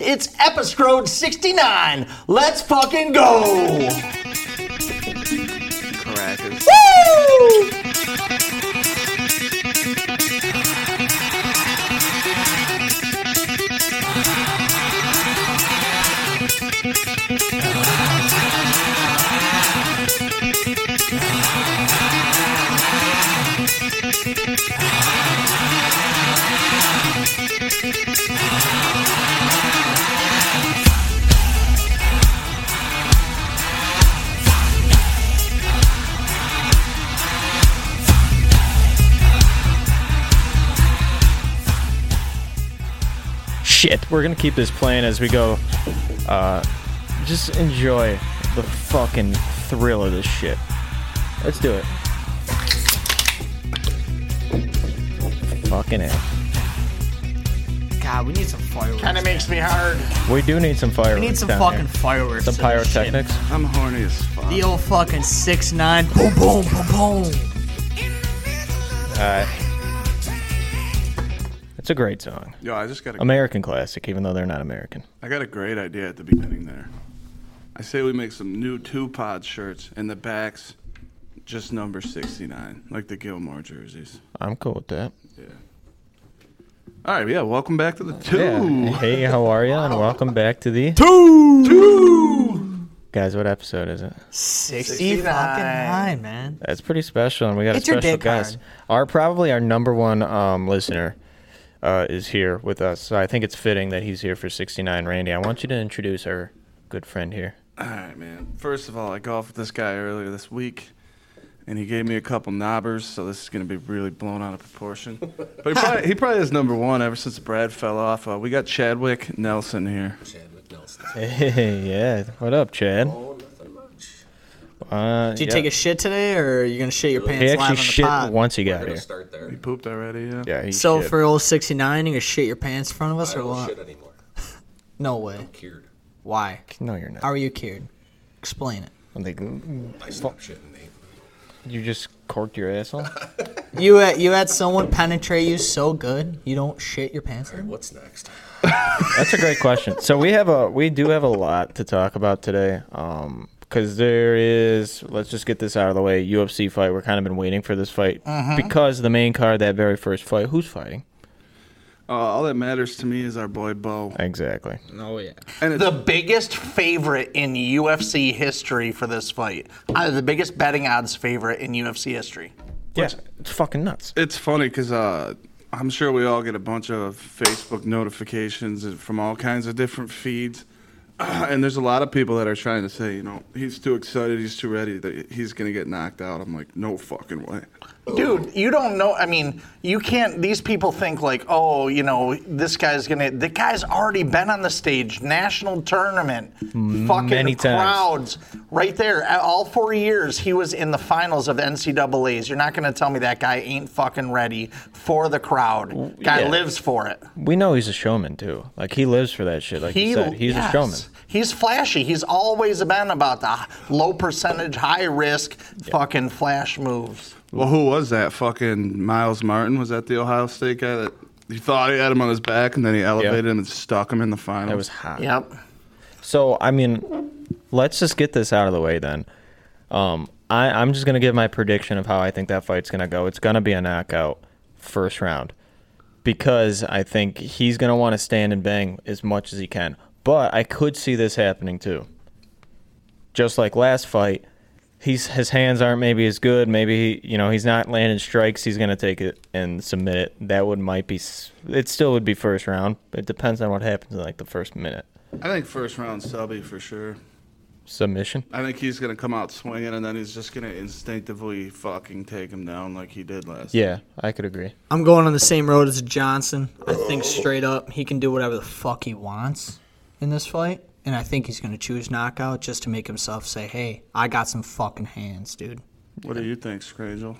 It's episode 69. Let's fucking go. Caracas. Woo! shit. We're gonna keep this playing as we go. Uh, just enjoy the fucking thrill of this shit. Let's do it. Fucking it. God, we need some fireworks. Kind of makes me hard. We do need some fireworks. we need some down fucking here. fireworks. Some to this shit. pyrotechnics. I'm horny as fuck. The old fucking six nine. Boom, boom, boom, boom. Alright. It's a great song. Yo, I just got a, American classic, even though they're not American. I got a great idea at the beginning there. I say we make some new two pod shirts and the backs just number 69, like the Gilmore jerseys. I'm cool with that. Yeah. All right, yeah, welcome back to the two. Uh, Hey, how are you? And welcome back to the guys. What episode is it? Sixty fucking high, man. That's pretty special, and we got It's a your special dick guest. hard. Our probably our number one um, listener uh, is here with us, so I think it's fitting that he's here for 69. Randy, I want you to introduce our good friend here. All right, man. First of all, I golfed with this guy earlier this week, and he gave me a couple knobbers, so this is going to be really blown out of proportion. But he probably, he probably is number one ever since Brad fell off. Uh, we got Chadwick Nelson here. Hey, yeah, what up, Chad? Oh, nothing much. Uh, Did you take a shit today, or are you gonna shit your pants He live on actually the shit pod? once he got here. start there. He pooped already, yeah? Yeah, he so shit. for old sixty nine, you gonna shit your pants in front of us, I or don't what? shit anymore. No way. Cured. Why? no, you're not. How are you cured? Explain it. I'm thinking, I stopped shitting, Nate. you just corked your asshole. You had, you had someone penetrate you so good, you don't shit your pants. anymore? What's next? That's a great question. So we have a we do have a lot to talk about today. Um because there is, let's just get this out of the way. UFC fight. We're kind of been waiting for this fight because the main card, that very first fight, who's fighting? Uh, all that matters to me is our boy Bo. Exactly. Oh yeah. And it's, The biggest favorite in UFC history for this fight. Uh, the biggest betting odds favorite in UFC history. Yeah, it's fucking nuts. it's funny because uh, I'm sure we all get a bunch of Facebook notifications from all kinds of different feeds. And there's a lot of people that are trying to say, you know, he's too excited, he's too ready, that he's going to get knocked out. I'm like, no fucking way. Dude, you don't know. I mean, you can't. These people think like, oh, you know, this guy's gonna. The guy's already been on the stage, national tournament, fucking Mm, Many times. crowds, right there. A- All four years, he was in the finals of the NCAA's. You're not gonna tell me that guy ain't fucking ready for the crowd. Guy yeah. lives for it. We know he's a showman too. Like he lives for that shit. Like he, said, he's yes. a showman. He's flashy. He's always been about the low percentage, high risk, fucking flash moves. Well, who was that? Fucking Miles Martin? Was that the Ohio State guy that he thought he had him on his back and then he elevated him and stuck him in the finals? That was hot. Yep. So I mean, let's just get this out of the way then. Um, I, I'm just gonna give my prediction of how I think that fight's gonna go. It's gonna be a knockout first round because I think he's gonna want to stand and bang as much as he can. But I could see this happening too. Just like last fight, he's his hands aren't maybe as good. Maybe he, you know he's not landing strikes. He's gonna take it and submit it. That would might be. s- It still would be first round. It depends on what happens in like the first minute I think first round subby for sure. submission. I think he's gonna come out swinging and then he's just gonna instinctively fucking take him down like he did last. Yeah, I could agree. I'm going on the same road as Johnson. I think straight up he can do whatever the fuck he wants in this fight. And I think he's going to choose knockout just to make himself say, hey, I got some fucking hands, dude. What do you think, Scrangel?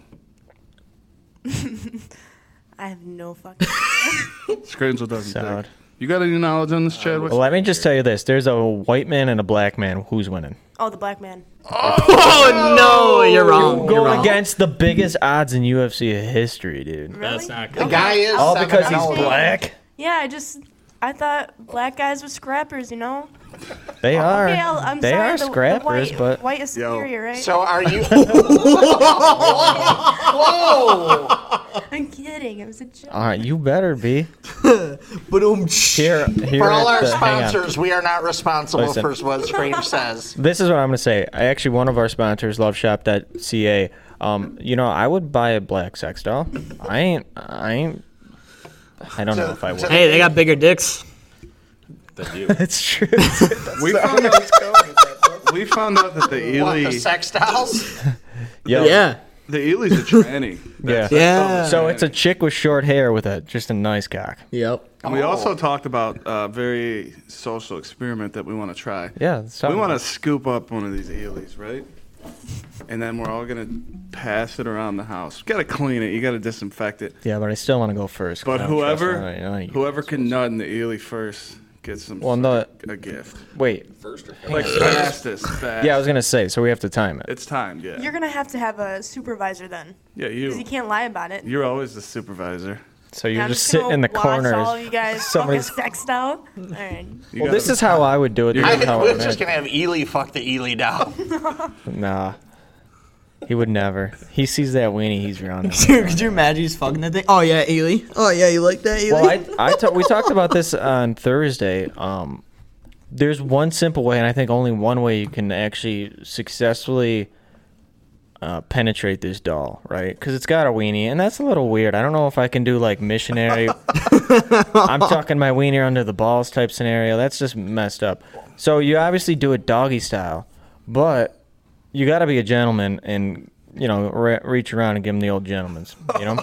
I have no fucking. Scrangel doesn't Solid. think. You got any knowledge on this, Chadwick? Let me just tell you this: there's a white man and a black man. Who's winning? oh, the black man. Oh, no, you're wrong. You're Going wrong. against the biggest odds in UFC history, dude. Really? The guy is All seven oh. because he's dollars. black. Yeah, I just I thought black guys were scrappers, you know? They are. Okay, I'll, Oh, I'm they sorry. are the- the scrappers, white, but white is Yo. superior, right? So are you? I'm kidding. It was a joke. all right, you better be But um, here. here For all at our the- hang on. sponsors, we are not responsible Listen. for what Strange says. This is what I'm going to say. I actually, one of our sponsors, LoveShop.ca. Um, you know, I would buy a black sex doll. I ain't. I ain't. I don't know if I would. hey, they got bigger dicks. Than you. It's true. We found out. we found out that the What Ely, the sex dolls? Yo, Yeah. the Ely's a tranny. Yeah. Yeah. So it's a chick with short hair with a just a nice cock. Yep. And we Oh. also talked about a very social experiment that we want to try. Yeah. let's talk we about want to scoop up one of these Ely's, right? And then we're all gonna pass it around the house. You gotta clean it. You gotta disinfect it. it. Yeah, but I still want to go first. Oh, 'cause But I don't trust whoever none of- none of you. whoever can nut in the Ely first gets some Well, no. a gift. Wait. First or Like fastest, fast. Yeah, I was gonna say. So we have to time it. It's time. Yeah. You're gonna have to have a supervisor then, yeah. You. because you can't lie about it. You're always the supervisor. So you're I'm just, sitting gonna in the watch corner. All you guys fucking Somebody's- sexed out. All right. You Well, gotta- this is how I would do it. You're I This is think how I we're would just act. gonna have Ely fuck the Ely doll. Nah. He would never. He sees that weenie, he's running. Dude, could you imagine he's fucking that thing? Oh yeah, Ely. Oh yeah, you like that, Ely? well, I, I ta- we talked about this on Thursday. Um, there's one simple way, and I think only one way you can actually successfully uh, penetrate this doll, right? Because it's got a weenie, and that's a little weird. I don't know if I can do like missionary. I'm talking my wiener under the balls type scenario. That's just messed up. So you obviously do it doggy style, but you got to be a gentleman and you know re- reach around and give him the old gentleman's. You know.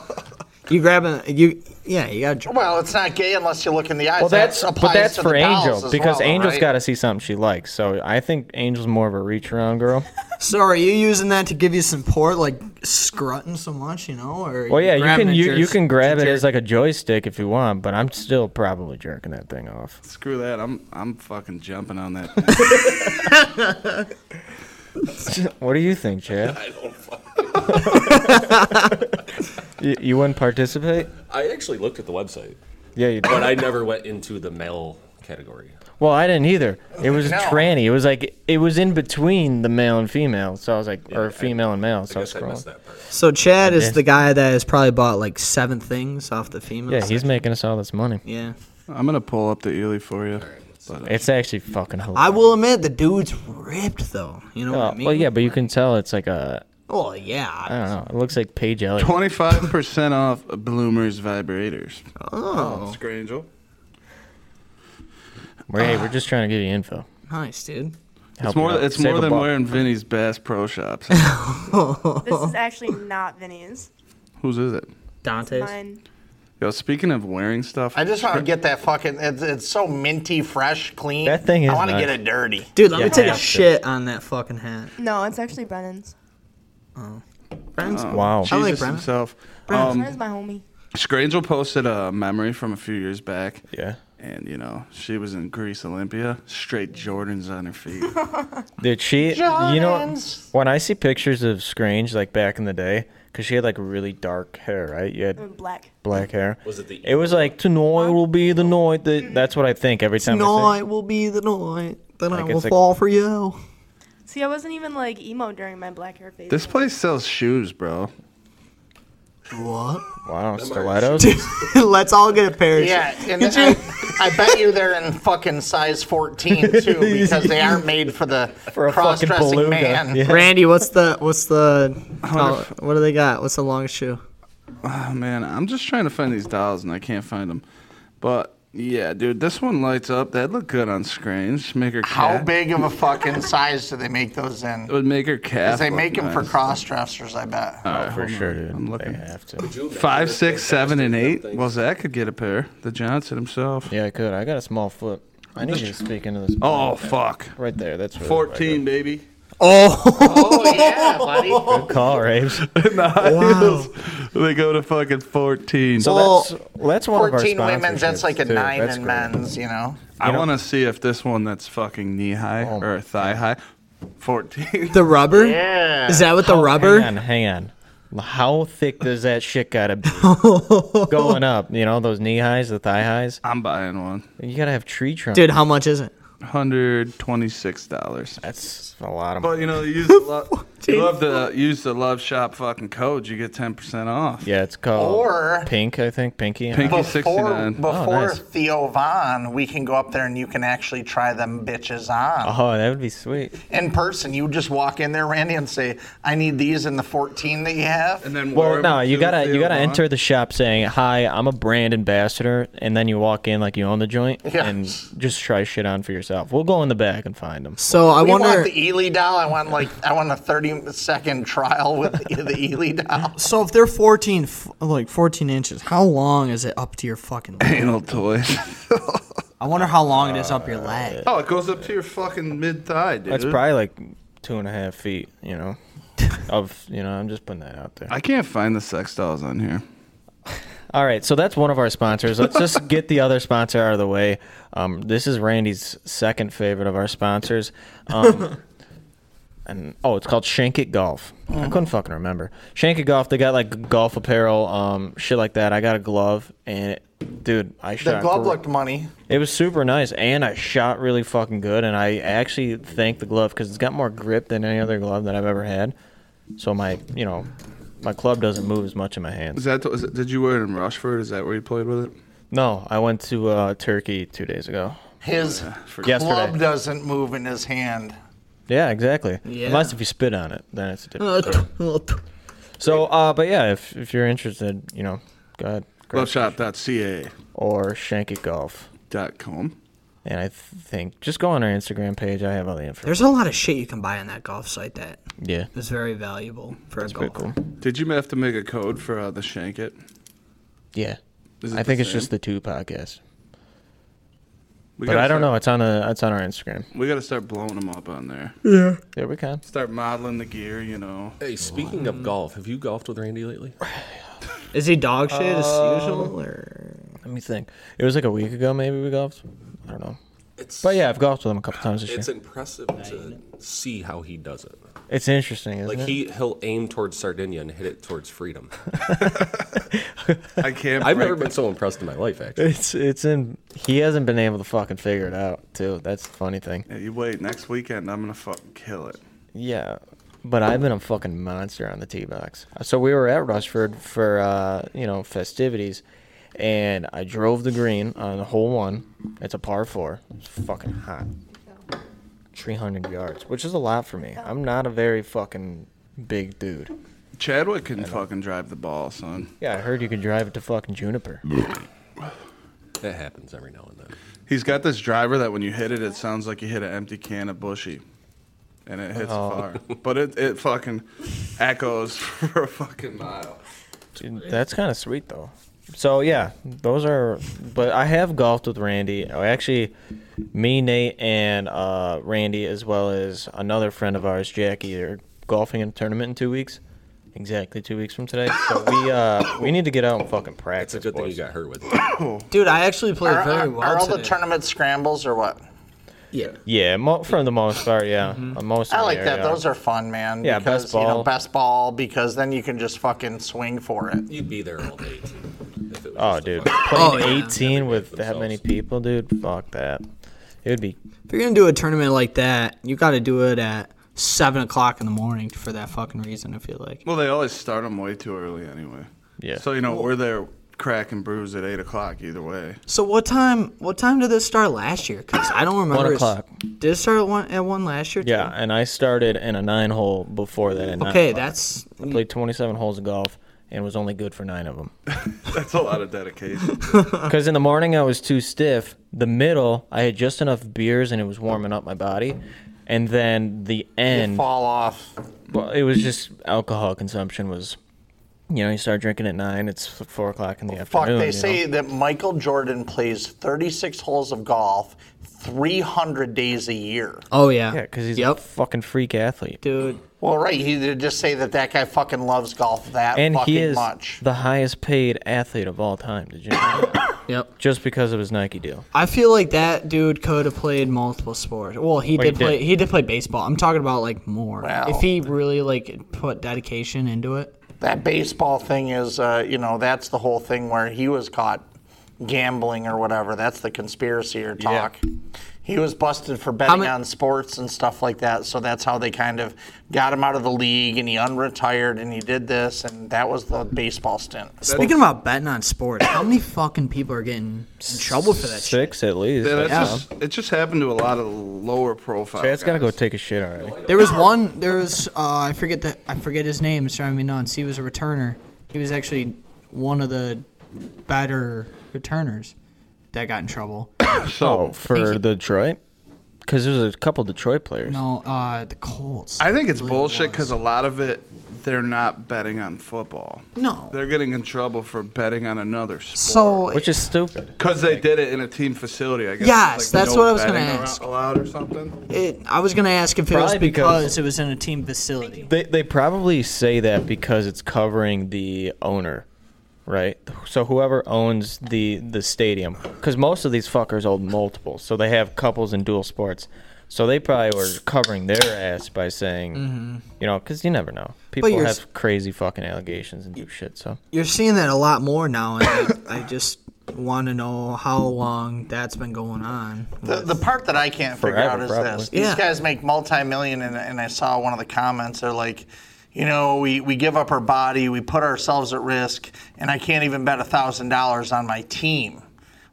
you grabbing you? Yeah, you got. to Well, it's not gay unless you look in the eyes. Well, that's that but that's for Angel Angels because well, though, Angel's right? got to see something she likes. So I think Angel's more of a reach around girl. So are you using that to give you some port, like scrutting so much, you know? Or Well, yeah, you grabbing can it you, you just- can grab it jerk? as like a joystick if you want, but I'm still probably jerking that thing off. Screw that. I'm I'm fucking jumping on that. What do you think, Chad? I don't. fuck- You, you wouldn't participate? I actually looked at the website, Yeah, you but did. I never went into the male category. Well, I didn't either. It was No. a tranny. It was like it was in between the male and female. So I was like, I- or female and male. I So I, was guess I missed scrolling. that part. So Chad is did. the guy that has probably bought like seven things off the female. Yeah, section. he's making us all this money. Yeah. I'm gonna pull up the Ely for you. But, uh, It's actually fucking hilarious. I will admit the dude's ripped though. You know what I mean? Oh, well, yeah, Uh, but you can tell it's like a Oh yeah. I don't know. It looks like Paige Elliott. 25% off Bloomers vibrators. Oh, Scrangel. We're, hey, we're just trying to give you info. nice dude. Help It's you more, out. it's Save more a than buck. wearing Vinny's Bass Pro Shops. This is actually not Vinny's. Whose is it? Dante's. Mine. Yo, speaking of wearing stuff, I just want to get that fucking. It's, it's so minty, fresh, clean. That thing I is want to nice. get it dirty. Dude, let Yeah, me take a have to. shit on that fucking hat. No, it's actually Brennan's. Friends? Wow. Oh, Jesus I like Brennan. himself. Um, Brennan's my homie. Scrangel posted a memory from a few years back. Yeah. And, you know, she was in Greece Olympia, straight Jordans on her feet. Dude, she, you know, Jordans. when I see pictures of Scrange, like back in the day, because she had like really dark hair, right? You had Black. black hair. Was it the- It was like, tonight will be the night that. That's what I think every time I Night see will be the night that I Like, will it's like- fall for you. See, I wasn't even like emo during my black hair phase. this place sells shoes, bro. What? Wow, stilettos? Let's all get a pair. of Yeah, shoes. and I, I bet you they're in fucking size 14 too because they aren't made for the For a fucking cross-dressing beluga. man. Yeah. Randy, what's the what's the oh, what do they got? What's the longest shoe? Oh, man, I'm just trying to find these dolls and I can't find them. But, yeah, dude, this one lights up. That'd look good on Scrange. Make her How cat. big of a fucking size do they make those in? It would make her calf. 'Cause they look make them for nice. cross dressers, I bet. Oh, for sure, dude. I'm looking. They have to. Five, six, seven, and eight. Well, Zach could get a pair. The Johnson himself. Yeah, I could. I got a small foot. I need you to speak into this. Oh fuck. Right there. That's where- Fourteen, baby. oh yeah, buddy. Good call, Raves. Wow. They go to fucking fourteen. So Well, that's, that's one of our 14 women's, that's sponsorships, like a too. nine That's in great. men's, you know? I want to see if this one that's fucking knee high Oh, or thigh high. Fourteen. The rubber? Yeah. Is that with the rubber? Hang on, hang on. How thick does that shit gotta be? Going up, you know, those knee highs, the thigh highs. I'm buying one. You gotta have tree trunk. Dude, how much is it? Hundred twenty-six dollars. That's a lot of money. But you know, you use the love, you love the use the love shop fucking code. You get ten percent off. Yeah, it's called Or- Pink, I think. Pinky. Pinky. Uh, He's 69. Before, before nice. Theo Vaughn, we can go up there and you can actually try them bitches on. Oh, that would be sweet. In person, you just walk in there, Randy, and say, I need these in the 14 that you have. And then Well, wear no, them you to gotta the you gotta salon. enter the shop saying, "Hi, I'm a brand ambassador," and then you walk in like you own the joint Yeah. and just try shit on for yourself. We'll go in the back and find them. So I we wonder. want the Ely doll. I want like I want a 30 second trial with the, the Ely doll. so if they're 14, f- like 14 inches, how long is it up to your fucking? leg? anal toy. I wonder how long it is up your leg. oh, it goes up to your fucking mid thigh, dude. That's probably like two and a half feet. You know, of you know, I'm just putting that out there. I can't find the sex dolls on here. All right, so that's one of our sponsors. Let's just get the other sponsor out of the way. Um, this is Randy's second favorite of our sponsors. Um, and oh, it's called Shank It Golf. I Mm. couldn't fucking remember. Shank It Golf. They got like golf apparel, um, shit like that. I got a glove, and it, dude, I The shot. glove gr- looked money. It was super nice, and I shot really fucking good. And I actually thank the glove because it's got more grip than any other glove that I've ever had. So my, you know, my club doesn't move as much in my hands. Is that is it, did you wear it in Rushford? Is that where you played with it? No, I went to uh, Turkey two days ago. His Yesterday. club doesn't move in his hand. Yeah, exactly. Yeah. Unless if you spit on it, then it's a different. Uh, t- uh, t- so, uh, but yeah, if, if you're interested, you know, go ahead. grab Gloveshop.ca.com. Or Shank It Golf. And I th- think just go on our Instagram page. I have all the info. There's a lot of shit you can buy on that golf site that Yeah. is very valuable for a Pretty golf. cool. Did you have to make a code for uh, the shank it? Yeah. Is it I the think it's same? just the two podcasts. We But gotta I don't know. start- It's on the it's on our Instagram. We gotta start blowing them up on there. Hmm. There we go. Start modeling the gear, you know. Hey, speaking of golf, have you golfed with Randy lately? Is he dog shit as Um, usual? Or? Let me think. It was like a week ago, maybe we golfed. I don't know. But yeah, I've golfed with him a couple times this It's year. impressive to see how he does it. It's interesting, isn't Like it? he he'll aim towards Sardinia and hit it towards freedom. I can't. I've break never the- been so impressed in my life actually. It's it's in. He hasn't been able to fucking figure it out too. That's the funny thing. Yeah, you wait next weekend. I'm gonna fucking kill it. Yeah, but I've been a fucking monster on the tee box. So we were at Rushford for uh, you know festivities, and I drove the green on the hole one. It's a par four. It's fucking hot. Three hundred yards, which is a lot for me. I'm not a very fucking big dude. Chadwick can fucking drive the ball, son. Yeah, I heard you could drive it to fucking Juniper. That happens every now and then. He's got this driver that when you hit it, it sounds like you hit an empty can of bushy, and it hits Oh. far. But it it fucking echoes for a fucking mile. Dude, That's kind of sweet though. So yeah, those are. But I have golfed with Randy. Oh, Actually, me, Nate, and uh, Randy, as well as another friend of ours, Jackie, are golfing in a tournament in two weeks. Exactly two weeks from today. So we uh, we need to get out and fucking practice. It's a good thing you boys. got hurt with. Dude, I actually played Are, very are- well are all the today. tournament scrambles or what? yeah. Yeah, mo- for the most part, yeah. Mm-hmm. Uh, Most. I of the like that. area. Those are fun, man. Yeah, because, best You know, ball. best ball because then you can just fucking swing for it. You'd be there all day. too, if it was Oh, just a dude, fucking- playing yeah. 18 with that many people, dude. Fuck that. It would be If you're gonna do a tournament like that, you got to do it at seven o'clock in the morning for that fucking reason. I feel like. Well, they always start them way too early anyway. Yeah. So you know we're there, crack and bruise at eight o'clock either way. So what time? What time did this start last year? Cause I don't remember. it's- o'clock. Did it start at one at one last year? too? Yeah, and I started in a nine hole before that. At nine Okay, o'clock. that's I Mm. played 27 holes of golf and was only good for nine of them. That's a lot of dedication. Because in the morning I was too stiff. The middle I had just enough beers and it was warming up my body, and then the You end, fall off. well, it was just alcohol consumption was. You know, you start drinking at nine. It's f- four o'clock in the Oh, Fuck, afternoon. they you say know? that Michael Jordan plays 36 holes of golf 300 days a year. Oh yeah. yeah, because he's yep. a fucking freak athlete, dude. Well, right. He they just say that that guy fucking loves golf that and fucking he is much. the highest paid athlete of all time. Did you? Know that? Yep. just because of his Nike deal. I feel like that dude could have played multiple sports. Well, he Oh, Well, he did play. did. He did play baseball. I'm talking about like more. Wow. If he really like put dedication into it, that baseball thing is, uh, you know, that's the whole thing where he was caught gambling or whatever. That's the conspiracy or talk. He was busted for betting ma- on sports and stuff like that. So that's how they kind of got him out of the league and he unretired and he did this and that was the baseball stint. Speaking about betting on sports, how many fucking people are getting in trouble for that shit? Six at least. Yeah, that's Yeah. just, it just happened to a lot of lower profile. Chad's gotta go guys. take a shit already. There was one. There was uh, I forget the I forget his name. It's driving me nuts. He was a returner. He was actually one of the better returners that got in trouble. Oh, So for Detroit? Because there's a couple Detroit players. No, uh, the Colts. I think it's believe it bullshit because was. a lot of it, they're not betting on football. no. They're getting in trouble for betting on another sport So Which is stupid. because they did it in a team facility. I guess. Yes, that's what I was gonna betting ar- ask. Allowed or something? it, I was gonna ask if it was Probably because- because, it was in a team facility. They, they probably say that because it's covering the owner, right? So whoever owns the, the stadium, because most of these fuckers own multiples, so they have couples and dual sports. So they probably were covering their ass by saying, Mm-hmm. you know, because you never know. People you're have s- crazy fucking allegations and do shit. So You're seeing that a lot more now, and I, I just want to know how long that's been going on. The, the part that I can't figure Forever, out is probably. this: these Yeah. guys make multi-million, and, and I saw one of the comments. They're like, you know, we, we give up our body, we put ourselves at risk, and I can't even bet thousand dollars on my team.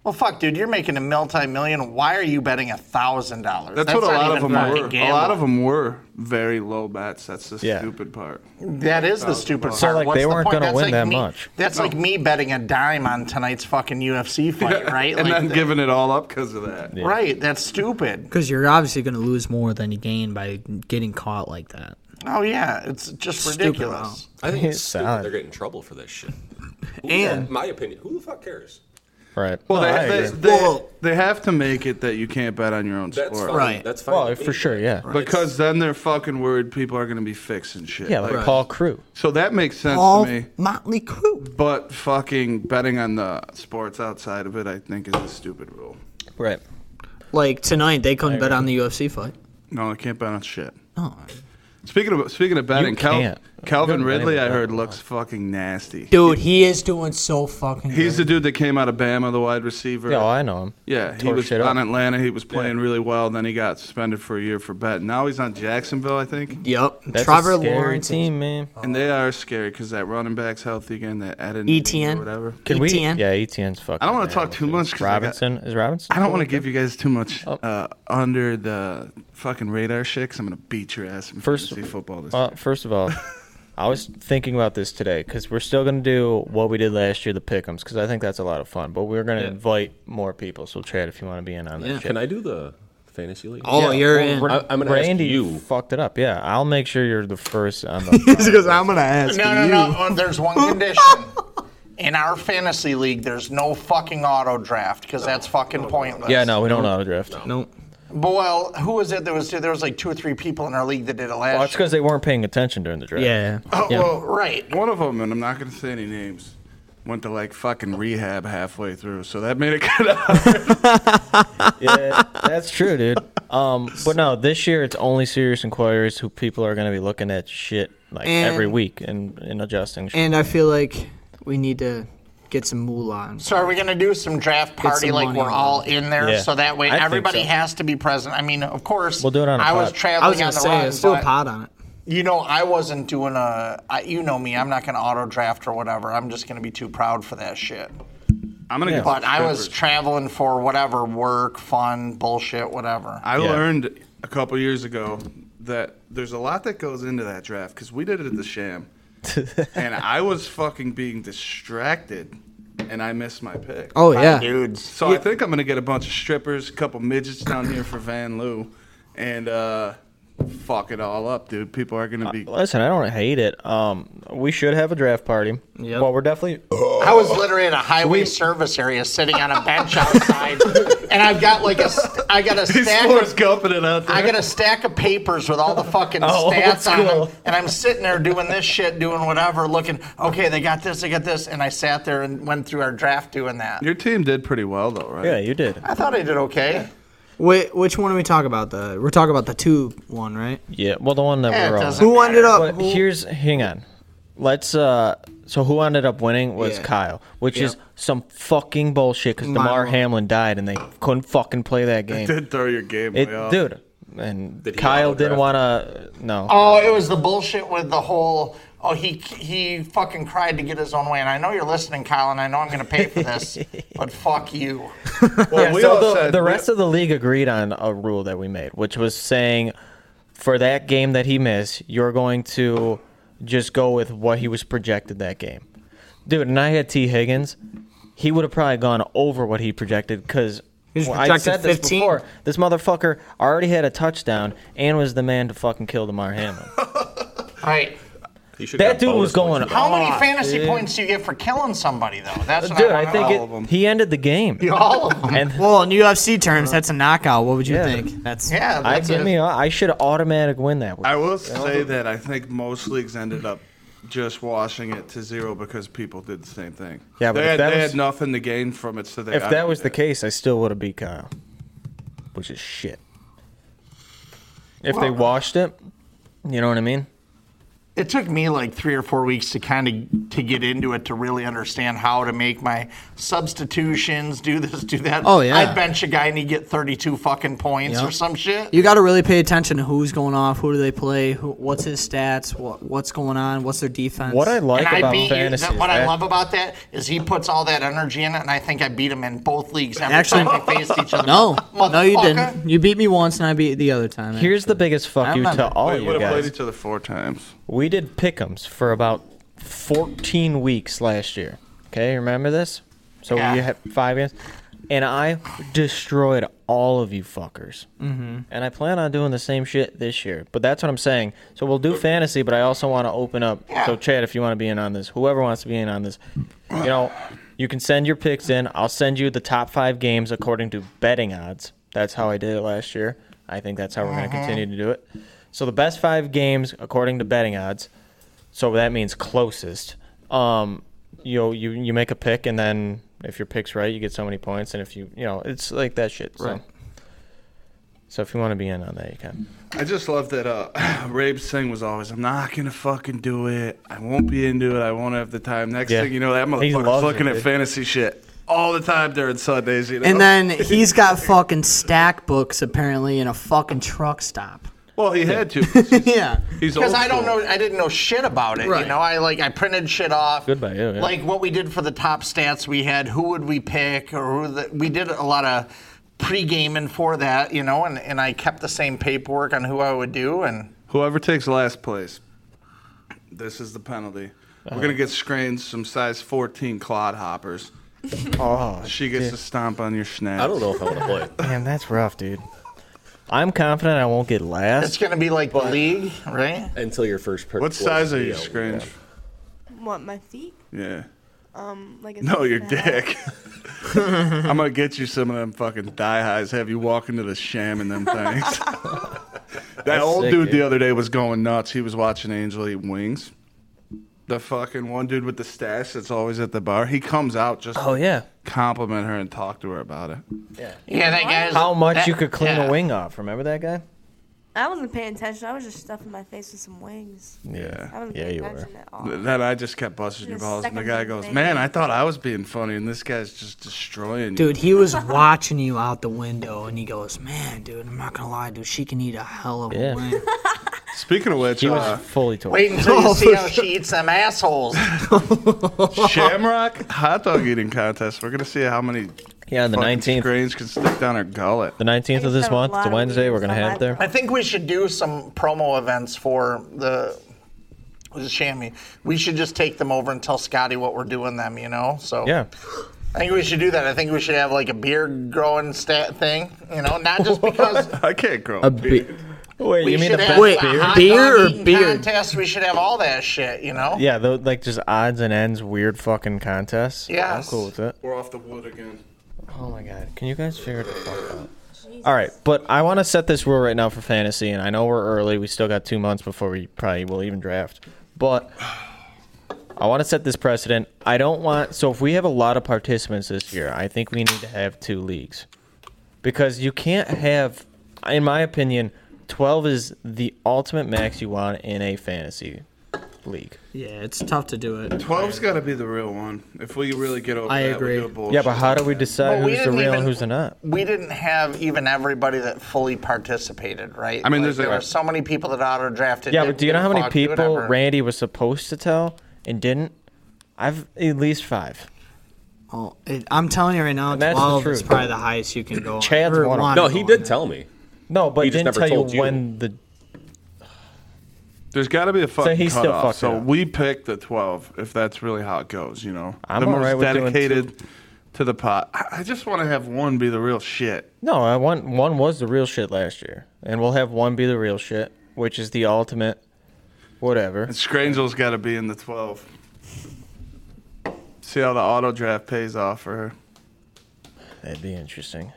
Well, fuck, dude, you're making a multi-million. Why are you betting thousand dollars? That's, what a lot of them were. A lot of them. them were very low bets. That's the Yeah. stupid part. That is the stupid So, part. like, What's they the weren't point? gonna That's win like that me- much. That's like me betting a dime on tonight's fucking UFC fight, right? and Like, then giving it all up because of that. right? That's stupid. Because you're obviously going to lose more than you gain by getting caught like that. Oh yeah, it's just Stupid ridiculous. I think it's It's stupid sad. They're getting in trouble for this shit. Who- And- my opinion, who the fuck cares? right. Well, No, I they, they, agree. they, Well- they have to make it that you can't bet on your own That's sport. fine. Right. That's fine. well with me. for sure, yeah. Because then they're fucking worried people are going to be fixing shit. Yeah, like Paul Crew. so that makes sense All to me. Motley Crue. But fucking betting on the sports outside of it, I think, is a stupid rule. Right. Like tonight, they couldn't bet on the UFC fight. Oh, No, I can't bet on shit. No, Speaking of speaking of betting, Cal- can't. Calvin You're not Ridley, able to I bet heard on looks fucking nasty. dude, he is doing so fucking. He's the good. dude that came out of Bama, the wide receiver. Yeah, oh, I know him. Yeah, he Tore was shit up. on Atlanta. He was playing really well. Then he got suspended for a year for betting. Now he's on Jacksonville, I think. Yep, That's Trevor a scary Lawrence. is- team, man. And they are scary because that running back's healthy again. That Eden ETN. or whatever. Can we? ETN. Yeah, ETN's fucking. I don't want to bad, talk too dude. much. 'cause I got- Robinson is Robinson. I don't want to give you guys too much Oh. uh, under the fucking radar shit. Cause I'm gonna beat your ass in First- fantasy football this. Uh, first of all, I was thinking about this today because we're still gonna do what we did last year, the pickems, because I think that's a lot of fun. But we're gonna invite more people. So Chad, if you want to be in on that, Yeah. shit. Can I do the fantasy league? Oh, you're in. I- I'm gonna ask Randy you. fucked it up. Yeah, I'll make sure you're the first on the. Because I'm gonna ask No, no, no. Oh, There's one condition. In our fantasy league, there's no fucking auto draft because that's Oh, fucking pointless. yeah, no, we don't auto draft. Nope. But well, who was it? There was there was like two or three people in our league that did it Well, that's last. year. because they weren't paying attention during the draft. Yeah. Oh, Well, right. One of them, and I'm not gonna say any names, went to like fucking rehab halfway through, so that made it kind of. yeah, that's true, dude. Um, but no, this year it's only serious inquiries who people are going to be looking at shit like And- every week and, and adjusting. shit. And I feel like we need to get some moolah. on. So are we gonna do some draft party some like money we're on all it. in there, Yeah. so that way I think everybody so. has to be present. I mean, of course, We'll do it on a I was pod. traveling I was gonna on the say, run, let's do so I- a pod on it. You know, I wasn't doing a. I, you know me, I'm not gonna auto draft or whatever. I'm just gonna be too proud for that shit. I'm gonna. get But I was peppers. traveling for whatever work, fun, bullshit, whatever. I Yeah. learned a couple years ago that there's a lot that goes into that draft because we did it at the Sham, and I was fucking being distracted, and I missed my pick. Oh yeah. Dudes. So I think I'm gonna get a bunch of strippers, a couple midgets down here for Van Lou, and uh, fuck it all up, dude. People are gonna be. Listen, I don't hate it. Um, we should have a draft party. Yep. Well, we're definitely. I was literally in a highway service area, sitting on a bench outside, and I've got like a, st- I got a These stack. floors Of, gumping it out there. I got a stack of papers with all the fucking Oh, stats old on school. them, and I'm sitting there doing this shit, doing whatever, looking. Okay, they got this, they got this, and I sat there and went through our draft doing that. Your team did pretty well though, right? Yeah, you did. I thought I did okay. Wait, which one are we talking about? The we're talking about the tube one, right? Yeah. Well, the one that Yeah, we're it on. doesn't- Who ended up? But here's, hang on. let's uh so who ended up winning was Yeah. Kyle, which is Yeah. some fucking bullshit cuz DeMar Mile. Hamlin died and they couldn't fucking play that game. Did throw your game It, way off. dude, and Did he Kyle didn't autograph want to no. Oh, it was the bullshit with the whole. Oh, he he fucking cried to get his own way, and I know you're listening, Kyle, and I know I'm gonna pay for this, but fuck you. Well, we so all the, said- the we- rest of the league agreed on a rule that we made, which was saying for that game that he missed, you're going to just go with what he was projected that game. Dude, and I had T. Higgins. He would have probably gone over what he projected because He was I projected said this 15. before. This motherfucker already had a touchdown and was the man to fucking kill Demar Hamlin. Right. He should've that got dude was bonus points going. for that. How many off, fantasy dude. points do you get for killing somebody though? That's what Dude, I, I think all of them. it, he ended the game. it, all of them. And Well, in UFC terms, that's a knockout. What would you Yeah. think? That's yeah, I that's give it. me. I should automatic win that. I will say that I think most leagues ended up just washing it to zero because people did the same thing. Yeah, but they, if had, that they was- had nothing to gain from it, so they. If that was uh, the case. case, I still would have beat Kyle, which is shit. If they washed it, you know what I mean? It took me like three or four weeks to kind of to get into it to really understand how to make my substitutions, do this, do that. Oh, yeah. I'd bench a guy and he'd get 32 fucking points Yep. or some shit. You got to really pay attention to who's going off, who do they play, who, what's his stats, what what's going on, what's their defense. What I like and I about beat you. fantasy, That, is what I that- love about that is he puts all that energy in it, and I think I beat him in both leagues. Every Actually- time we faced each other. No, no, you Motherfucker. didn't. You beat me once, and I beat the other time. here's the biggest fuck you to remember. all They you would have played guys. each other four times. We did pick'ems for about 14 weeks last year. Okay, remember this? So Yeah. we had five games, and I destroyed all of you fuckers. Mm-hmm. And I plan on doing the same shit this year. But that's what I'm saying. So we'll do fantasy, but I also want to open up. So Chad, if you want to be in on this, whoever wants to be in on this, you know, you can send your picks in. I'll send you the top five games according to betting odds. That's how I did it last year. I think that's how we're going to continue to do it. So the best five games according to betting odds. So that means closest. Um, you know, you you make a pick, and then if your pick's right, you get so many points, and if you you know, it's like that shit. So. Right. So if you want to be in on that, you can. I just love that uh, Rabe's thing was always, "I'm not gonna fucking do it. I won't be into it. I won't have the time." Next Yeah. thing you know, that He motherfucker's loves looking it, at dude. fantasy shit all the time during Sundays. You know? and then he's got fucking stack books apparently in a fucking truck stop. well, he had to. 'cause he's- Yeah. He's Because old I don't school. know, I didn't know shit about it. Right. You know, I like I printed shit off. Good by you, yeah. Like what we did for the top stats, we had who would we pick, or who the, we did a lot of pre-gaming for that. You know, and and I kept the same paperwork on who I would do, and Whoever takes last place, this is the penalty. We're gonna get screened some size 14 clodhoppers. Oh, She gets to stomp on your schnapp. I don't know if I want to play. damn, that's rough, dude. I'm confident I won't get it's last. gonna be like the league, right? Until your first per- What size are you your screens? What my feet? Yeah. Um, like a No, six your and a half. dick. I'm gonna get you some of them fucking die highs. Have you walk into the sham and them things? that old sick, dude dude. the other day was going nuts. He was watching Angel eat wings. The fucking one dude with the stash that's always at the bar. He comes out just Oh to yeah. compliment her and talk to her about it. Yeah, that guy's How much that- you could clean Eh, yeah. a wing off? Remember that guy? I wasn't paying attention. I was just stuffing my face with some wings. I Yeah. wasn't Yeah, paying you were. attention at all. Then I just kept busting your The balls, and the second guy thing goes, they "Man, do. I thought I was being funny, and this guy's just destroying you." Dude, he was watching you out the window, and he goes, "Man, dude, I'm not gonna lie, dude, she can eat a hell of a Yeah. wing." Speaking of which, He was uh, fully torn. Wait until you see how she eats them assholes. uh, Shamrock hot dog eating contest. We're gonna see how many yeah, the fucking 19th. screens can stick down her gullet. The 19th of this There's a month. It's a lot of Wednesday. We're memes gonna on have it there. I think we should do some promo events for the was it Shammy. We should just take them over and tell Scotty what we're doing them, you know? So Yeah. I think we should do that. I think we should have like a beard growing stat thing, you know, not just because I can't grow A a beard. bit. Wait, we you mean should the best have Wait, a hot beer dog or eating beard? contest. We should have all that shit, you know? Yeah, the, like just odds and ends, weird fucking contests. I'm Yes. cool with it. We're off the wood again. Oh my god, can you guys figure the fuck out? All right, but I want to set this rule right now for fantasy, and I know we're early. We still got two months before we probably will even draft, but I want to set this precedent. I don't want so if we have a lot of participants this year, I think we need to have two leagues because you can't have, in my opinion, twelve is the ultimate max you want in a fantasy league. Yeah, it's tough to do it. 12's got to be the real one. If we really get over I that, agree. we do bullshit. Yeah, but how do we decide But we who's the didn't real even- and who's the not? We didn't have even everybody that fully participated, right? I mean, Like, there's a- there were so many people that auto drafted. Yeah, but do you know how many people Randy was supposed to tell and didn't? I've at least five. Oh, it, I'm telling you right now, that's the 12 is truth. probably the highest you can go. on, Chad's or one of wanna them. No, go he on. did tell me. No, but He he didn't just never tell you told you. when the. There's got to be a fucking he's still cutoff. fucked so up. we pick the 12 if that's really how it goes. You know, I'm the all most right with doing dedicated to the pot. I, I just want to have one be the real shit. No, I want one was the real shit last year, and we'll have one be the real shit, which is the ultimate, whatever. And Scrangel's got to be in the 12. See how the auto draft pays off for her. That'd be interesting.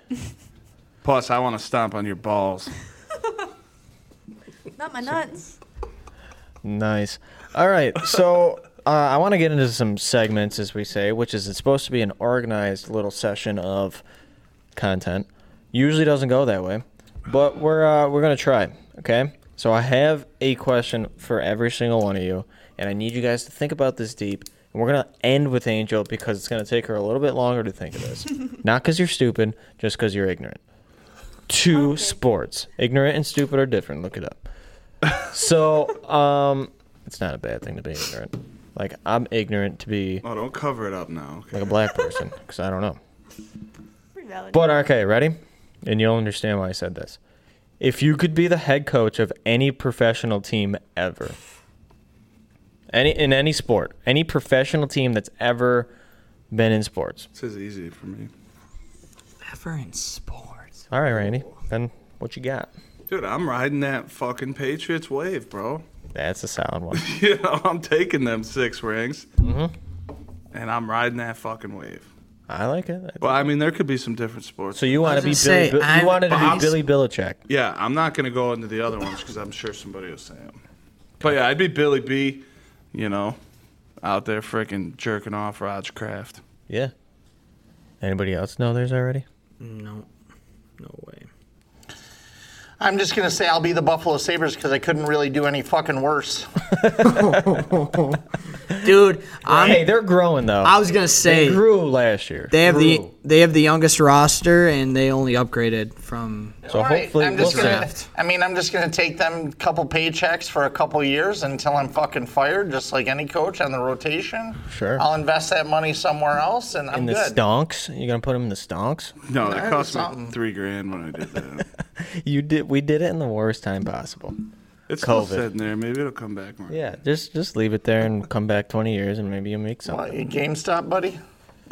Plus, I want to stomp on your balls. Not my nuts. Nice. All right, so uh, I want to get into some segments, as we say, which is it's supposed to be an organized little session of content. Usually doesn't go that way, but we're uh, we're gonna try. Okay, so I have a question for every single one of you, and I need you guys to think about this deep. And we're gonna end with Angel because it's gonna take her a little bit longer to think of this. Not because you're stupid, just because you're ignorant. Two sports. Ignorant and stupid are different. Look it up. So, um, it's not a bad thing to be ignorant. Like I'm ignorant to be Oh, don't cover it up now. like Okay. a black person because I don't know. Pretty valid. But okay, ready? And you'll understand why I said this. If you could be the head coach of any professional team ever, any in any sport, any professional team that's ever been in sports. This is easy for me. Ever in sports. All right, Randy. Then what you got? Dude, I'm riding that fucking Patriots wave, bro. That's a solid one. You know, I'm taking them six rings. Mm-hmm. And I'm riding that fucking wave. I like it. Well, I mean, there could be some different sports. So you want to was be gonna say, Billy, Bil- I'm- you wanted to be Bob's- Billy Belichick. yeah, I'm not going to go into the other ones because I'm sure somebody will say them. But yeah, I'd be Billy B, you know, out there freaking jerking off Roger Kraft. Yeah. Anybody else know theirs already? No. No way. I'm just gonna say I'll be the Buffalo Sabers because I couldn't really do any fucking worse. Dude, I'm, hey, they're growing though. I was going to say. they grew last year. They have the Grew. they have the youngest roster, and they only upgraded from. So All right, hopefully I'm we'll just see. gonna, draft. I mean, I'm just gonna take them a couple paychecks for a couple years until I'm fucking fired, just like any coach on the rotation. Sure. I'll invest that money somewhere else, and I'm in the good. stonks. You're gonna put them in the stonks. No, that cost me something. three grand when I did that. You did. We did it in the worst time possible. It's still COVID. sitting there. Maybe it'll come back more. Yeah, just just leave it there and come back 20 years and maybe you make something. What, you GameStop, buddy?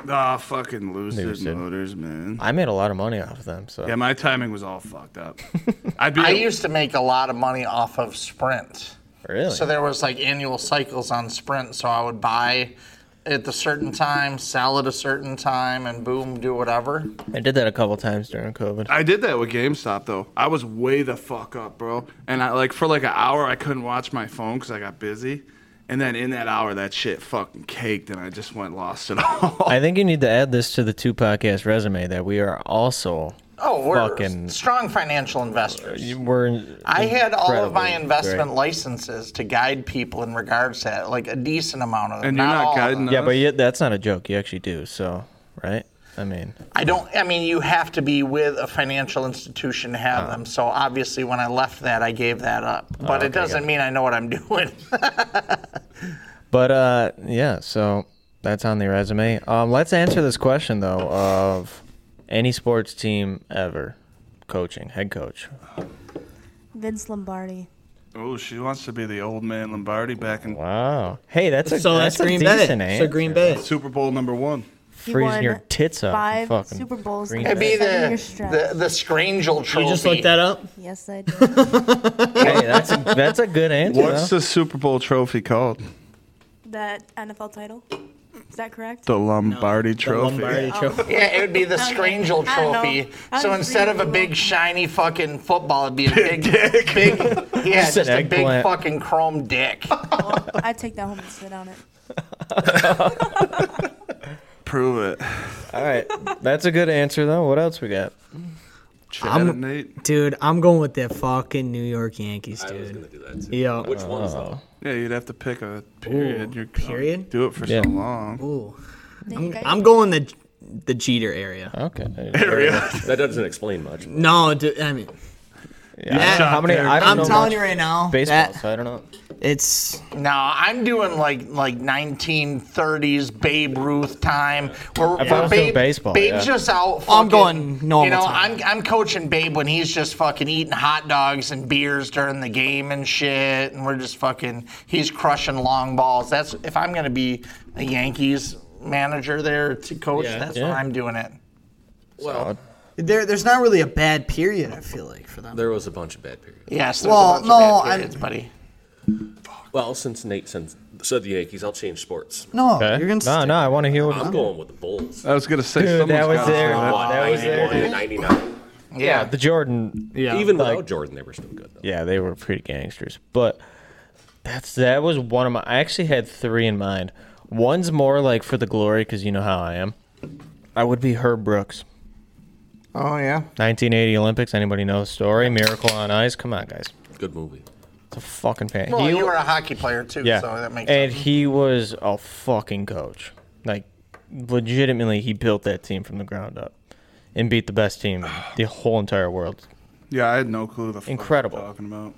Ah, fucking lucid, Lucid. motors, man. I made a lot of money off of them. So Yeah, my timing was all fucked up. I'd be. I used to make a lot of money off of Sprint. really, So there was like annual cycles on Sprint. So I would buy at the certain time, sell at a certain time, and boom, do whatever. I did that a couple times during COVID. I did that with GameStop though. I was way the fuck up, bro. And I like for like an hour I couldn't watch my phone because I got busy. And then in that hour, that shit fucking caked, and I just went lost it all. I think you need to add this to the two podcast resume that we are also. Oh, we're Fucking- strong financial investors. We're I had all of my incredibly investment great. licenses to guide people in regards to that, like a decent amount of them. And you're not all of guiding them. Yeah, but yet that's not a joke. You actually do. So right. I mean, I don't. I mean, you have to be with a financial institution to have them. So obviously, when I left that, I gave that up. But it doesn't mean I know what I'm doing. But uh, yeah, so that's on the resume. Um, let's answer this question though of any sports team ever coaching head coach. Vince Lombardi. oh, she wants to be the old man Lombardi back in Wow. Hey, that's a So that's, that's, a Green Bay. decent So answer. Green Bay. Super Bowl number one. He Freezing won your tits up. Five fucking Super Bowls. Green in It'd be seven the year stretch. the, the Scrangel trophy. You just looked that up. yes, I did. Hey, that's a, that's a good answer. What's though. the Super Bowl trophy called? that NFL title. Is that correct? The Lombardi Trophy. Lombardi Trophy. Yeah, it would be the Scrangel I don't know. trophy. I was So instead of a reading big about- shiny fucking football, it'd be a big, big, yeah, Just just, an a big eggplant. fucking chrome dick. I take that home and sit on it. Prove it. All right, that's a good answer though. What else we got? Chad I'm- and Nate. Dude, I'm going with the fucking New York Yankees, I was dude. gonna do that too. Yeah. Which one's though? Yeah, you'd have to pick a period. Ooh, You're period? Do it for Yeah. so long. Ooh. I'm, I'm going the the Jeter area. Okay. That doesn't explain much. No, dude, I mean, Yeah, Yeah. how many? I don't I'm know telling much you right now, Baseball, that- so I don't know. it's No, I'm doing like like 1930s Babe Ruth time. Where, If I where was doing Babe, baseball, Babe's yeah. just out. Oh, I'm fucking- going normal You know, time. I'm I'm coaching Babe when he's just fucking eating hot dogs and beers during the game and shit, and we're just fucking. He's crushing long balls. That's if I'm gonna be a Yankees manager there to coach. Yeah. that's Yeah. what I'm doing it. Well, there. There's not really a bad period. I feel like for them. there was a bunch of bad periods. Yes. there's a Well, bunch of bad no, I'm- periods, buddy. Well, since Nate said said the Yankees, I'll change sports. No, Okay. you're gonna. no, stick- no, I want to hear what. I'm going with the Bulls. I was gonna say Dude, someone's that was gotta say there. that. Wow, that was there. 91 and 99. Yeah, the Jordan. Yeah. Even without Jordan, they were still good. Though. Yeah, they were pretty gangsters. But that's that was one of my. I actually had three in mind. One's more like for the glory because you know how I am. I would be Herb Brooks, Oh yeah. 1980 Olympics. Anybody know the story? Miracle on Ice. Come on, guys. Good movie. It's a fucking fan. Well, you were a hockey player too, Yeah. so that makes and sense. he was a fucking coach. Like, legitimately, he built that team from the ground up and beat the best team in the whole entire world. Yeah, I had no clue the fuck Incredible. you were talking about.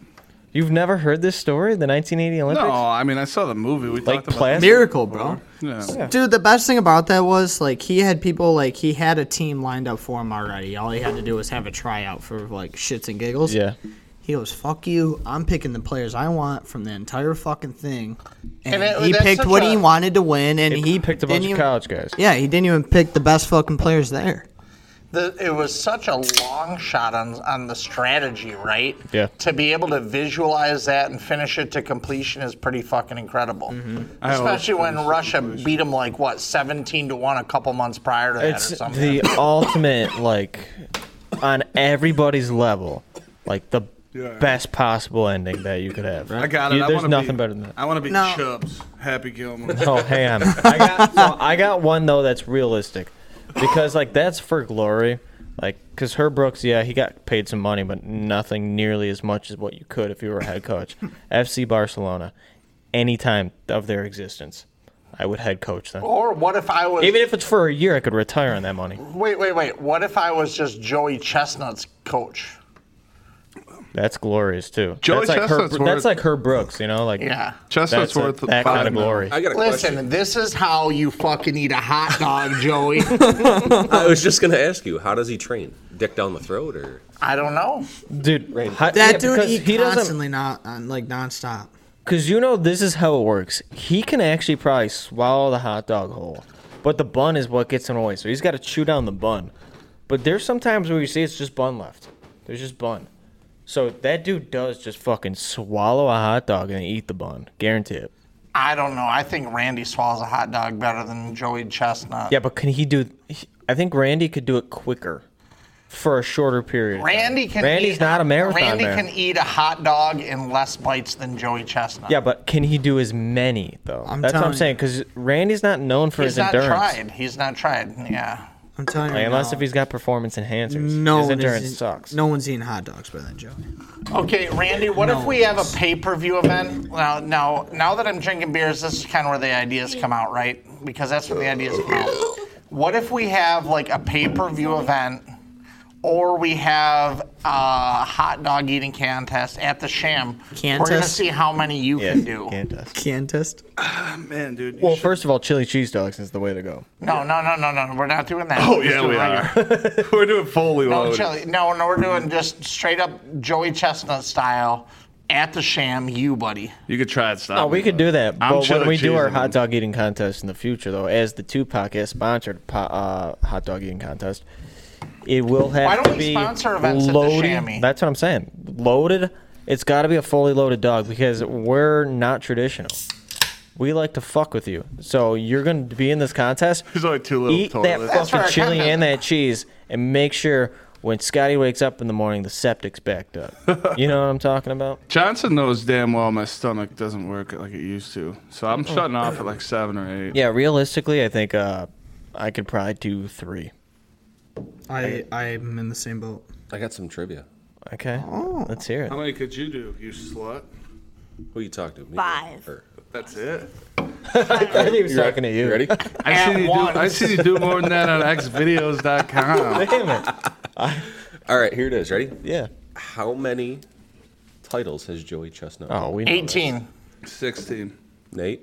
You've never heard this story, the 1980 Olympics? No, I mean I saw the movie. We Like talked about plastic? Miracle, bro. Yeah. Dude, the best thing about that was like he had people like he had a team lined up for him already. All he had to do was have a tryout for like shits and giggles. Yeah. He goes, "Fuck you! I'm picking the players I want from the entire fucking thing." And, And it- he that's picked such what a- he wanted to win, and He he picked a didn't bunch of even- college guys. Yeah, he didn't even pick the best fucking players there. the, it was such a long shot on on the strategy, right? Yeah. To be able to visualize that and finish it to completion is pretty fucking incredible. I always Especially when finish Russia beat them like what seventeen to one a couple months prior to that It's or something. the ultimate, like, on everybody's level, like the Yeah. best possible ending that you could have. I got it. You- I there's wanna nothing be, better than that. I want to be No. Chubbs, Happy Gilmore. Oh, hey, on. I got so I got one though that's realistic, because like that's for glory, like because Herb Brooks, yeah, he got paid some money, but nothing nearly as much as what you could if you were a head coach. FC Barcelona, any time of their existence, I would head coach Oh. them. or what if I was? Even if it's for a year, I could retire on that money. wait, wait, wait. What if I was just Joey Chestnut's coach? That's glorious too. Joey that's like Chestnut's Herb, worth- that's like Herb Brooks, you know, like Yeah. Chestnut's that's a- worth that five kind of mil. glory. I got a Listen, question. this is how you fucking eat a hot dog, Joey. I was just going to ask you, how does he train? Dick down the throat or? I don't know. Dude, hi- That yeah, dude, because he, doesn't constantly not on, like nonstop. Because you know this is how it works. He can actually probably swallow the hot dog whole, but the bun is what gets him away. So he's got to chew down the bun. But there's some times where you see it's just bun left. There's just bun. So that dude does just fucking swallow a hot dog and eat the bun. Guarantee it. I don't know. I think Randy swallows a hot dog better than Joey Chestnut. Yeah, but can he do? he- I think Randy could do it quicker, for a shorter period. of time. Randy can. Randy's eat, not a marathon Randy man. can eat a hot dog in less bites than Joey Chestnut. yeah, but can he do as many though? I'm That's what telling I'm you. saying. Because Randy's not known for he's his not endurance. tried. He's not tried. Yeah. I'm telling you, Like, right unless now, if he's got performance enhancers. no His one is endurance eating- sucks. No one's eating hot dogs better than Joey. Okay, Randy. What if we have a pay-per-view event? Now, now, now that I'm drinking beers, this is kind of where the ideas come out, right? Because that's where the ideas come out. What if we have like a pay-per-view event, or we have a hot dog eating contest at the Sham? We're gonna Contest? see how many you can do. Can test. Man, dude. you Well, should- first of all, chili cheese dogs is the way to go. No, no, no, no, no. We're not doing that. Oh We're just yeah, doing we regular. are. We're doing fully No, loaded. chili. Oh, No, no, we're doing just straight up Joey Chestnut style at the Sham, you buddy. You could try it. Stop. Oh, we me, could though. do that. I'm But when chili we do our cheesing. hot dog eating contest in the future, though, as the Tupac is sponsored po- uh, hot dog eating contest, it will have Why don't to we be sponsor events at the loaded. Chamois? That's what I'm saying. Loaded. It's got to be a fully loaded dog because we're not traditional. We like to fuck with you. So you're going to be in this contest. There's only two little eat that toilets. That's fucking right, I chili kinda- and that cheese, and make sure when Scotty wakes up in the morning, the septic's backed up. you know what I'm talking about? Johnson knows damn well my stomach doesn't work like it used to, so I'm shutting off at like seven or eight. Mm. Yeah, realistically, I think uh, I could probably do three. I I'm in the same boat. I got some trivia. Okay. Oh. Let's hear it. How many could you do, you slut? Who you talk to? Me Five. or- That's it. I think he was talking to you. You ready? I see you do. I once. see you do more than that on xvideos.com. Damn it. All right, here it is. Ready? Yeah. How many titles has Joey Chestnut? Oh, we know this. 18. Sixteen. Nate.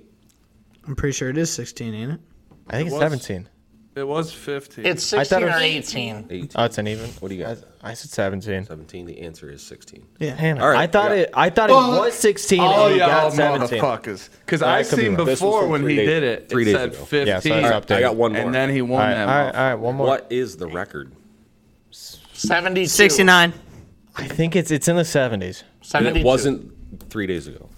I'm pretty sure it is 16, ain't it? I think it's It was. 17. It was fifteen. It's I thought 16 it or was- 18. 18. Oh, it's an even. What do you got? I, I said 17. 17. The answer is 16. Yeah. Damn it. All right, I thought yeah. Oh, it. I thought it was 16. all and you Oh, y'all got 17. motherfuckers. Because I I could be seen wrong. This was before from when three he days- did it. three it days said ago. fifteen. Yeah, so it's up to- I got one more. and then he All won right, all that. right, motherfucker. all right, one more. What is the record? 72. 69. I think it's it's in the 70s. 72. And it wasn't three days ago.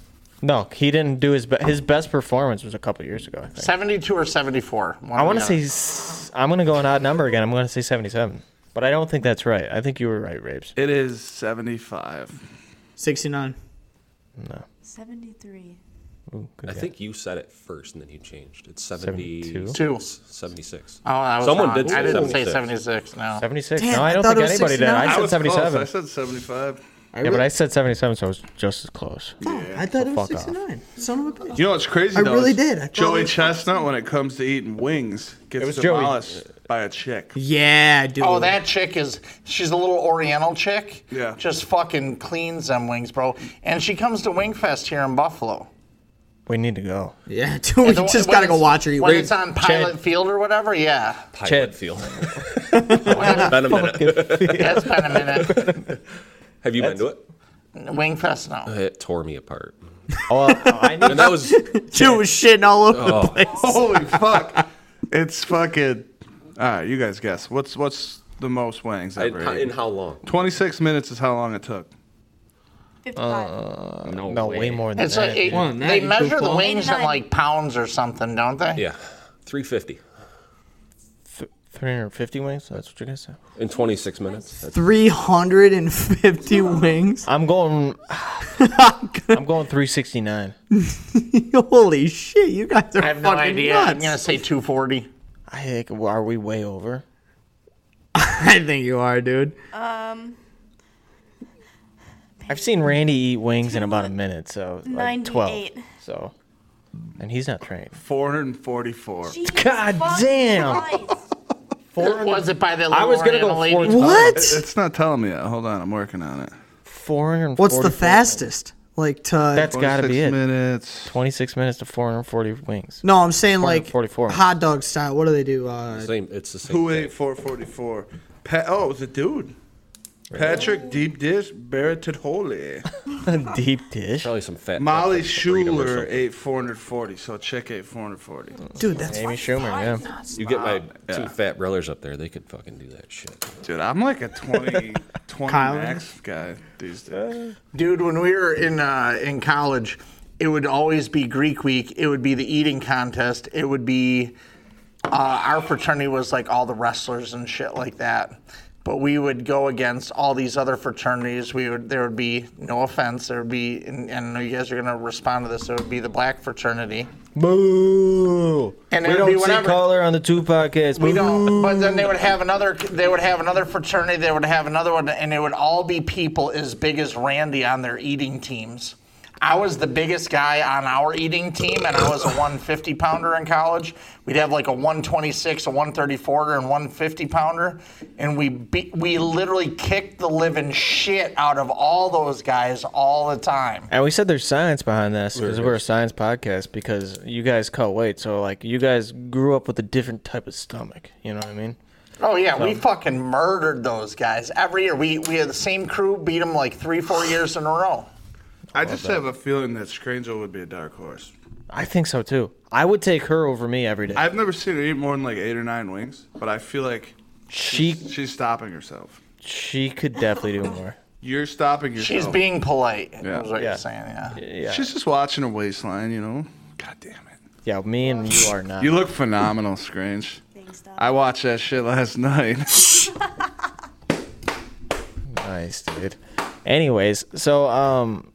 No, he didn't do his be- his best performance was a couple years ago. I think. 72 or 74. One I or want the to other. say s- I'm gonna go an odd number again. I'm gonna say 77, but I don't think that's right. I think you were right, Rapes. It is seventy-five. 69. Seventy-three. Ooh, good I guess. think you said it first and then you changed. It's 72? 70, two. 76. Oh, I was Someone wrong. did say I didn't say 76. 76. No. 76. Damn, no, I I don't thought think it was anybody did. I 69. said was close. 77. I said seventy-five. yeah, but I said 77, so it was just as close. I thought it was Fuck off. 69. Son of a bitch. You know what's crazy? I though, really is did. I thought Joey it was- Chestnut, when it comes to eating wings, gets was Joey. demolished by a chick. Yeah, dude. Oh, that chick is, she's a little Oriental chick. Yeah. Just fucking cleans them wings, bro. And she comes to Wingfest here in Buffalo. We need to go. Yeah, dude. We So just when gotta go it's- watch her eat When wings. it's on Pilot Chad. Field or whatever, yeah. Pilot Chad. field. Oh, Well, been a minute. It's been a minute. Have you been to it? Wingfest, no. It tore me apart. Oh, I need And that was Dude was shitting all over Oh. the place. Holy fuck! It's fucking. All right, you guys guess. What's what's the most wings in, ever? in eaten? how long? Twenty-six minutes is how long it took. Fifty-five. Uh, no way more than It's that. like it- One, that they you measure the goofball. wings in 89. like pounds or something, don't they? Yeah. 350 350 wings. That's what you're gonna say. in 26 minutes. That's 350 wings. I'm going. I'm going 369. Holy shit, you guys are I have no fucking idea. I'm nuts. gonna say 240. I think. Are we way over? I think you are, dude. I've seen Randy eat wings in about a minute, so like 12. 98. So, and he's not trained. Four hundred and forty-four. God damn. Was it by the little I was gonna go Oriental lady? 420. What? It's not telling me that. Hold on, I'm working on it. 440. What's the fastest? Like to That's gotta be 26 it. minutes. 26 minutes to 440 wings. No, I'm saying like 444. hot dog style. What do they do? Uh, same. It's the same. Who thing. ate four forty-four? Pa- oh, it was a dude. Patrick Deep Dish Barrett Holy. Deep dish. Probably some fat. Molly fat freedom or Schuler something. ate 440, so a chick ate 440. dude, that's Amy Schumer, yeah. You get my two Yeah. fat brothers up there. They could fucking do that shit. Dude, I'm like a 20, 20 Kyle? max guy these days. Dude, when we were in uh, in college, it would always be Greek Week. It would be the eating contest. It would be uh, our fraternity was like all the wrestlers and shit like that. But we would go against all these other fraternities. We would there would be no offense. There would be and, and I know you guys are gonna respond to this. There would be the black fraternity. Boo! And we it'd don't be see whatever- color on the two podcasts. We Boo. don't. But then they would have another. They would have another fraternity. They would have another one, and it would all be people as big as Randy on their eating teams. I was the biggest guy on our eating team, and I was a 150 pounder in college. We'd have like a 126, a 134, and 150 pounder, and we be, we literally kicked the living shit out of all those guys all the time. And we said there's science behind this because we're a science podcast because you guys cut weight. So, like, you guys grew up with a different type of stomach. You know what I mean? Oh yeah, we fucking murdered those guys every year. We we had the same crew beat them like three, four years in a row. I just have a feeling that Scrangel would be a dark horse. I think so too. I would take her over me every day. I've never seen her eat more than like eight or nine wings, but I feel like she she's stopping herself. she could definitely do more. You're stopping yourself. She's being polite. Yeah. Is what Yeah. you're saying. Yeah. Yeah, She's just watching her waistline, you know? God damn it. yeah. Me and you are not. You look phenomenal, Scrange. Thanks, Doc. I watched that shit last night. nice, dude. Anyways, so um,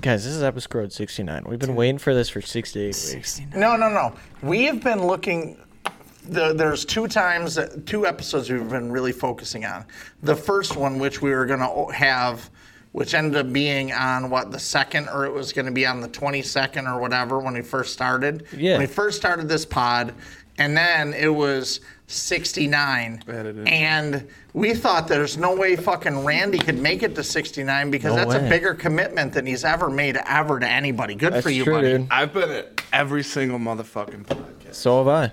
guys, this is episode 69. We've been waiting for this for 68 weeks. No, no, no. We have been looking the, there's two times, two episodes we've been really focusing on. The first one, which we were going to have, which ended up being on what the second, or it was going to be on the 22nd or whatever when we first started. Yeah. When we first started this pod, and then it was 69. Added in. And we thought there's no way fucking Randy could make it to 69 because No that's a way. bigger commitment than he's ever made ever to anybody. Good That's for you, true, buddy. dude. I've been at every single motherfucking podcast. So have I.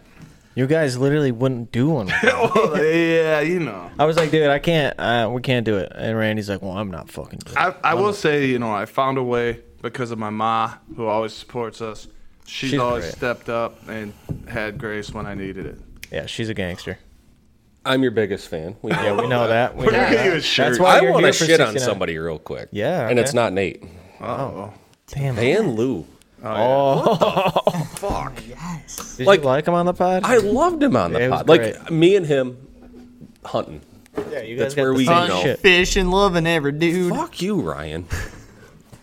You guys literally wouldn't do one. without me. Well, yeah, you know. I was like, dude, I can't. Uh, we can't do it. And Randy's like, well, I'm not fucking. Doing it. I, I will say, you know, I found a way because of my ma, who always supports us. She's, She's always great. stepped up and had grace when I needed it. Yeah, she's a gangster. I'm your biggest fan. We Yeah, we know that. We know Look at that. you, a shirt. That's why I you're want here to for shit on 69. somebody real quick. Yeah, and it's okay. not Nate Oh, Damn. it. and Lou. Did Like- you like him on the pod? I loved him on the Yeah, it was pod. Like great. me and him hunting. yeah, you that's where we know. shit. Fish and loving every dude. Fuck you, Ryan.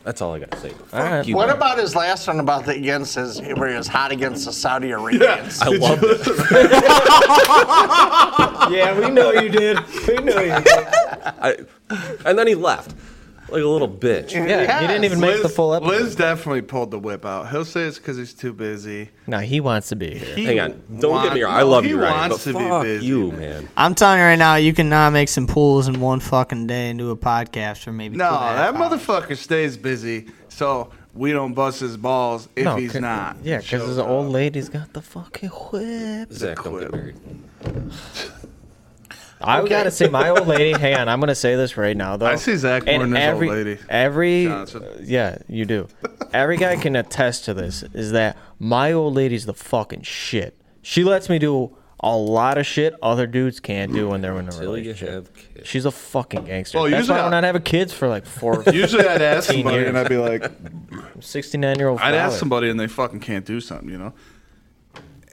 That's all I gotta say. Fuck right. you. What Ryan. about his last one about the against his where he was hot against the Saudi Arabians? I loved it. Yeah, we know you did. We know you. Did. I, and then he left like a little bitch. Yeah, he didn't even make the full episode. Liz definitely pulled the whip out. He'll say it's because he's too busy. No, he wants to be here. He Hang on. Don't get me want- wrong. I no, love he you, Ryan. wants But to be fuck busy, you, man. man. I'm telling you right now, you cannot make some pools in one fucking day and do a podcast for maybe. No, two and a half that hours. motherfucker stays busy, so we don't bust his balls if no, he's c- not. Yeah, because his old lady's got the fucking whip. Zach, don't get married. I gotta say, my old lady. Hang on, I'm gonna say this right now though. I see Zach more than his old lady. Every Johnson. yeah, you do. Every guy can attest to this. Is that my old lady's the fucking shit. She lets me do a lot of shit other dudes can't do when they're in a Till you relationship. have kids. She's a fucking gangster. Well, That's usually why I- we're not having kids for like four, Usually I'd ask somebody years. and I'd be like, sixty nine year old. I'd ask somebody and they fucking can't do something, you know.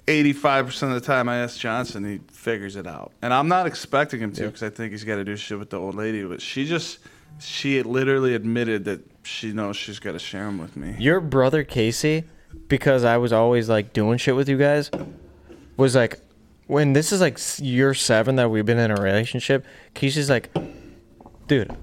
Eighty-five percent of the time, I ask Johnson, he figures it out, and I'm not expecting him to because I think he's got to do shit with the old lady. But she just, she literally admitted that she knows she's got to share him with me. Your brother Casey, because I was always like doing shit with you guys, was like, when this is like s- year seven that we've been in a relationship, Casey's like, dude,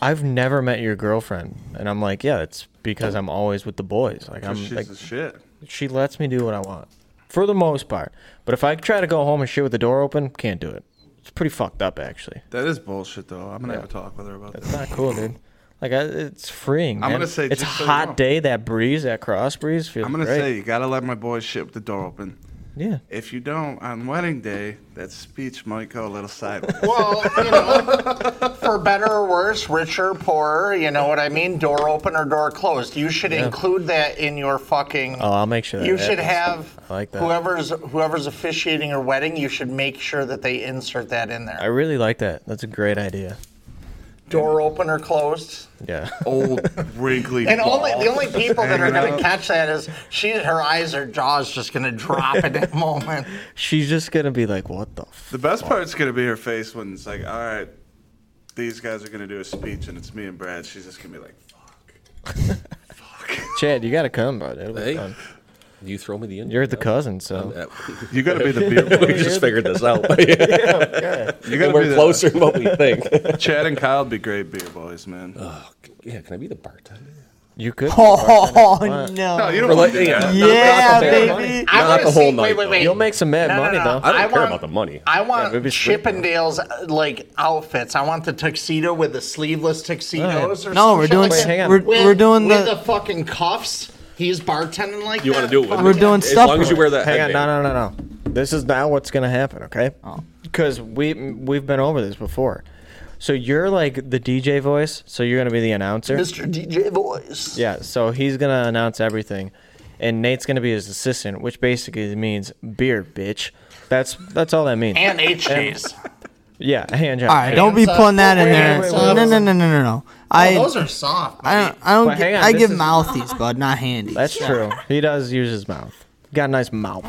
I've never met your girlfriend, and I'm like, yeah, it's because I'm always with the boys. Like I'm She's like, the shit. she lets me do what I want, for the most part. But if I try to go home and shit with the door open, can't do it. It's pretty fucked up, actually. That is bullshit, though. I'm gonna have a talk with her about that. It's not cool, dude. Like I, it's freeing. I'm man. gonna say, it's a just so you hot know. day. That breeze, that cross breeze, feels I'm gonna great. say you gotta let my boy shit with the door open. yeah. If you don't, on wedding day, that speech might go a little sideways. Well, you know, for better or worse, richer, poorer, you know what I mean? Door open or door closed. You should include that in your fucking. Oh, I'll make sure. That you should happens. have I like that. whoever's whoever's officiating your wedding. You should make sure that they insert that in I there. really like that. That's a great idea. Door open or closed. Yeah. Old wrinkly. And ball. only the only people that are going Hanging to out. catch that is she. Her eyes or jaws just going to drop at that moment. She's just gonna be like, "What the?" F-? The best part's gonna be her face when it's like, all right, these guys are gonna do a speech and it's me and Brad. She's just gonna be like, fuck. Chad, you gotta come, bro. It'll be Hey. fun. You throw me the invite. You're the cousin, so That- You gotta be the beer. we just figured this out. yeah, You gotta be we're the closer than what we think. Chad and Kyle would be great beer boys, man. yeah, can I be the bartender? you could. Oh no, no! you don't. We're wanna like, do yeah. that. Yeah, Not the whole baby. I Not wanna the whole see- night, Wait, wait, though. wait. You'll make some mad No, no, money no. though. I don't care want- about the money. I Yeah, want maybe sweet. Chippendales uh, like outfits. I want the tuxedo with the sleeveless tuxedos. Or No, some we're shit doing- like that. hang on. we're- With- we're doing with the- the fucking cuffs. He's bartending like You that. want to do it? With We're me. doing as stuff As long as you wear that. Hang on, no, headband. no, no, no. This is not what's gonna happen, okay? Oh. Because we we've been over this before. So you're like the DJ voice. So you're gonna be the announcer. Mr. DJ Voice. Yeah, so he's gonna announce everything, and Nate's gonna be his assistant, which basically means beer, bitch. That's that's all that means. And HJs. yeah, hand job. All right, don't be Hands up. putting that in there. Hands No, up. no, no, no, no, no, no. Oh, I, Oh, Those are soft. I buddy. don't, I don't. But hang Get, on, I this give is- mouthies, bud, not handies. That's true. He does use his mouth. Got a nice mouth.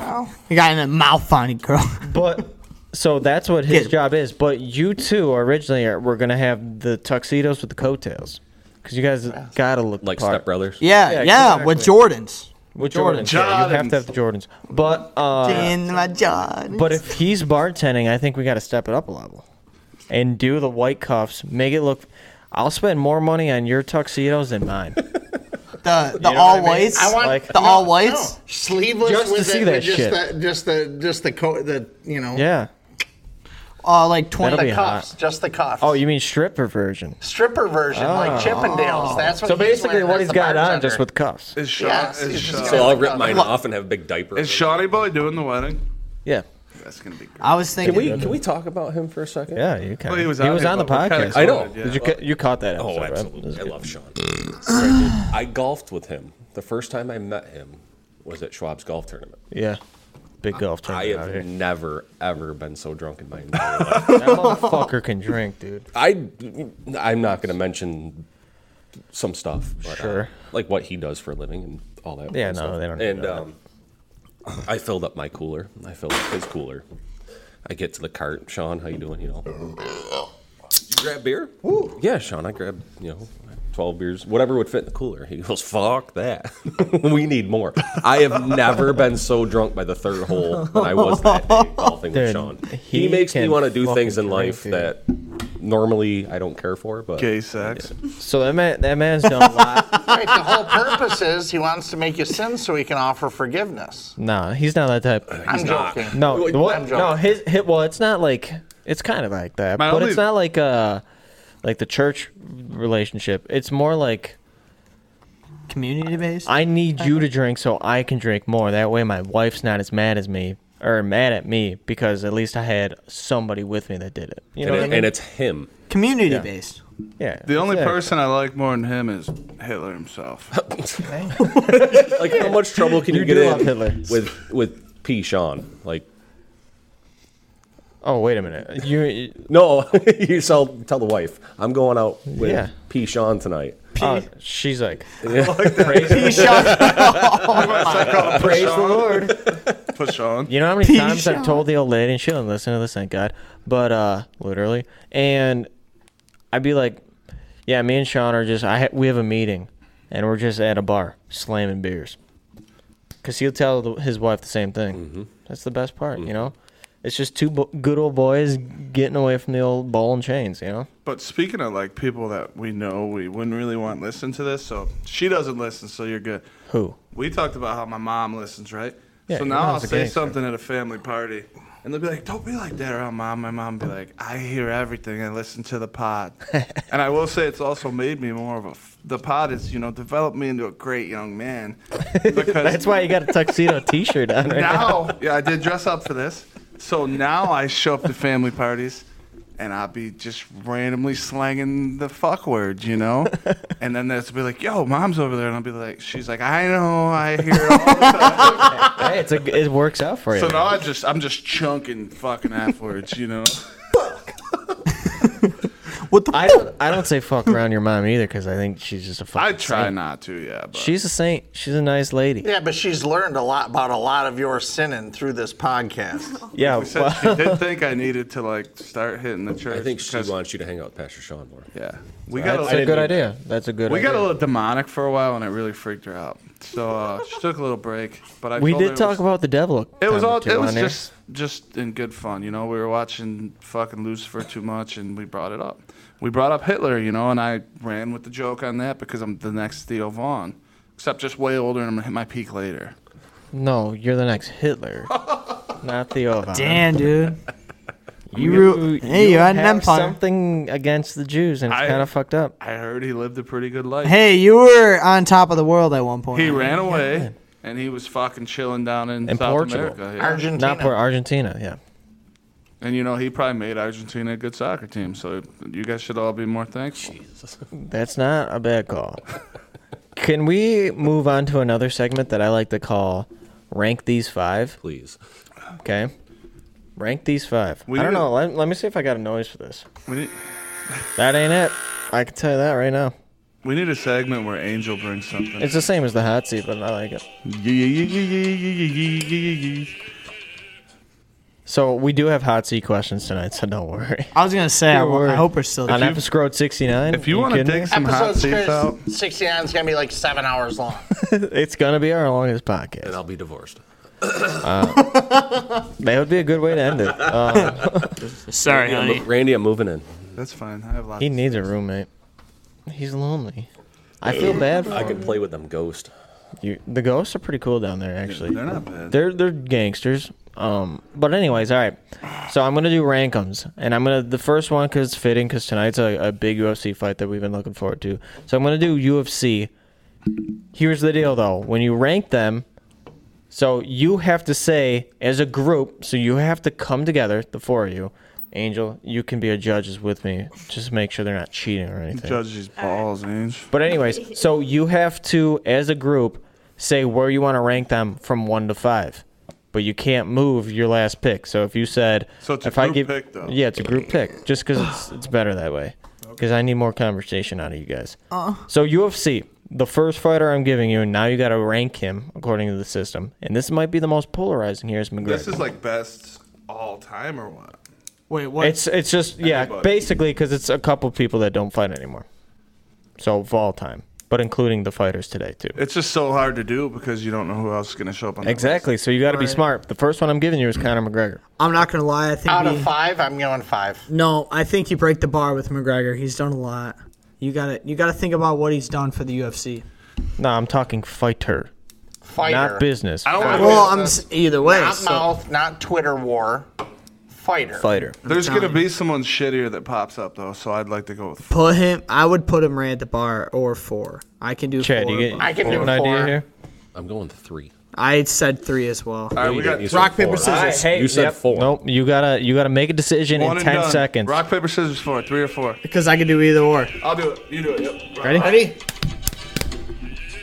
you got in a mouth on it, girl. But so that's what his Get- job is. But you two originally are, were gonna have the tuxedos with the coattails, because you guys gotta look the Like part. Step Brothers. Yeah, yeah, Yeah, with Jordans. With Jordans, yeah, you have to have the Jordans. But uh, In my John. But if he's bartending, I think we got to step it up a level and do the white cuffs. Make it look. I'll spend more money on your tuxedos than mine. the the know what I all mean? whites, I want- the No, all whites. sleeveless Just to with see it, that with just shit. The, just the just the co- the you know Yeah. Oh, like twenty. That'll the be hot. cuffs, Oh, just the cuffs. Oh, you mean stripper version? stripper version like Chippendales. That's what So he's basically, wearing what as he's the got on bartender. just with cuffs. Is, Sha- Yes, is, it's Sha- just So I'll rip mine Look. off and have a big diaper. is Shawnee Boy doing the wedding? Yeah. That's gonna be great. I was thinking. Can we can we talk about him for a second? Yeah, you can. Well, he was, out here, on the but we're kinda podcast. I know. sorted, Did you yeah. ca- you caught that episode? Oh, right? absolutely. I love Sean. I golfed with him. The first time I met him was at Schwab's golf tournament. Yeah. Big golf I tournament out here. have never ever been so drunk in my entire life. That motherfucker can drink, dude. I I'm not going to mention some stuff, but, uh, Sure. like what he does for a living and all that. Yeah, kind of no, stuff. they don't need And to know um, I filled up my cooler. I filled up his cooler. I get to the cart. Sean, how you doing? You know, you grab beer? Yeah, Sean, I grabbed you know. 12 beers, whatever would fit in the cooler. He goes, fuck that. we need more. I have never been so drunk by the third hole than I was that day golfing Dude, with Sean. He, he makes me can want to do things fucking in drink, life dude. that normally I don't care for, but Gay sex. So that man, that man's done a lot. Right, the whole purpose is he wants to make you sin so he can offer forgiveness. Nah, he's not that type. I'm joking. No, Wait, the I'm what, joking. no, his hit. Well, it's not like it's kind of like that, My but only- it's not like uh, like the church relationship. It's more like community based? I need you to drink so I can drink more. That way, my wife's not as mad as me or mad at me because at least I had somebody with me that did it. You know and, what I it, mean? and it's him. community based. yeah. The only exactly. person I like more than him is Hitler himself. Like how much trouble can you, You get do love in Hitler. with with P Sean? Like Oh wait a minute. You no, you tell tell the wife I'm going out with Yeah. P Sean tonight. uh, she's like He shot- Praise the Lord. Push on. You know how many times I've told the old lady, and she don't listen to this, thank God. But uh, literally, and I'd be like, "Yeah, me and Sean are just I ha- we have a meeting, and we're just at a bar slamming beers." Cause he'll tell the, his wife the same thing. Mm-hmm. That's the best part, you know. It's just two bo- good old boys getting away from the old ball and chains, you know. But speaking of like people that we know, we wouldn't really want to listen to this. So she doesn't listen, so you're good. Who? We talked about how my mom listens, right? Yeah, so your now I'll mom's a say gangster. something at a family party, and they'll be like, "Don't be like that around mom." My mom be like, "I hear everything. I listen to the pod." and I will say it's also made me more of a. F- the pod has, you know, developed me into a great young man. Because That's why you got a tuxedo T-shirt on right now. now, yeah, I did dress up for this. So now I show up to family parties, and I'll be just randomly slanging the fuck word, you know. And then they'll be like, "Yo, mom's over there," and I'll be like, "She's like, I know, I hear it all the time." Hey, it's a, it works out for you. so now I just, I'm just chunking fucking F words, you know. what the? I don't, I don't say fuck around your mom either, cause I think she's just a fucking. I try saint. not to, yeah. But She's a saint. She's a nice lady. Yeah, but she's learned a lot about a lot of your sinning through this podcast. Yeah, I said well, she did think I needed to like start hitting the church. I think she because- wants you to hang out with Pastor Sean more. Yeah, we got that's a a good idea. idea. That's a good We idea. got a little demonic for a while, and it really freaked her out. So uh, she took a little break. But I we told her did it talk was- about the devil. a It was time or all. two It was on here. just just in good fun, you know. We were watching fucking Lucifer too much, and we brought it up. We brought up Hitler, you know, and I ran with the joke on that because I'm the next Theo Vaughn, except just way older, and I'm gonna hit my peak later. No, you're the next Hitler, not Theo. Von. Damn, dude. you, You, ru- hey, you had an have empire. something against the Jews, and it's I- kind of fucked up. I heard he lived a pretty good life. Hey, you were on top of the world at one point. he ran away, and he was fucking chilling down in, In South Portugal. America. yeah. Argentina. Not for Argentina. Yeah, And you know, he probably made Argentina a good soccer team. So you guys should all be more thankful. that's not a bad call. Can we move on to another segment that I like to call "Rank These Five? Please. Okay, rank these five. We I don't need to- know. Let, let me see if I got a noise for this. We need, That ain't it. I can tell you that right now. we need a segment where Angel brings something. It's the same as the hot seat, but I like it. So we do have hot seat questions tonight, so don't worry. I was gonna say, I, Don't worry. I hope we're still on there. episode sixty nine. If you want to dig some hot Episode's seats out, 69 is going to be like seven hours long. it's gonna be our longest and podcast. I'll be divorced. That would be a good way to end it. Um, Sorry, Yeah, honey. mo- Randy, I'm moving in. that's fine. I have lots. he needs a roommate. He's lonely. I feel bad for I him. can play with them ghost. You, the ghosts are pretty cool down there, actually. They're not bad. They're they're gangsters. Um, but anyways, all right. So I'm gonna do rankums, and I'm gonna the first one because it's fitting because tonight's a, a big UFC fight that we've been looking forward to. So I'm gonna do UFC. Here's the deal, though. When you rank them, so you have to say as a group. So you have to come together, the four of you. Angel, you can be a judge is with me. Just make sure they're not cheating or anything. Judge these balls, Ange. But anyways, so you have to, as a group, say where you want to rank them from one to five. But you can't move your last pick. So if you said, So it's a if group pick, though. yeah, it's a group pick, just because it's, it's better that way. Because I need more conversation out of you guys. So UFC, the first fighter I'm giving you, and now you got to rank him according to the system. And this might be the most polarizing here is McGregor. This is like best all time or what? Wait, what? It's it's just yeah, Everybody. basically because it's a couple people that don't fight anymore. So of all time, but including the fighters today too. It's just so hard to do because you don't know who else is going to show up on that Exactly. So you got to be Right. smart. The first one I'm giving you is Conor McGregor. I'm not gonna lie. I think Out of he- five, I'm going five. no, I think you break the bar with McGregor. He's done a lot. You gotta, you gotta think about what he's done for the UFC. No, I'm talking fighter, Fighter. not business. I don't wanna Well, I'm s- either way. Not so- mouth, not Twitter war. Fighter. fighter. There's telling gonna be someone shittier that pops up though, so I'd like to go with. Put him. I would put him right at the bar or four. I can do Chad, four. you get I can you do have an idea four. here. I'm going three. I said three as well. All right, we You got didn't. You said rock, paper, four. scissors. you said four. Nope. You gotta you gotta make a decision one in and ten done. seconds. Rock paper scissors for it, three or four. Because I can do either or. I'll do it. You do it. Yep. Ready?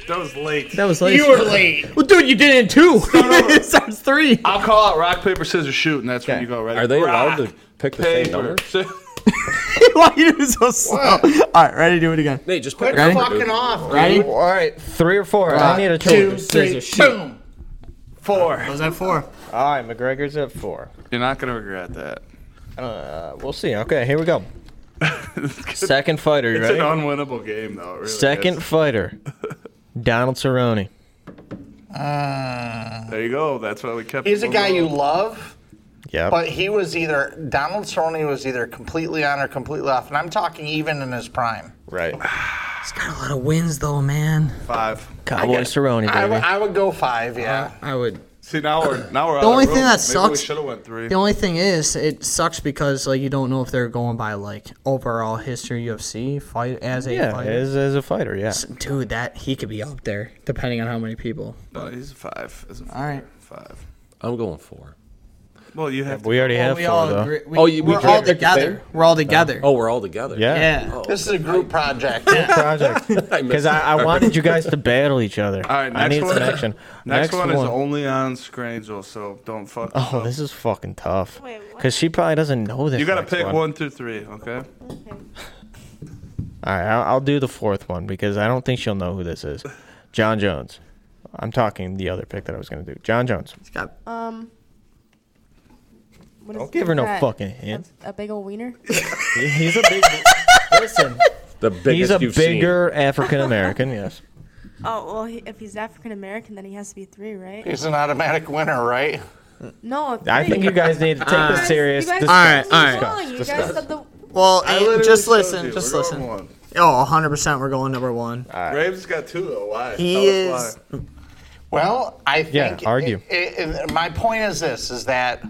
That was late. That was late. You were late. Well, dude, you did it in two. it sounds three. I'll call out rock paper scissors shoot, and that's when Okay. you go. Ready? Are they allowed Rock, to pick the same paper? number? sci- Why you doing so slow? All right, ready? Do it again. Nate, just pick Ready? a number, Fucking dude. off. Ready? All right, three or four. I need a Two, choice. three, Scissors, shoot. boom. Four. Was that four? All right, McGregor's at four. You're not gonna regret that. Uh, we'll see. Okay, here we go. Second fighter, you It's ready? an unwinnable game though. it really Second is. fighter, Donald Cerrone. There you go. That's why we kept. He's a it guy you low. love, Yep. but he was either Donald Cerrone was either completely on or completely off, and I'm talking even in his prime. right. He's got a lot of wins though, man. five. Cowboy Cerrone, I, baby. w- I would go five, yeah. I would. See now we're now we're. The only thing that Maybe we sucks- should have went three. The only thing is, it sucks because like you don't know if they're going by like overall history UFC fight as a yeah, fighter. as, as a fighter, yeah. Dude, that he could be up there depending on how many people. No, he's a five. He's a four. right. Five. I'm going four. Well, you have. We already have we four, all though. agree. We, Oh, you- we we're can't all pick the together. same? We're all together. Oh, we're all together. Oh, Yeah. yeah. This is a group project. project. I missed Because I, I wanted you guys to battle each other. All right, I next need one- some action. Next, one, is only on Scrangel, so don't fuck. this Oh, up. this is fucking tough. Wait, what? Because she probably doesn't know this. You gotta next pick one through three, okay? All right, I'll, I'll do the fourth one because I don't think she'll know who this is. John Jones. I'm talking the other pick that I was going to do. John Jones. Um. What is Don't give her no that? fucking hint. A big old wiener. He- He's a big. listen, The biggest he's a you've bigger African American, yes. Oh well, he, if he's African American, then he has to be three, right? He's an automatic winner, right? No. Three. I think you guys need to take this serious. You guys This- Alright, said alright. wrong. You guys said the. Well, I and literally just showed listen. you. Just We're listen. going One. Oh, 100% we're going number one. Ah. Raven's got two though. Why? He Tell us is- why. Well, I Yeah, think. argue. i- i- i- my point is this: is that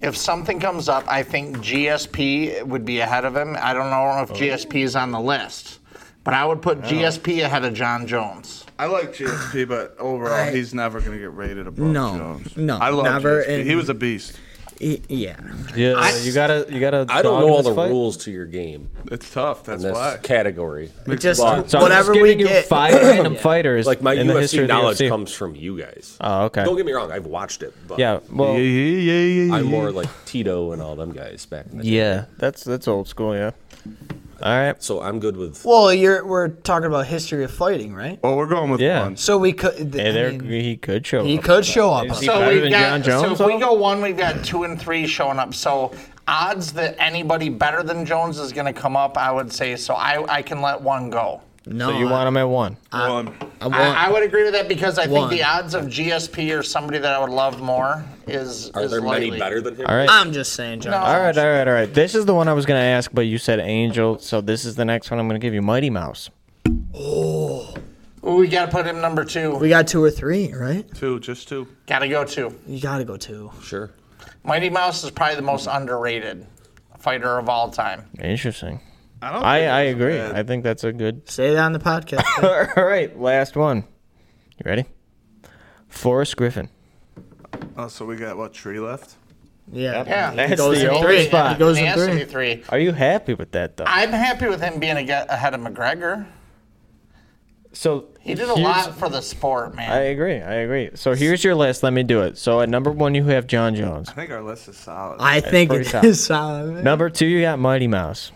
if something comes up, I think GSP would be ahead of him. I don't know if GSP is on the list, but I would put GSP ahead of John Jones. I like GSP, but overall, I- he's never gonna get rated above No, Jones. no, I love never GSP. in- He was a beast. Y- E, yeah. Yeah, you gotta, you gotta. I dog don't know in all this the fight. rules to your game It's tough. That's in this why. category. Just Well, So whatever I'm just we giving you get. five random fighters Like my in the history UFC of the knowledge UFC. comes from you guys. Oh, okay. Don't get me wrong. I've watched it, but yeah, Mm-hmm. well, Yeah, yeah, yeah, yeah, I'm yeah. more like Tito and all them guys back in the day. yeah, that's that's old school, yeah. All right. So I'm good with. Well, you're we're talking about history of fighting, right? Well, we're going with Yeah. one. So we could. Hey, I there mean, he could show he up. could show up. Is he- on- better So we've than got John Jones, so if we though? go one, we've got two and three showing up. So odds that anybody better than Jones is going to come up, I would say. So I, I can let one go. No, So you want him at one? One. I, I want- I, I would agree with that because I One. think the odds of GSP or somebody that I would love more is Are is there many likely. better than him? All right. I'm just saying, John. No. All right, all right, all right. This is the one I was going to ask, but you said Angel, so this is the next one I'm going to give you Mighty Mouse. We got to put him number two. We got two or three, right? Two, just two. Got to go two. You gotta go two. Sure. Mighty Mouse is probably the most underrated fighter of all time. Interesting. I don't. I, think I that's agree. bad. I think that's a good. Say that on the podcast. all right, last one. You ready? Forrest Griffin. Oh, so we got what tree left? yeah, Yeah, He That's goes the in only three. spot. He goes It in has to be three. three. Are you happy with that, though? I'm happy with him being ag- ahead of McGregor. so He did a here's- lot for the sport, I man. agree. I agree. So here's your list. Let me do it. So at number one, you have John Jones. I think our list is solid. I think pretty it solid. is solid. Number two, you got Mighty Mouse.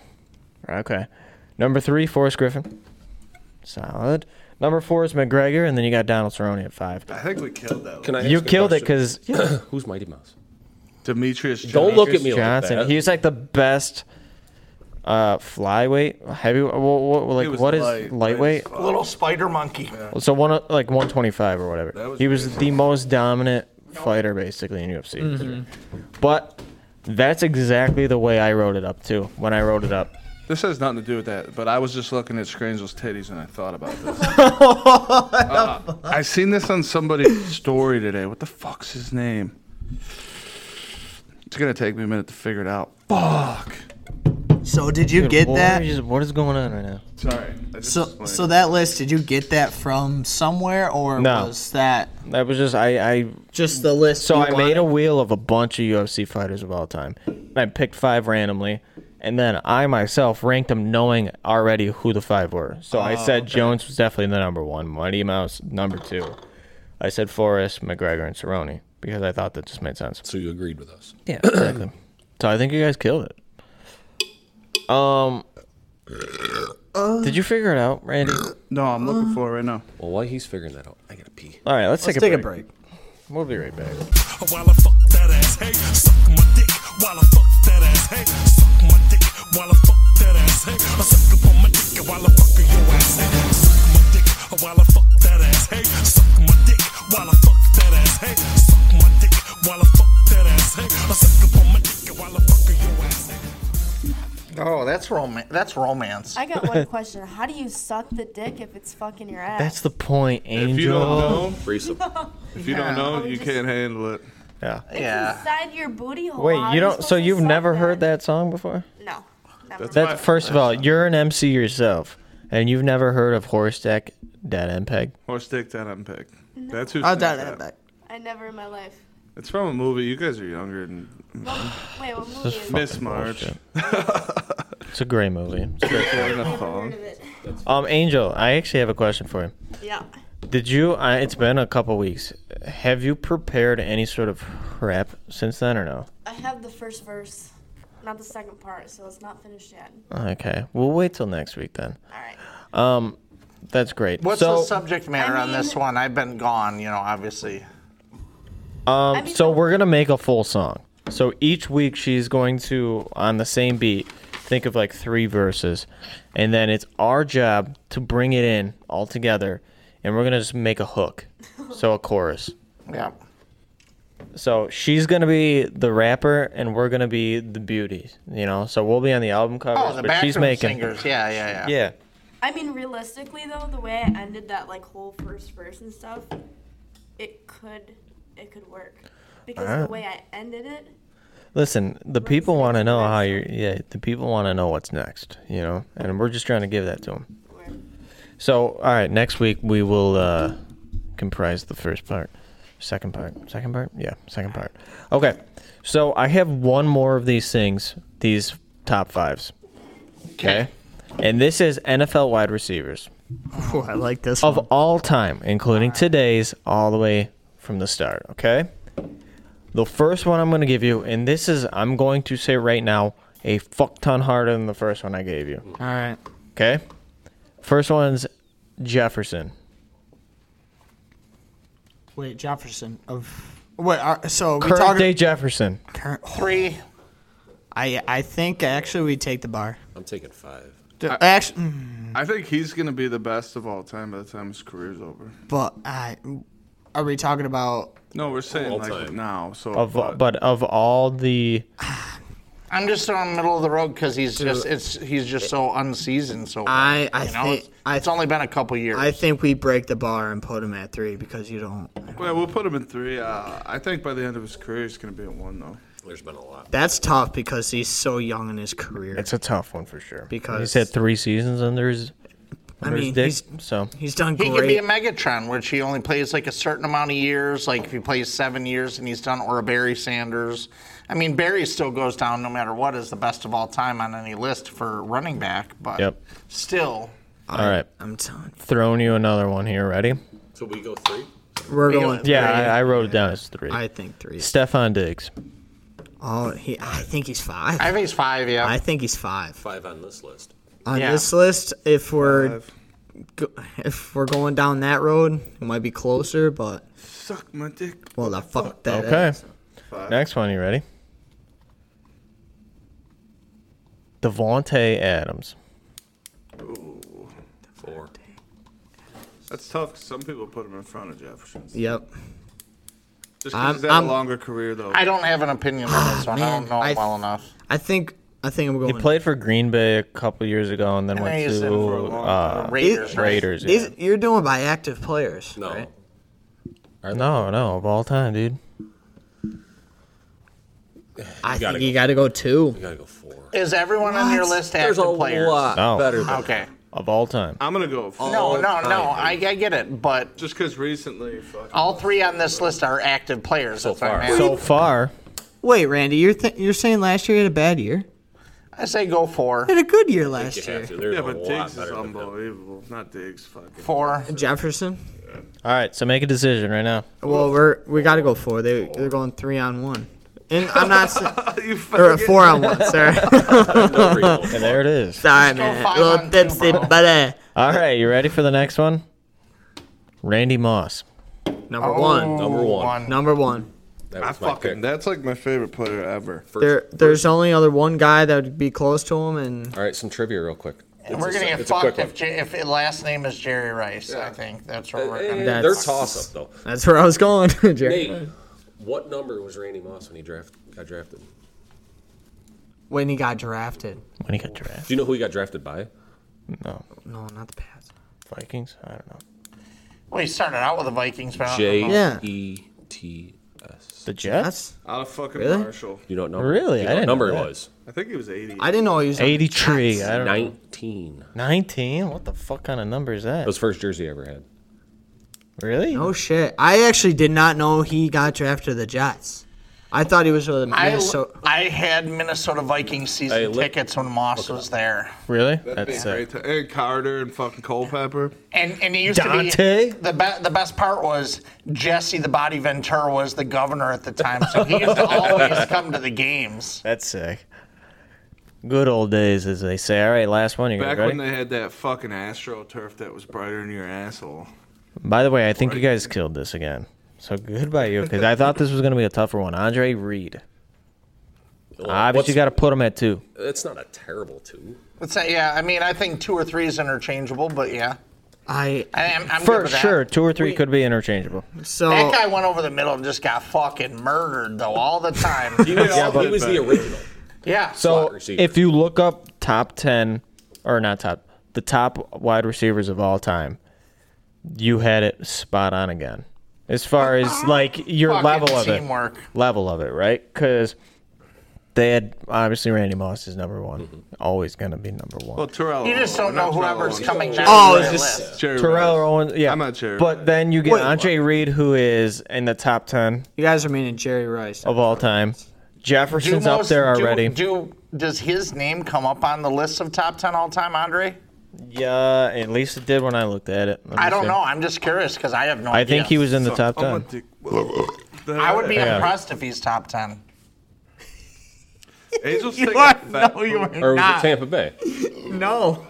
Okay. Number three, Forrest Griffin. Solid. Number four is McGregor, and then you got Donald Cerrone at five. I think we killed that. Can I? you ask a killed it question? 'cause it because who's Mighty Mouse? Demetrius. Don't look at me Johnson. like that. He was like the best uh, flyweight, heavy. What, like was what is light- light lightweight? as fuck. Little spider monkey. So one o- like 125 or whatever. was he was the most dominant fighter basically in UFC. But that's exactly the way I wrote it up too. When I wrote it up, This has nothing to do with that, but I was just looking at Scrangel's titties and I thought about this. Uh, I seen this on somebody's story today. What the fuck's his name? It's gonna take me a minute to figure it out. Fuck. So did you Dude, get what that? is- what is going on right now? Sorry. I just So, explained. so that list, did you get that from somewhere, or No. was that That was just I. I just the list? so you I made wanted? a wheel of a bunch of UFC fighters of all time. And I picked five randomly, and then I myself ranked them, knowing already who the five were. So I said Jones was definitely the number one. Mighty Mouse number two. I said Forrest, McGregor, and Cerrone because I thought that just made sense. So you agreed with us. Yeah, exactly. so I think you guys killed it. Um, did you figure it out, Randy? no, I'm looking for it right now. Well, while he's figuring that out, I gotta pee. All right, let's, Let's take, a, take break. a break. We'll be right back. while I fuck that ass. Hey, suck my dick while I fuck that ass. Hey, suck my dick while I fuck that ass. Hey, I suck up on my dick while I fuck your ass. Hey, suck my dick while I fuck that ass. Hey, suck my dick while I fuck that ass. Hey, suck my dick while I fuck that ass. Hey, I suck up on my dick while I fuck your ass. Hey. Oh, that's romance. That's romance. I got one question. How do you suck the dick if it's fucking your ass? That's the point, Angel. If you don't know, Threesome. if you Yeah. don't know, you Just- can't handle it. Yeah. yeah. inside your booty hole. How Wait, are you don't. So supposed to you've suck never heard that song before? No. Never. That first of all, you're an MC yourself, and you've never heard of Horstack Dead End Peg. Or stick that unpick. That's who. I'll sings dial that back. I never in my life. It's from a movie. You guys are younger than Wait, what movie is Miss March. bullshit. It's a great movie. It's great. Wearing a heard thong. of it? um, Angel, I actually have a question for you. Yeah. Did you? I, it's been a couple weeks. Have you prepared any sort of rap since then or no? I have the first verse, not the second part, so it's not finished yet. Okay, we'll wait till next week then. All right. Um, that's great. What's so, the subject matter I on this mean- one? I've been gone, you know, obviously. Um, mean- so we're gonna make a full song. So each week she's going to on the same beat think of like three verses, and then it's our job to bring it in all together, and we're gonna just make a hook, so a chorus. Yeah. So she's gonna be the rapper, and we're gonna be the beauties. You know, so we'll be on the album covers, Oh, the but background she's making singers. Yeah, yeah, yeah. yeah. I mean, realistically though, the way I ended that like whole first verse and stuff, it could, it could work because the way I ended it. Listen, the people want to know how you're. Yeah, the people want to know what's next. You know, and we're just trying to give that to them. Word. So, all right, next week we will uh, comprise the first part, second part, second part. Yeah, second part. Okay. So I have one more of these things, these top fives. Okay. And this is NFL wide receivers Ooh, I like this of one. all time, including today's, all the way from the start. Okay. The first one I'm going to give you, and this is, I'm going to say right now, a fuck ton harder than the first one I gave you. All right. Okay. First one's Jefferson. Wait, Jefferson of. Wait, are, so we Current talking day Jefferson. current? Three. I I think actually we take the bar. I'm taking five. Actually, I think he's gonna be the best of all time by the time his career's over. but I, are we talking about? No, we're saying All like time. now. So Of uh, but of all the I'm just on middle of the road because he's just it's he's just so unseasoned. So I- far, I you know? think- it's, I it's only been a couple years. I think we break the bar and put him at three because you don't. well, we'll put him in three. Uh, I think by the end of his career, he's gonna be at one though. There's been a lot. That's tough because he's so young in his career. it's a tough one for sure. he's Because- had three seasons under his I under mean, his he's dick. So he's done he could be great. a Megatron, which he only plays like a certain amount of years. Like if he plays seven years and he's done, or a Barry Sanders. I mean, Barry still goes down no matter what as the best of all time on any list for running back, but Yep. still. all right. I'm telling you, Throwing you another one here. Ready? So we go three. we're Really? going. Yeah, three. I, I wrote it down as three. I think three. Stefan Diggs. Oh, he. I think he's five. I I, think he's five, yeah. think he's five. Five on this list. On Yeah. this list, if we're go, if we're going down that road, it might be closer. But Suck my dick. well, the fuck that. Okay. is. Next one. You ready? Devonte Adams. Four. That's tough. 'cause some people put him in front of Jefferson. Just Yep. 'cause I'm- he's had I'm- a longer career though. I don't have an opinion on Ah, this one. I Man, don't know I- it well enough. I think I think I'm He going. played for Green Bay a couple years ago and then And went he's in for a to long uh, time. Raiders. right? Raiders. yeah. These, You're doing by active players. No. right? No, no, of all time, dude. I gotta think go. you got to go two. We gotta go four. Is everyone on your What? list There's active a players? lot No. better. Than Okay. Of all time. I'm gonna go. Four. No, All no, time. no. I, I get it, but Just because recently, fuck. all three on this list are active players. So far. So far, Wait, Randy, you're th- you're saying last year you had a bad year? I say go four. You had a good year You last have year. to. There's Yeah, a but lot Diggs is better than them. unbelievable. Not Diggs, fucking. Four. Jefferson. all right. So make a decision right now. Well, we're we got to go four. They they're going three on one, and I'm not sa- you or fucking. four on one. Sorry, No real. And there it is. sorry, go man. five Little on two, tipsy, eh, bro. buddy. All right, you ready for the next one? Randy Moss. Number Oh. one, Number one. number one. That I was my pick. fucking. That's like my favorite player ever. First- There, there's only other one guy that would be close to him, and All right, some trivia real quick. It's We're a- gonna get it's a quick fucked if, one. J- if it last name is Jerry Rice. I think that's what we're gonna. Eh, They're That's- toss up though. that's where I was going. Jerry. Nate, what number was Randy Moss when he draft got drafted? When he got drafted, When he got drafted? Do you know who he got drafted by? Uh-huh. No, no, not the pass. Vikings. I don't know. Well, he started out with the Vikings, but I don't know. J Yeah. E T S. The Jets. That's Out of fucking Really? Marshall. You don't know? Really? You I know what didn't number know it that. was? I think he was 80. I didn't know he was on the Eighty-three. Jets. I don't know. Nineteen. Nineteen. What the fuck kind of number is that? That was the first jersey I ever had. Really? Oh shit! I actually did not know he got drafted to the Jets. I thought he was with the I, Minnesota. I had Minnesota Vikings season Hey, look- tickets when Moss was there, Really? That'd be That's great. sick. to- and Carter and fucking Culpepper. and and he used Dante? to be the be- the best part was Jesse the Body Ventura was the governor at the time, so he used to always come to the games. That's sick. Good old days, as they say. All right, last one. You guys Back ready? when they had that fucking AstroTurf that was brighter than your asshole. By the way, I think you guys killed this again. So good by you, because I thought this was going to be a tougher one. Andre Reed. Obviously, Ah, you got to put him at two. It's not a terrible two. Let's say, yeah, I mean, I think two or three is interchangeable, but yeah, I I, am I'm good For with that. sure, two or three could be interchangeable. so That guy went over the middle and just got fucking murdered though all the time. He was, he was the original. yeah. So receiver. if you look up top ten, or not top, the top wide receivers of all time, you had it spot on again. As far as like your Fucking level of it, teamwork. level of it, right? Because they had obviously Randy Moss is number one, always going to be number one. Well, Terrell. You just don't know not Terrell whoever's Owens. coming next. Oh, to it's that just- list. Jerry Terrell Rice. Owens, yeah. I'm not sure. But then you get Wait, Andre Reed, who is in the top 10 you guys are meaning Jerry Rice. of all time. Do Jefferson's up most- there do- already. Do, does his name come up on the list of top ten all time, Andre? yeah, at least it did when I looked at it. Let me I don't see. know. I'm just curious because I have no I idea. think he was in the top I'm a 10. dick- I would be Yeah. impressed if he's top ten. Angel's You taking are, a fat no, you are Or was not. it Tampa Bay? No.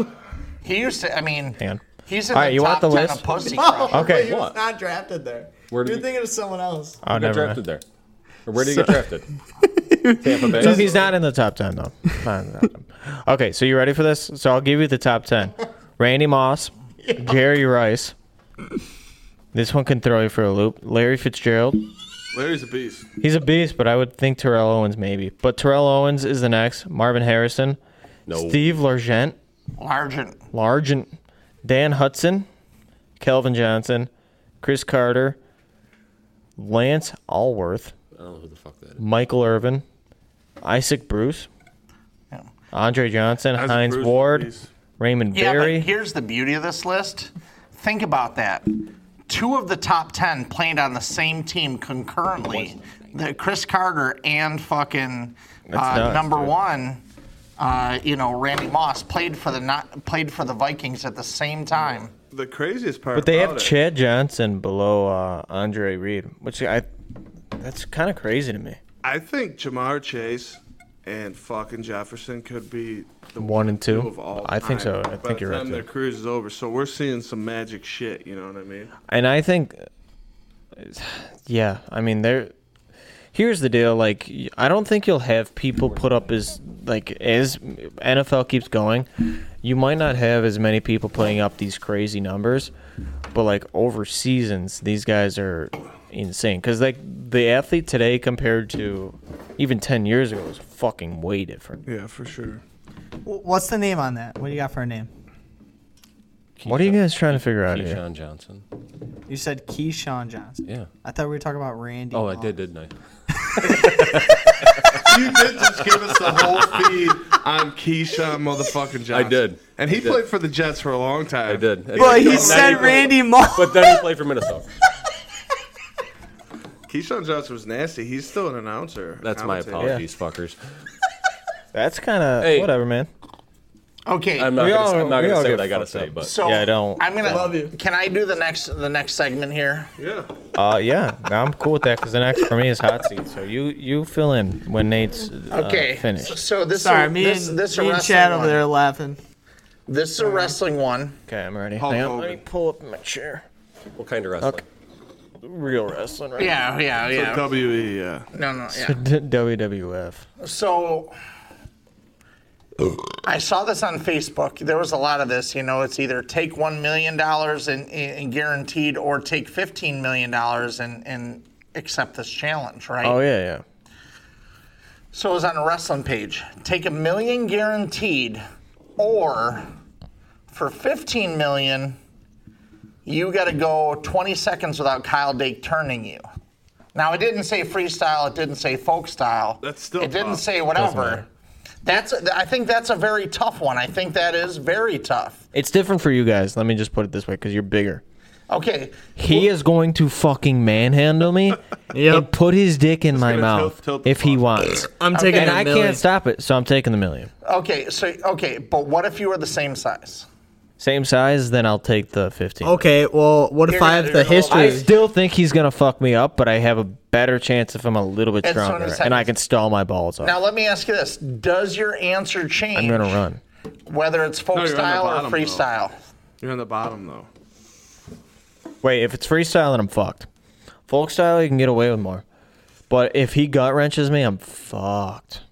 He used to. I mean, Man. he's in All the right, you want top the ten list? of pussy. crap. Okay. You're What? not drafted there. Where did You're we- thinking of someone else. Oh, Who got never drafted mind. there? Or where did he get drafted? Tampa Bay. So he's not in the top 10, though. Not in the top 10. okay, so you ready for this? So I'll give you the top 10 Randy Moss, Jerry Rice. This one can throw you for a loop. Larry Fitzgerald. Larry's a beast. He's a beast, but I would think Terrell Owens maybe. But Terrell Owens is the next. Marvin Harrison. No. Steve Largent. Largent. Largent. Dan Hudson. Kelvin Johnson. Chris Carter. Lance Allworth. I don't know who the fuck that is. Michael Irvin. Isaac Bruce. Yeah. Andre Johnson. Isaac Heinz Bruce is a Ward. beast. Raymond Yeah, Berry. but here's the beauty of this list. Think about that. Two of the top ten played on the same team concurrently. The Chris Carter and fucking uh, nuts, number one, uh, you know, Randy Moss played for the not played for the Vikings at the same time. The craziest part. But they have about it- Chad Johnson below uh, Andre Reed, which I that's kind of crazy to me. I think Jamar Chase and fucking Jefferson could be the One and two? of all I think so. time I by think the you're right time there. Their cruise is over, so we're seeing some magic shit. You know what I mean? And I think, yeah, I mean, there. Here's the deal. Like, y- I don't think you'll have people put up as like as NFL keeps going. You might not have as many people putting up these crazy numbers, but like over seasons, these guys are insane. Because like the athlete today compared to even ten years ago is fucking way different. Yeah, for sure. W- What's the name on that? What do you got for a name? What are you guys trying to figure out here? Keyshawn Johnson. You said Keyshawn Johnson. Yeah. I thought we were talking about Randy. Oh, I Moss. did, didn't I? You did just give us the whole feed on Keyshawn motherfucking Johnson. I did. and he I did. played for the Jets for a long time. I did. But he Then said played- Randy Moss. But then he played for Minnesota. Keyshawn Johnson was nasty. He's still an announcer. That's my commentator. apologies, fuckers. That's kind of Hey. whatever, man. Okay, I'm not We gonna, all- I'm not we gonna all say get what I gotta fucked say, up. but so Yeah, I don't- I'm gonna. Love you. Can I do the next the next segment here? Yeah. Uh, yeah, no, I'm cool with that because the next for me is hot seat. So you you fill in when Nate's uh, Okay, so, finished. so this Sorry, a, me this, and, this a me and wrestling Chad over one. there laughing. This is a wrestling one. Okay, I'm ready. Hulk Hang on, let Hogan. me pull up my chair. what kind of wrestling? Real wrestling, right? Yeah, yeah, yeah. WE. E, Yeah. no, no, yeah. WWF. So I saw this on Facebook. There was a lot of this. You know, it's either take $1 million and, and guaranteed or take $15 million and, and accept this challenge, right? Oh yeah, yeah. So it was on a wrestling page. Take a million guaranteed or for 15 million, you got to go 20 seconds without Kyle Dake turning you. Now, it didn't say freestyle. It didn't say folk style. That's still It didn't tough. say whatever. That's. I think that's a very tough one. I think that is very tough. It's different for you guys. Let me just put it this way, because you're bigger. Okay. He is going to fucking manhandle me and put his dick in my gonna mouth tilt- tilt the if he fuck. wants, I'm taking and a I million. can't stop it. So I'm taking the million. Okay. So okay. But what if you were the same size? Same size, then I'll take the fifteen. Okay, well, what if You're I gonna- have the you're gonna- I history? still think he's gonna fuck me up, but I have a better chance if I'm a little bit It's twenty stronger seconds. and I can stall my balls off. Now let me ask you this: Does your answer change? I'm gonna run. Whether it's folk No, you're on the style or bottom, though. freestyle. You're on the bottom though. Wait, if it's freestyle, then I'm fucked. Folk style, you can get away with more, but if he gut wrenches me, I'm fucked.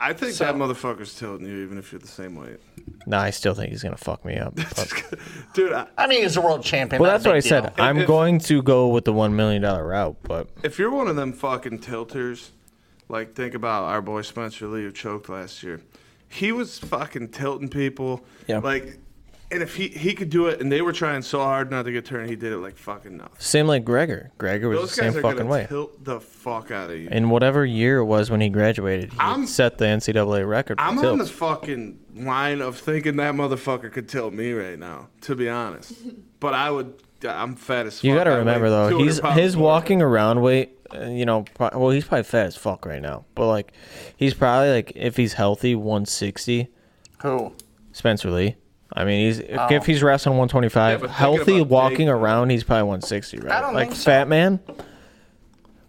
I think that motherfucker's tilting you, even if you're the same weight. Nah, I still think he's gonna fuck me up. but- Dude, I, I mean, he's a world champion. well, not a that's what I big said. deal. I'm if- going to go with the one million dollar route, but if you're one of them fucking tilters, like think about our boy Spencer Lee who choked last year. He was fucking tilting people. Yeah. Like, and if he he could do it, and they were trying so hard not to get turned, he did it like fucking nothing. same like Gregor. Gregor was Those the guys same are fucking gonna way. tilt the fuck out of you. In whatever year it was when he graduated, he I'm- set the NCAA record. for I'm on tilt. the fucking line of thinking that motherfucker could tilt me right now, to be honest. But I would. I'm fat as fuck. You got to I weigh remember though, 200 he's pounds his more. walking around weight. uh, You know, pro- well, he's probably fat as fuck right now, but like, he's probably like if he's healthy, 160. Who? Spencer Lee. I mean, he's if, Oh. if he's wrestling 125, Yeah, but thinking healthy about walking Jake- around, he's probably 160, right? don't like think so. fat man.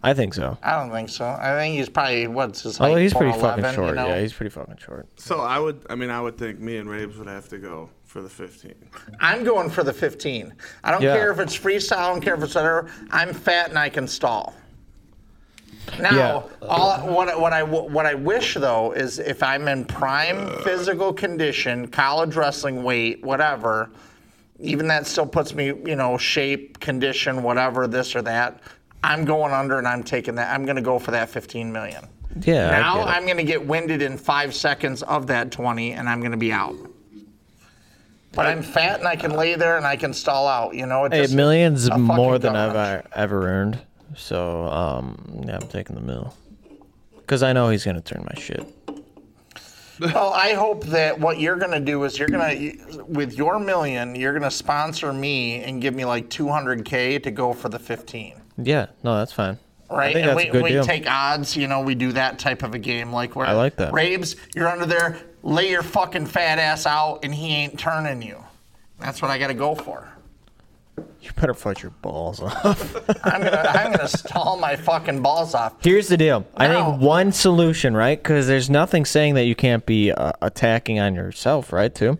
I think so. I don't think so. I think he's probably what's his height? Although he's pretty fucking 4'11", short. You know? Yeah, he's pretty fucking short. So I would, I mean, I would think me and Raves would have to go for the 15. I'm going for the 15. I don't Yeah. care if it's freestyle. I don't care if it's whatever. I'm fat and I can stall. Now, all what what I what I wish though is if I'm in prime physical condition, college wrestling weight, whatever, even that still puts me, you know, shape, condition, whatever, this or that. I'm going under and I'm taking that. I'm going to go for that 15 million. Yeah. I Now get it. I'm going to get winded in five seconds of that 20, and I'm going to be out. But I'm fat, and I can lay there, and I can stall out. You know, it Hey, just- millions a fucking more than I've government. e- ever earned. So, um, yeah, I'm taking the mill. Because I know he's going to turn my shit. Well, I hope that what you're going to do is you're going to, with your million, you're going to sponsor me and give me like 200k to go for the 15. Yeah, no, that's fine. Right, I think and that's we, a good we deal. take odds. You know, we do that type of a game, like where I like that. Rabes, you're under there, lay your fucking fat ass out, and he ain't turning you. That's what I got to go for. you better fight your balls off. I'm gonna, I'm gonna stall my fucking balls off. Here's the deal. I think No. one solution, right? Because there's nothing saying that you can't be uh, attacking on yourself, right? Too.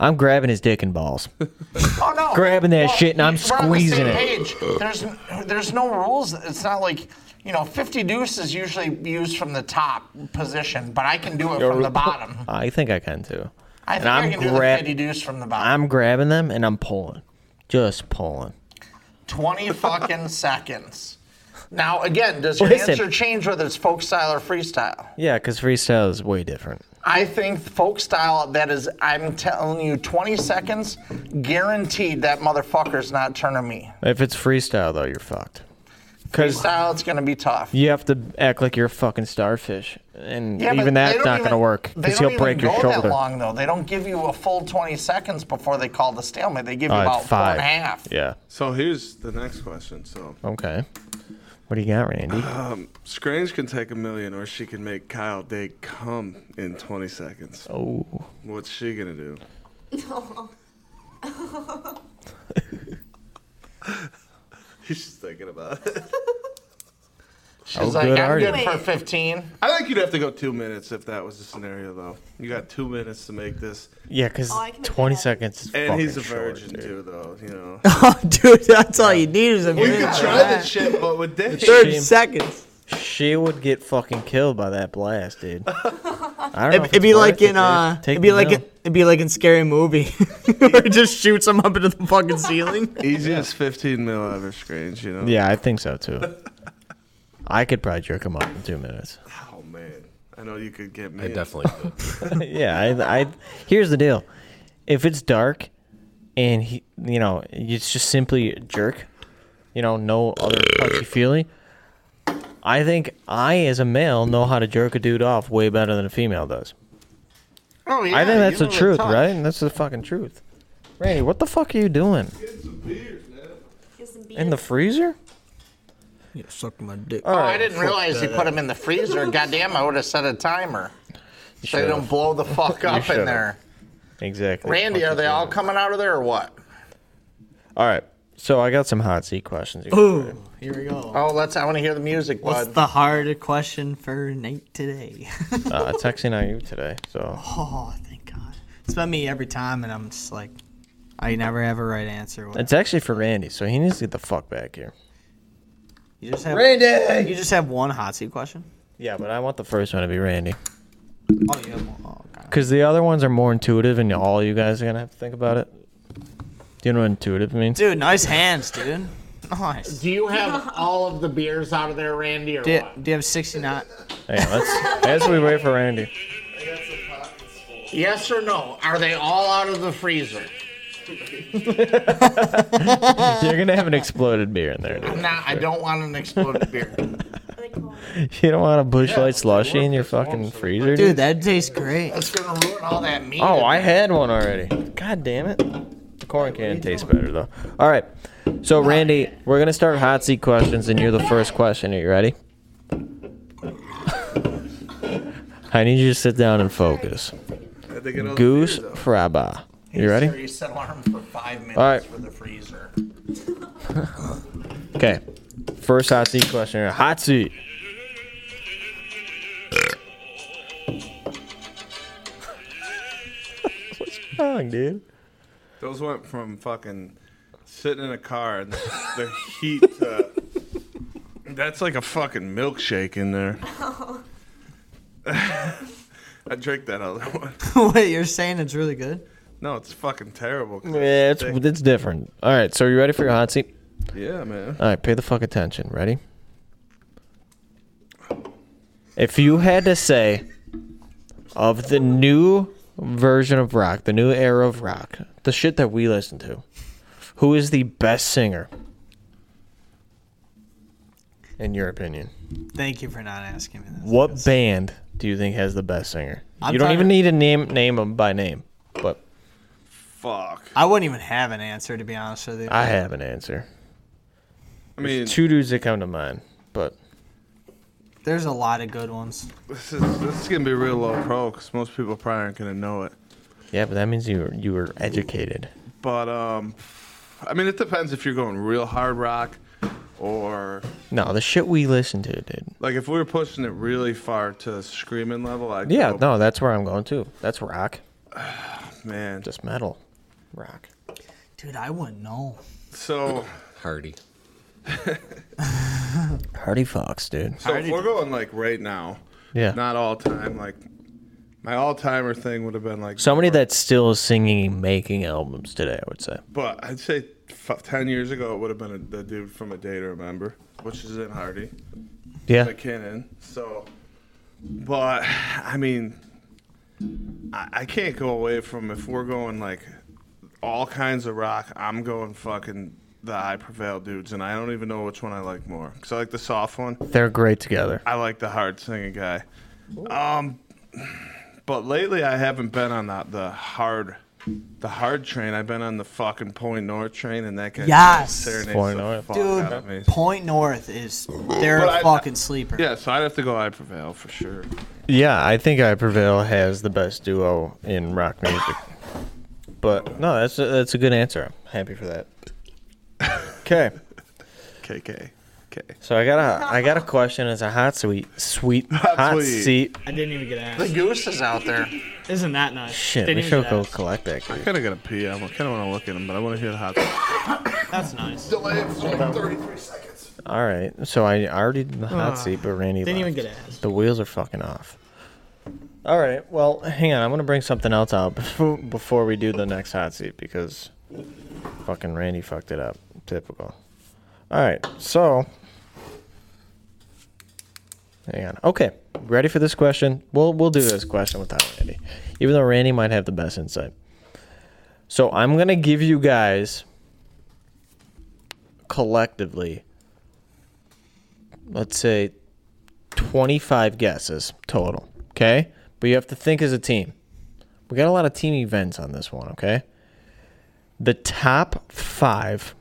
I'm grabbing his dick and balls. Oh no! Grabbing that shit and I'm we're on the squeezing same Page. There's, there's no rules. It's not like you know, 50 deuce is usually used from the top position, but I can do it from the bottom. I think I can too. I and think I'm I can grab- do the 50 deuce from the bottom. I'm grabbing them and I'm pulling, just pulling. 20 fucking seconds. Now again, does your Listen. answer change whether it's folk style or freestyle? Yeah, because freestyle is way different. I think folk style. That is, I'm telling you, 20 seconds, guaranteed that motherfucker's not turning me. If it's freestyle though, you're fucked. Because Style, it's gonna be tough. you have to act like you're a fucking starfish, and Yeah, but even they that's don't not even- gonna work They because don't he'll even break your go That shoulder. long though, they don't give you a full 20 seconds before they call the stalemate. They give you Oh, about it's five. four and a half. Yeah. So here's the next question. So Okay. What do you got, Randy? Strange can take a million, or she can make Kyle Day come in 20 seconds. Oh. What's she gonna do? He's just thinking about it. She's How like, good I'm are good you?" for 15. I think you'd have to go two minutes if that was the scenario, though. You got two minutes to make this, Yeah, because Oh, I can make 20 that seconds. Is and fucking he's a short, virgin dude. too, though. You know, Oh, dude, that's all you need is a you minute. could for try that. that shit, but with Dave, Thirty Shame. seconds. She would get fucking killed by that blast, dude. I don't know It'd, if it'd be it's like worth it, in dude. uh, Take it'd be the like mill. in, it'd be like in scary movie, where it just shoots him up into the fucking ceiling. easiest 15 mil ever, Strange. You know. yeah, I think so too. I could probably jerk him up in two minutes. Oh man, I know you could get me. I definitely could. yeah, I, I. Here's the deal: if it's dark, and he, you know, it's just simply a jerk, you know, no other touchy feely. I think I, as a male, know how to jerk a dude off way better than a female does. Oh, yeah, I think that's you the know truth, tough. right? That's the fucking truth. Randy, what the fuck are you doing Get some in the beers. freezer? Yeah, suck my dick. Oh, I didn't realize you put him in the freezer. Goddamn, I would have set a timer. So they should've. don't blow the fuck up in should've. there. Exactly. Randy, are Fucking they all freezer. coming out of there or what? All right. So I got some hot seat questions. Ooh, here we go. Oh, let's. I want to hear the music, What's bud. the harder question for Nate today? Uh, texting on you today. So oh, thank God. It's been me every time, and I'm just like, I never have a right answer. it's actually for Randy, so he needs to get the fuck back here. You just have, Randy. You just have one hot seat question. Yeah, but I want the first one to be Randy. Oh, you have one. Oh, God. Because the other ones are more intuitive, and all you guys are going to have to think about it. Do you know what intuitive means? Dude, nice hands, dude. Nice. Do you have all of the beers out of there, Randy, or Do you, what? do you have 69? Hey, let's, as we wait for Randy. Yes or no? Are they all out of the freezer? You're going to have an exploded beer in there, dude. Nah, I don't want an exploded beer. Are they cold? You don't want a bushlight slushy in your fucking freezer, Dude, that tastes great. That's gonna ruin all that meat. Oh, I had one already. God damn it. The corn can tastes better though. All right. So Randy, we're gonna start hot seat questions, and you're the first question. Are you ready? I need you to sit down and focus. I think it all- Goose Fraba. You ready? You set alarm for five minutes All right. for the freezer. Okay. First hot seat question. here. Hot seat. What's wrong, dude? Those went from fucking sitting in a car and the heat. To, that's like a fucking milkshake in there. I drank that other one. Wait, you're saying it's really good? No, it's fucking terrible. 'cause Yeah, it's thick. it's different. All right, so are you ready for your hot seat? yeah, man. All right, pay the fuck attention. Ready? If you had to say of the new version of rock, the new era of rock, the shit that we listen to, who is the best singer? In your opinion, Thank you for not asking me this. what band do you think has the best singer? I'm you don't talking- even need to name name them by name, but Fuck. I wouldn't even have an answer to be honest with you. I have an answer. I mean, Two dudes that come to mind, but There's a lot of good ones. this is this is gonna be real low pro because most people probably aren't gonna know it. yeah, but that means you were, you were educated. But um, I mean, it depends if you're going real hard rock or No, the shit we listen to, dude. like if we were pushing it really far to screaming level. I'd Yeah, go, no, that's where I'm going to. That's rock, man. just metal, rock. Dude, I wouldn't know. so Hardy. Hardy Fox, dude. so if we're going like right now. Yeah, not all time. Like my all timer thing would have been like somebody that's still singing, and making albums today. I would say. But I'd say f- ten years ago it would have been a, the dude from A Day to Remember, which is in Hardy Yeah, McKinnon. So, but I mean, I, I can't go away from if we're going like all kinds of rock. I'm going fucking the I Prevail dudes, and I don't even know which one I like more because I like the soft one. they're great together. I like the hard singing guy. Um, but lately I haven't been on the, the hard, the hard train. I've been on the fucking Point North train, and that guy Yes! serenades Point the North. fuck out of me. Dude, Point North is they're But a I- fucking sleeper. Yeah, so I'd have to go. I prevail for sure. Yeah, I think I Prevail has the best duo in rock music. But no, that's a, that's a good answer. I'm happy for that. Okay, KK. Okay. so I got a I got a question. It's a hot sweet sweet hot, sweet. seat. I didn't even get The asked. goose is out there. Isn't that nice? Shit, Didn't we even should get go asked. collect that. dude. I kind of gotta pee. I kind of want to look at him, but I want to hear the hot. That's nice. All right, so I already did the hot Ah, seat, but Randy Didn't even left. get asked. The wheels are fucking off. All right. Well, hang on. I'm gonna bring something else out before before we do the next hot seat because fucking Randy fucked it up. Typical. All right. So, hang on. Okay. Ready for this question? We'll we'll do this question without Randy, even though Randy might have the best insight. So I'm gonna give you guys collectively, let's say 25 guesses total. Okay? But you have to think as a team. We got a lot of team events on this one, okay? The top five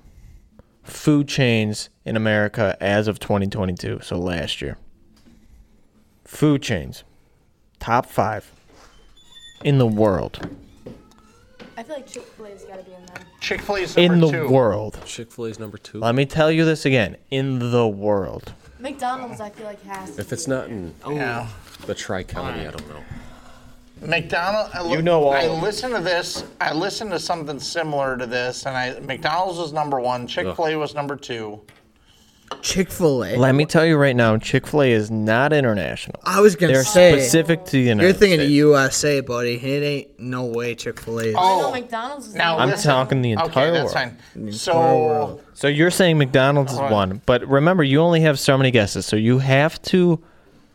food chains in America as of 2022, so last year. Food chains. Top five in the world. I feel like Chick Fil A's got to be in there. Chick Fil A's In the two. world. Chick fil A's number two. Let me tell you this again. In the world. McDonald's, I feel like has. To If it's not in Yeah. the Tri County, I don't know. McDonald. I li- You know all I of them. listened to this. I listened to something similar to this, and I McDonald's was number one. Chick Fil A was number two. Chick-fil-A. Let me tell you right now, Chick fil A is not international. I was gonna They're say specific to the United You're thinking States. of USA, buddy. It ain't no way Chick-fil-A is. I know Oh, McDonald's is now number I'm listen- talking the entire okay, that's world. fine. So So you're saying McDonald's is Hold on. one, but remember you only have so many guesses, so you have to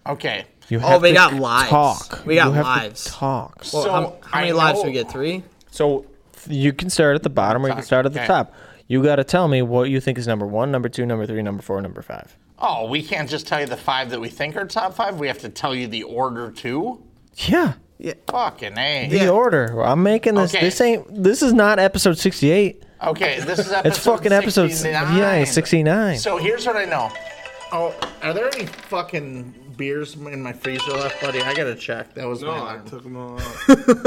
okay. you Oh, have we to got lives. talk. We got You have to lives. talk. Well, so how, how I many lives do we know- get? Three? So you can start at the bottom or you can Talk, start at the okay. top. You got to tell me what you think is number 1, number 2, number 3, number 4, number 5. Oh, we can't just tell you the five that we think are top five. We have to tell you the order too. Yeah. Fucking a. The order. I'm making this. Okay. This ain't. This is not episode 68. Okay, this is episode. It's fucking episode 69. yeah, 69. So here's what I know. Oh, are there any fucking beers in my freezer left, buddy? I gotta check. That was No, my I alarm. took them all out.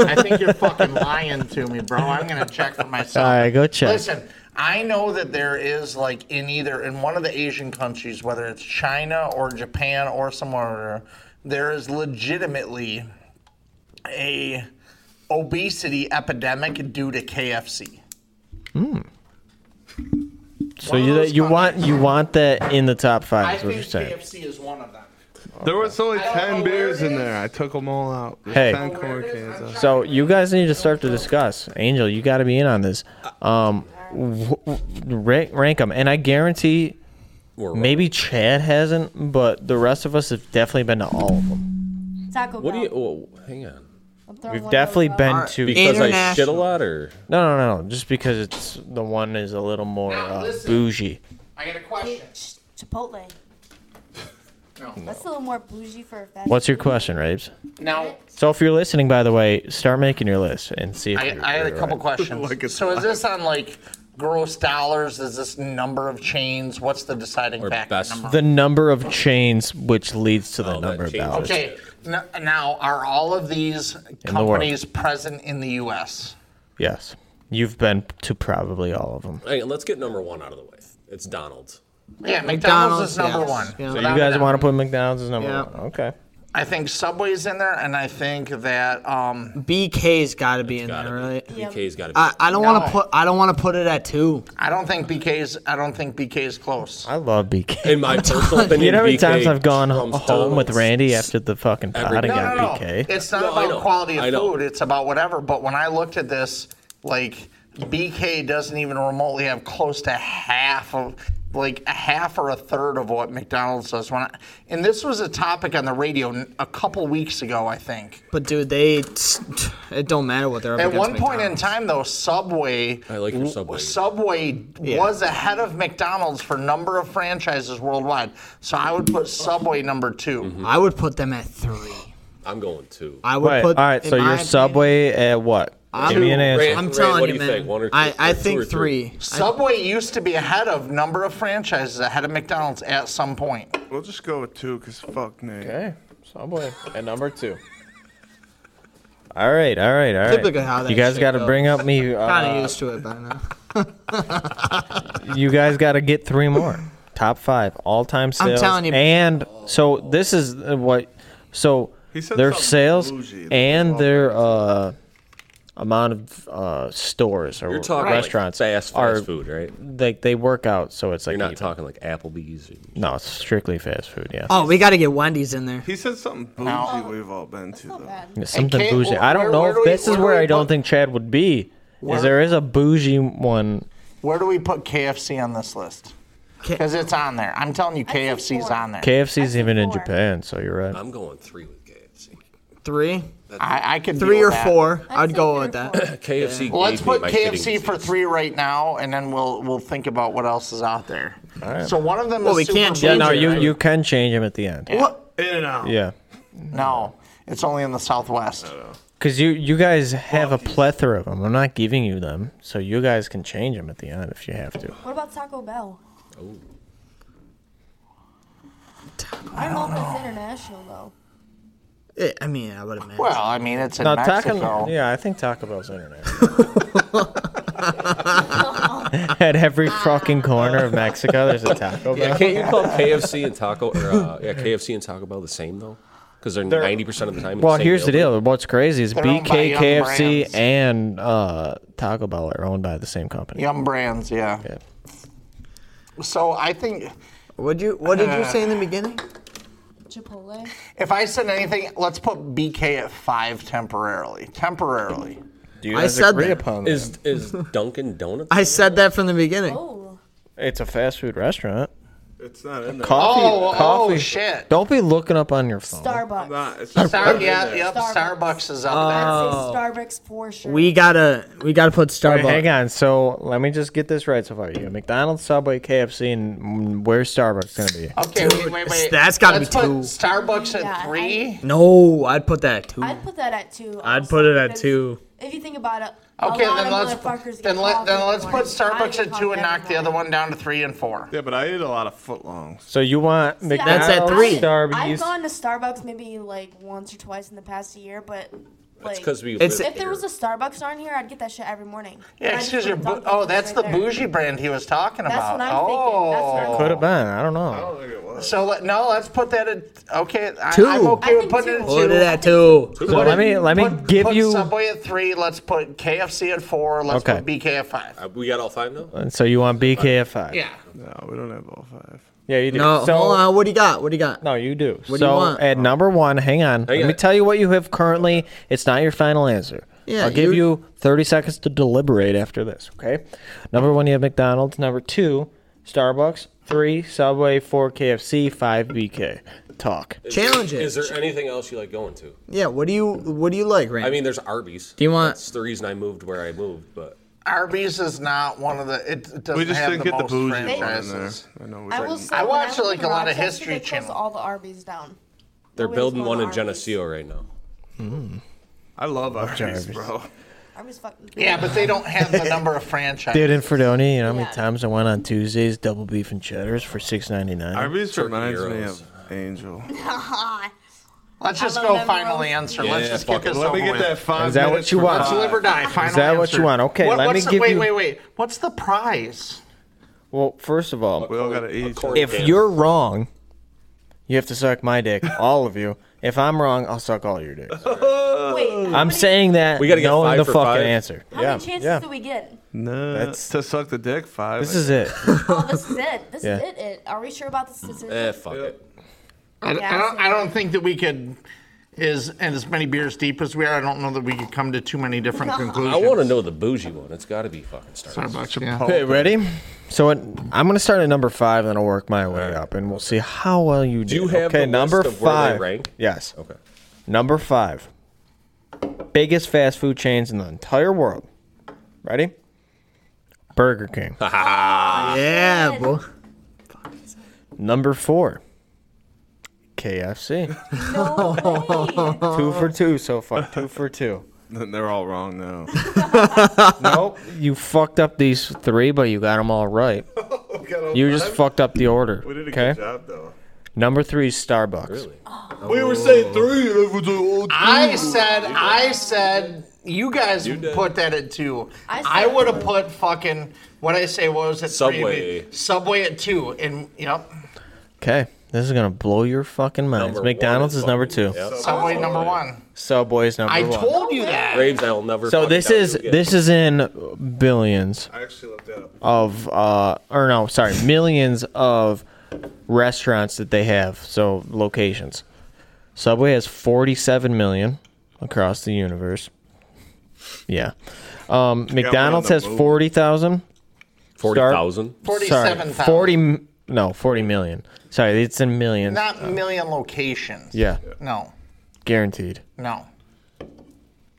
I think you're fucking lying to me, bro. I'm gonna check for myself. All right, go check. Listen, I know that there is like in either in one of the Asian countries, whether it's China or Japan or somewhere, there is legitimately a obesity epidemic due to KFC. So One of you those you companies- want you want that in the top five? I is what you're think KFC saying. is one of them. There was only don't know ten where beers it in is. there. I took them all out. There's Hey. ten Where corn it is, cans. I'm out. trying So you guys need to start to discuss. Angel, you got to be in on this. Um, w- w- rank, rank them, and I guarantee Or maybe Chad hasn't, but the rest of us have definitely been to all of them. Taco Bell. What do you? Oh, hang on. I'm throwing We've one definitely over. been to Because I shit a International. lot, or no, no, no, just because it's the one is a little more uh, listen. bougie. I got a question. Ch- Chipotle. That's a little more bougie for a fast What's your food. question, Rabes? Now So if you're listening, by the way, start making your list and see. If I, you're- I had a you're couple right. questions. Like it's so is this on like gross dollars? Is this number of chains? What's the deciding Or factor? best- Number- The number of chains, which leads to the Oh, that number of changes. ballots. okay. N- now, are all of these world. companies present in the U.S.? Yes, you've been to probably all of them. hey, let's get number one out of the way. It's Donald's. Yeah, McDonald's, McDonald's, is number yes. one. Yeah. So you You Without a guys doubt. want to put McDonald's as number Yeah. one? Okay. I think Subway's in there, and I think that um, BK's got to be in Got there, it. right? BK's got to be. I, I don't want No. to put I don't want to put it at two. I don't think BK's. I don't think BK's close. I love BK. in my personal opinion, You know how many BK times I've gone trumps home with Donald's. Randy after the fucking Every- pot and No, got no, no, BK? It's not No, I know. about quality I of know. food. It's about whatever. But when I looked at this, like BK doesn't even remotely have close to half of, like a half or a third of what McDonald's does. When I, and this was a topic on the radio n- a couple weeks ago, I think. But dude, they it don't matter what they're up At against one point in McDonald's. time, though, Subway. I like your Subway. Subway Yeah. was ahead of McDonald's for number of franchises worldwide. So I would put Subway number 2 Mm-hmm. I would put them at three. I'm going two. I would Wait, all put. right, in so my your opinion- Subway at what? Give me an answer. Randy. I'm Ray, telling what you, do you man. think? One or two? I, I Two think or three? three. Subway used to be ahead of number of franchises ahead of McDonald's at some point. We'll just go with two, cause fuck Nate. Okay, Subway at number two. All right, all right, all right. Typical how that you guys shit got to goes. bring up me. Kind of Uh, used to it by now. you guys got to get three more. Top five all time sales. telling you- And so this is uh, what. So He said their something sales bougie. and their uh, amount of uh, stores or You're talking like restaurants fast, fast are food, right? like they work out. So it's like You're not even. talking like Applebee's. and- No, it's strictly fast food. Yeah. Oh, we got to get Wendy's in there. He said something bougie Oh. we've all been to though. Bad. Yeah, Something Kate, bougie. wh- I don't where- know where if do we- this where is do where we I don't put- think Chad would be. Where- Is there is a bougie one? Where do we put KFC on this list? K- Because it's on there. I'm telling you, KFC's four. on there. KFC's I even in think four. Japan, so you're right. I'm going three with KFC. Three, I, I could three deal or with that. four. I'd say go three with or that. four. KFC. Well, let's gave me put my shitting KFC for disease. three right now, and then we'll we'll think about what else is out there. So one of them Well, is we super can't bougie, Yeah, no, you, right? you can change him at the end. What? In and out. Yeah, no, it's only in the Southwest. because you you guys have a plethora of them. I'm not giving you them, so you guys can change them at the end if you have to. What about Taco Bell? Oh. I don't know if it's international though. Eh, I mean, I would imagine. Well, I mean, it's in Now Mexico. Taco, yeah, I think Taco Bell's international. at every fucking corner of Mexico, there's a Taco Bell. Yeah, can't you call KFC and Taco or uh, yeah, KFC and Taco Bell the same though? Because they're ninety percent of the time. in Well, the same here's the building. deal. What's crazy is They're owned by BK, Yum KFC, Brands. and uh, Taco Bell are owned by the same company. Yum brands, yeah. Yeah. So I think Would you? What did you say in the beginning? Chipotle. if I said anything, let's put BK at five temporarily. Temporarily. Do you I guys said agree that. upon Is is Dunkin' Donuts? I said that from the beginning. Oh, It's a fast food restaurant. It's not in there. Coffee. Oh, oh, coffee. shit. Don't be looking up on your phone. Starbucks. Nah, it's just Star- not in yeah, there. yep. Starbucks. Starbucks is up I'd say Starbucks for sure. We gotta, we gotta put Starbucks. Hang on. So let me just get this right so far. You have McDonald's, Subway, KFC, and mm, where's Starbucks going to be? there. Okay, wait, wait, wait. that's gotta Let's be put two. Starbucks at Yeah, I- three. No, I'd put that at two. I'd put that at two. I'd also, put it at because two. If you think about it, Okay, a lot then of let's motherfuckers then get let coffee then in the let's put morning. I Starbucks at get two coffee and every knock the other one morning. down to three and four. Yeah, but I ate a lot of footlongs. So you want See, I- McDonald's, That's at three. I've Starbucks. gone to Starbucks maybe like once or twice in the past year, but That's Like- because we. It's- live If there here. was a Starbucks on here, I'd get that shit every morning. Yeah, And I it's just just your. put Bu- Dunkin' oh, right that's the there. bougie brand he was talking That's about. what I'm thinking. That's what I'm oh, thinking. Could have been. I don't know. So let, no, let's put that in. Okay, I, Two. I'm okay I with think putting two. it Look at at two. that too. So let me let me Put- give put you. Subway at three. Let's put KFC at four. Let's Okay. put BK at five. Uh, we got all five now. So you want BK at five? Yeah. No, we don't have all five. Yeah, you do. No, so, Oh, hold on. What do you got? What do you got? No, you do. What do so you want? Oh, at number one, hang on. Hang Let on. me tell you what you have currently. It's not your final answer. Yeah, I'll give you're- you 30 seconds to deliberate after this, okay? Number one, you have McDonald's. Number two, Starbucks. Three, Subway. Four, KFC. Five, BK. Talk. Challenge it. Is there anything else you like going to? yeah. What do you What do you like, Randy? I mean, there's Arby's. Do you want- That's the reason I moved where I moved, but Arby's is not one of the. It, it doesn't We just have didn't the get the most bougie one in there. franchises. I know we I will didn't. say, I when watch, lived like, in a lot of Rochester, History they closed Channel. All the Arby's down. they're Nobody's building going one to in Arby's. Geneseo right now. I love Arby's, bro. Arby's fucking. Yeah, but they don't have the number of franchises. Dude, in Fredonia, you know how many Yeah. times I went on Tuesdays, double beef and cheddars for six ninety nine. Arby's Turkey reminds me gyros. of Angel. Let's just I go love them final rolls. answer. Yeah, Let's just fuck get it. this Let over me get with. that five. Is that what minutes you for want? Let's five. live or die. Final that what answer. you want? Okay, let me what's the- give wait, you- Wait, wait, What's the prize? Well, first of all, We all gotta eat. corn- if Damn. you're wrong, you have to suck my dick, all of you. If I'm wrong, I'll suck all your dicks. Wait, Uh, I'm saying that We gotta get knowing five the for fucking five? answer. How yeah, many chances yeah. do we get? No, That's- to suck the dick. Five. This is it. Oh, this is it. This Yeah. is it, it. Are we sure about this? This is Eh, fuck it. I, I don't. I don't think that we could. Is and as many beers deep as we are, I don't know that we could come to too many different conclusions. I want to know the bougie one. It's got to be fucking Starbucks. Starbucks, yeah. Okay, ready? So it, I'm gonna start at number five, then I'll work my way up, and we'll see how well you do. you have okay, the number list of where they five. rank? Oh. Yes. Okay. Number five. Biggest fast food chains in the entire world. Ready? Burger King. yeah, boy. Number four. KFC. No way. two for two so far. Two for two. They're all wrong now. Nope. You fucked up these three, but you got them all right. You just fucked up the order. We did a Okay. good job though. Oh. Number three is Starbucks. Really? We were saying three. and it was all two. I said, I said, you guys did. put that at two. I I, said- would have put fucking what I say. What was it? Subway. Subway at two, and yep, Okay. This is gonna blow your fucking minds. Number McDonald's one is number two. fucking- Yep. Subway number one. Subway is number I one. told you that. Braves, I'll never. so fucking this doubt is you again. this is in billions I actually looked that up. of uh or no sorry millions of restaurants that they have so locations. Subway has 47 million across the universe. Yeah. Um, McDonald's the has moon. 40,000. forty thousand. Forty-seven Sorry. thousand. 40 m- no, 40 million. Sorry, it's in millions. Not million locations. yeah, No. guaranteed. No.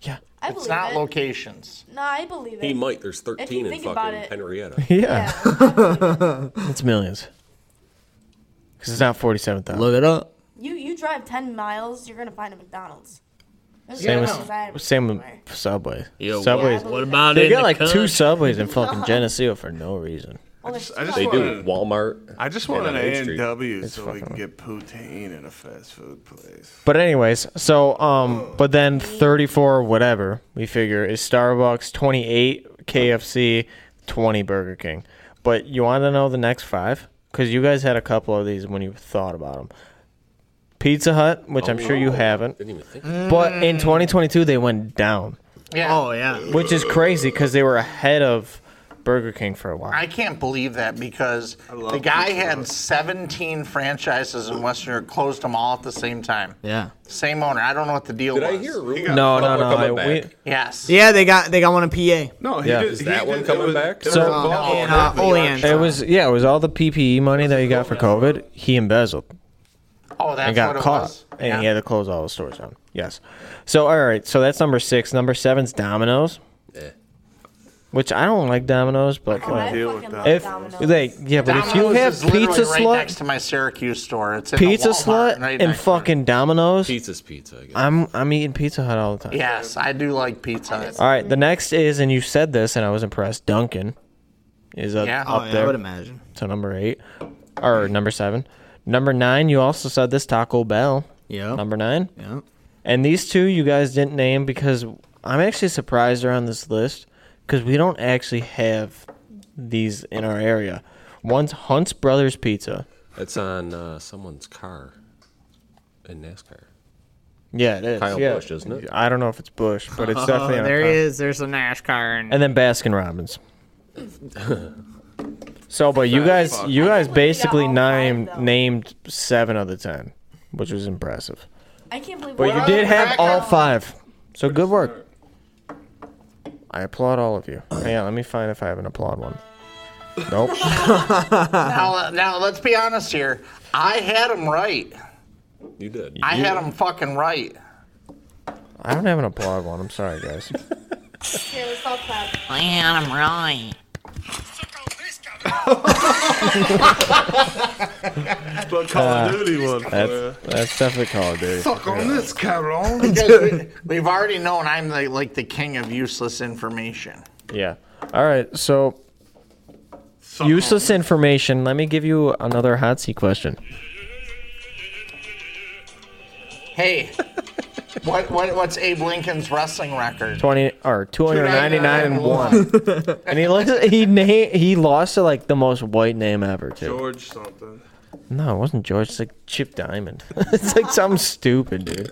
Yeah. I believe It's not it. locations. No, I believe it. He might. There's thirteen in think about fucking it- Henrietta. Yeah. Yeah, I believe it. It's millions. Cuz it's not 47,000. Look it up. you you drive ten miles, you're gonna find a McDonald's. There's Same no as- reason I had a Same McDonald's with Subway. Yo, Subways. somewhere. What about They it? got like two subways in fucking Geneseo for no reason. Well, there's I just They two. do. Walmart. I just want an on Eighth A and Street. W so we can get poutine in a fast food place. But anyways, so um, but then thirty-four whatever we figure is Starbucks, twenty-eight KFC, twenty Burger King. But you want to know the next five because you guys had a couple of these when you thought about them. Pizza Hut, which I'm sure you Oh. haven't, Didn't even think. but in 2022 they went down, Yeah. Oh yeah. which is crazy because they were ahead of Burger King for a while. I can't believe that because the guy had 17 franchises in Western Europe, closed them all at the same time. Yeah. Same owner. I don't know what the deal Did was. I hear? a rumor? no, no, Public no. coming I- we- back. Yes. Yeah, they got they got one in PA. No, he Yeah. did, Is he that did- one it coming was- back? it was So- a ball In over uh, the Olean. it was yeah, it was all the PPE money that he got for COVID. He embezzled. Oh, that's and got what caught, it was. and he Yeah. had to close all the stores down. Yes. So all right, so that's number six. Number seven's Domino's, Eh. which I don't like Domino's, but Oh, I like, deal with fucking that. love if Domino's. they yeah, but if you Domino's have is literally pizza right slut, next to my Syracuse store. It's in the pizza Walmart slut, right and next to it. fucking Domino's, Pizza's pizza. I guess. I'm I'm eating Pizza Hut all the time. Yes, I do like pizza. Hut. All right, the next is, and you said this, and I was impressed. Duncan is up, Yeah. up Oh, Yeah, I would there, imagine. so number eight or number seven. Number nine, you also said this Taco Bell. Yeah. Number nine. Yeah. And these two you guys didn't name because I'm actually surprised they're on this list because we don't actually have these in our area. One's Hunt's Brothers Pizza. It's on uh, someone's car in NASCAR. Yeah, it is. Kyle yeah. Busch, isn't it? I don't know if it's Bush, but it's Oh, definitely on a there car. he is. There's a NASCAR. And, And then Baskin Robbins. so, but you guys, you guys basically all five, named though. named seven of the ten, which was impressive. I can't believe. But you we're did all- have all five. So good work. I applaud all of you. Hang on, let me find if I have an applaud one. Nope. Now, now let's be honest here. I had him right. You did. I had him fucking right. I don't have an applaud one. I'm sorry, guys. Here, let's all clap. man, I'm right. But Call of Duty one. uh, That's that's definitely Call of Duty. Fuck on this, Carol. Because we, have already known I'm the, like the king of useless information. Yeah. All right. So useless information. Let me give you another hot seat question. Hey, what, what what's Abe Lincoln's wrestling record? 20 or 299 and 299 1 and he lost he na- he lost to like the most white name ever too George something. no it wasn't george it's like chip diamond it's like something stupid dude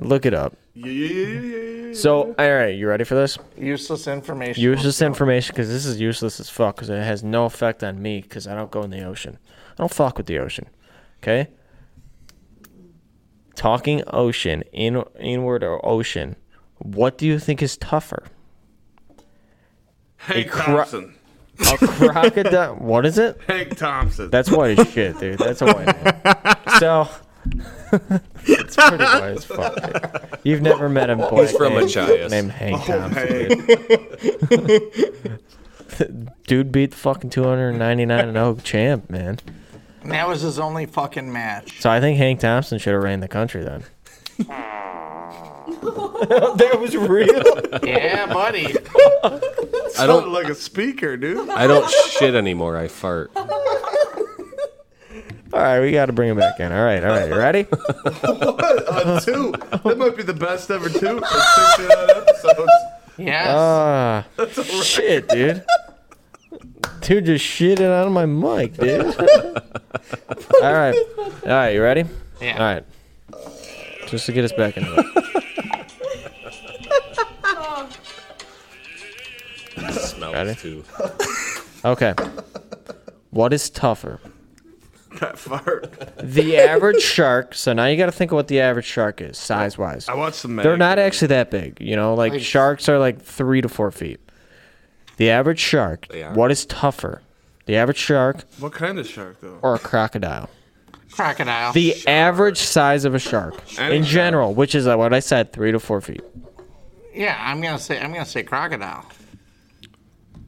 look it up Yeah. so all right you ready for this Useless information. useless information because this is useless as fuck because it has no effect on me because i don't go in the ocean i don't fuck with the ocean okay talking ocean in inward or ocean what do you think is tougher Hank cro- Thompson. a crocodile what is it Hank Thompson. That's white as shit, dude. That's a white man. So it's pretty white as fuck. dude. You've never met him. Black He's from named, Machias. named Hank Thompson. Hank. Dude beat the fucking 299 and 0 champ, man. And that was his only fucking match. So I think Hank Thompson should have ran the country then. that was real. yeah, buddy. I Sounded don't. like a speaker, dude. I don't shit anymore. I fart. All right, we got to bring him back in. All right, all right, you ready? A two. That might be the best ever two. in 69 episodes. Yes. Ah, shit, dude. Dude just shitted out of my mic, dude. All right, all right, you ready? Yeah. All right, just to get us back into it. Smells Ready? too. Okay. What is tougher, That fart. the average shark? So now you got to think of what the average shark is, size wise. I watched some. They're not Meg. actually that big, you know. Like sharks are like three to four feet. The average shark. They are. What is tougher, the average shark What kind of shark though? or a crocodile? Crocodile. the average size of a shark Any in shark. general, which is uh, what I said, three to four feet. yeah, I'm gonna say I'm gonna say crocodile.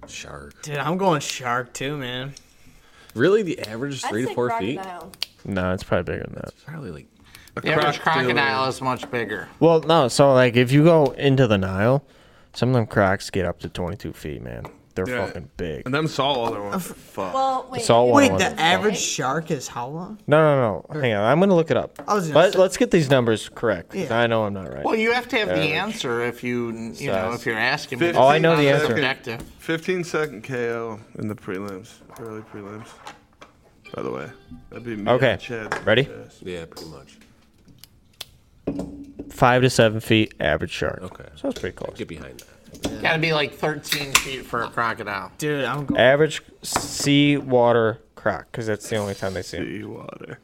Shark. Dude, I'm going shark too, man. Really, the average is I'd three to say four feet. crocodile. No, it's probably bigger than that. Probably like The average crocodile is much bigger. Well, no, so like if you go into the Nile, some of them crocs get up to 22 feet, man. They're Yeah. fucking big. And them saltwater ones. Fuck. Well, wait. Saltwater Wait, ones the are fucking- average shark is how long? No, no, no. Hang on. I'm going to look it up. was gonna Let, say- let's get these numbers correct 'cause Yeah. I know I'm not right. Well, you have to have the Average. answer if you you know Size. if you're asking. me. Fifteen Oh, I know the It's answer. Objective. 15 second KO in the prelims, early prelims. By the way, that'd be me. Okay. and Chad. Ready? yeah, pretty much. Five to seven feet average shark. Okay. So it's pretty close. Get behind that. Got to be like 13 feet for a crocodile. Dude, I'm going. Average seawater croc because that's the only time they see him. Sea water.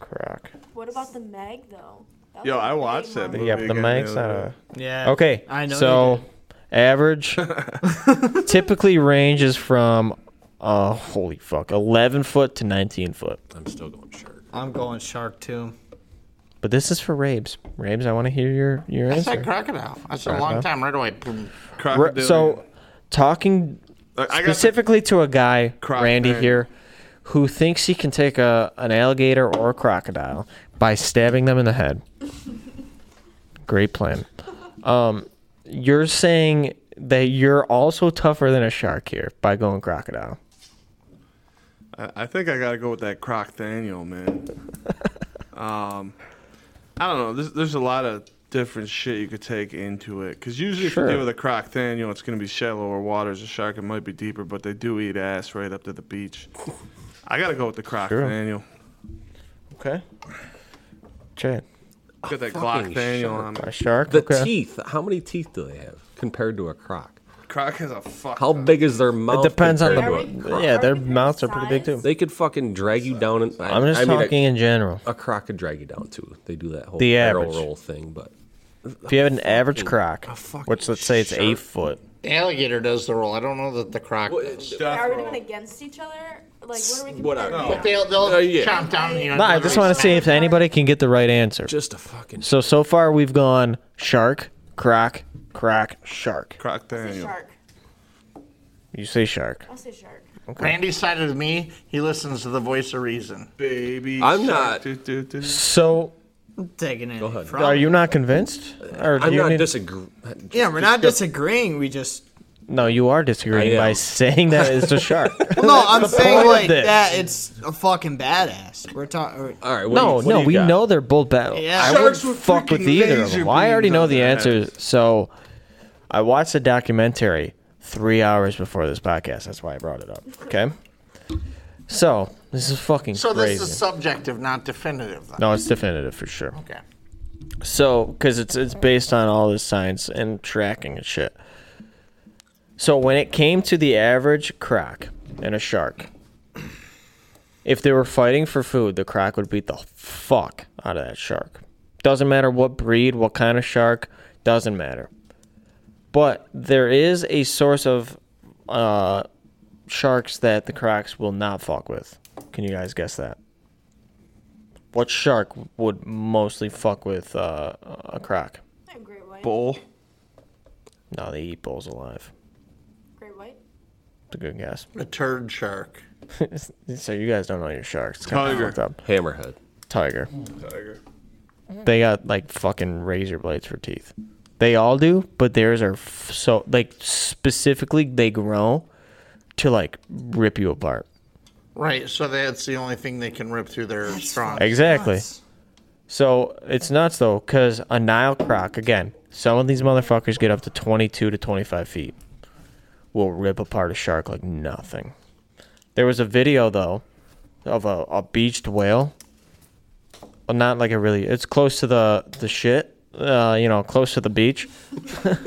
Croc. What about the Meg though? That Yo, was a I big watched that one. movie. Yeah, but the again mic's not other a. Yeah. Okay. I know. So average typically ranges from uh holy fuck, eleven foot to nineteen foot. I'm still going shark. I'm going shark too. But this is for Rabes. Rabes, I want to hear your your I said answer. crocodile. I said a long time right away. Boom. day. Ra- Crocodile. so talking I- I got the, specifically to a guy, Croc Randy there. here, who thinks he can take a an alligator or a crocodile by stabbing them in the head. Great plan. Um, you're saying that you're also tougher than a shark here by going crocodile. I, I think I gotta go with that Croc Daniel, man. um, I don't know. There's, there's a lot of different shit you could take into it. Because usually, if Sure. you deal with a croc then, you know, it's going to be shallower waters. A shark, it might be deeper, but they do eat ass right up to the beach. I got to go with the croc Sure. Daniel. Okay. Chad, Got that fucking Glock Daniel on a it. shark. The okay. teeth. How many teeth do they have compared to a croc? Croc has a fuck. How ton. big is their mouth? depends on compared the- to a croc? Yeah, their Are we mouths are from pretty big too. size? They could fucking drag you down. And, I, I'm just I mean, a- talking in general. a, croc could drag you down too. They do that whole The barrel average. roll thing, but If you have an average croc, fucking which let's say it's eight foot, Alligator does the roll. I don't know that the croc does. Are we Death doing roll. it against each other? Like, what are we What comparing? are- to? But they'll, they'll Uh, yeah. chomp down. You know, No, I just want to see if anybody can get the right answer. just a fucking So so far we've gone shark, croc, croc, shark. Croc I'll say Daniel. shark. You say shark. I'll say shark. Randy's side of me, he listens to the voice of reason. Baby. I'm shark. not- Do, do, do. So Taking it. ahead. from- are you not convinced? Or do I'm you not need- disagreeing. Yeah, we're not disagreeing. We just No, you are disagreeing I am. by saying that it's a shark. no. I'm saying point of like this. that. It's a fucking badass. We're talking. All right. What no, do you, what do no, you we got? know they're both bad. Yeah. I would Sharks with fuck with freaking either of laser them. I already beams know on the their answers. So I watched a documentary three hours before this podcast. That's why I brought it up. Okay. So this is fucking So crazy. this is subjective, not definitive. Then. no, it's definitive for sure. Okay. So, because it's it's based on all this science and tracking and shit. So when it came to the average croc and a shark, if they were fighting for food, the croc would beat the fuck out of that shark. Doesn't matter what breed, what kind of shark, doesn't matter. But there is a source of uh, sharks that the crocs will not fuck with. Can you guys guess that? What shark would mostly fuck with uh, a croc? Not great white. Bull. No, they eat bulls alive. Great white. It's a good guess. A turd shark. so you guys don't know your sharks. It's kind Tiger. of fucked up. Hammerhead. Tiger. Tiger. They got like fucking razor blades for teeth. They all do, but theirs are f- so like specifically they grow to like rip you apart. Right. So that's the only thing they can rip through their strong. Exactly. So it's nuts though, because a Nile croc, again, some of these motherfuckers get up to 22 to 25 feet, will rip apart a shark like nothing. There was a video though of a, a beached whale. Well, not like a really, it's close to the, the shit, uh, you know, close to the beach. Labor's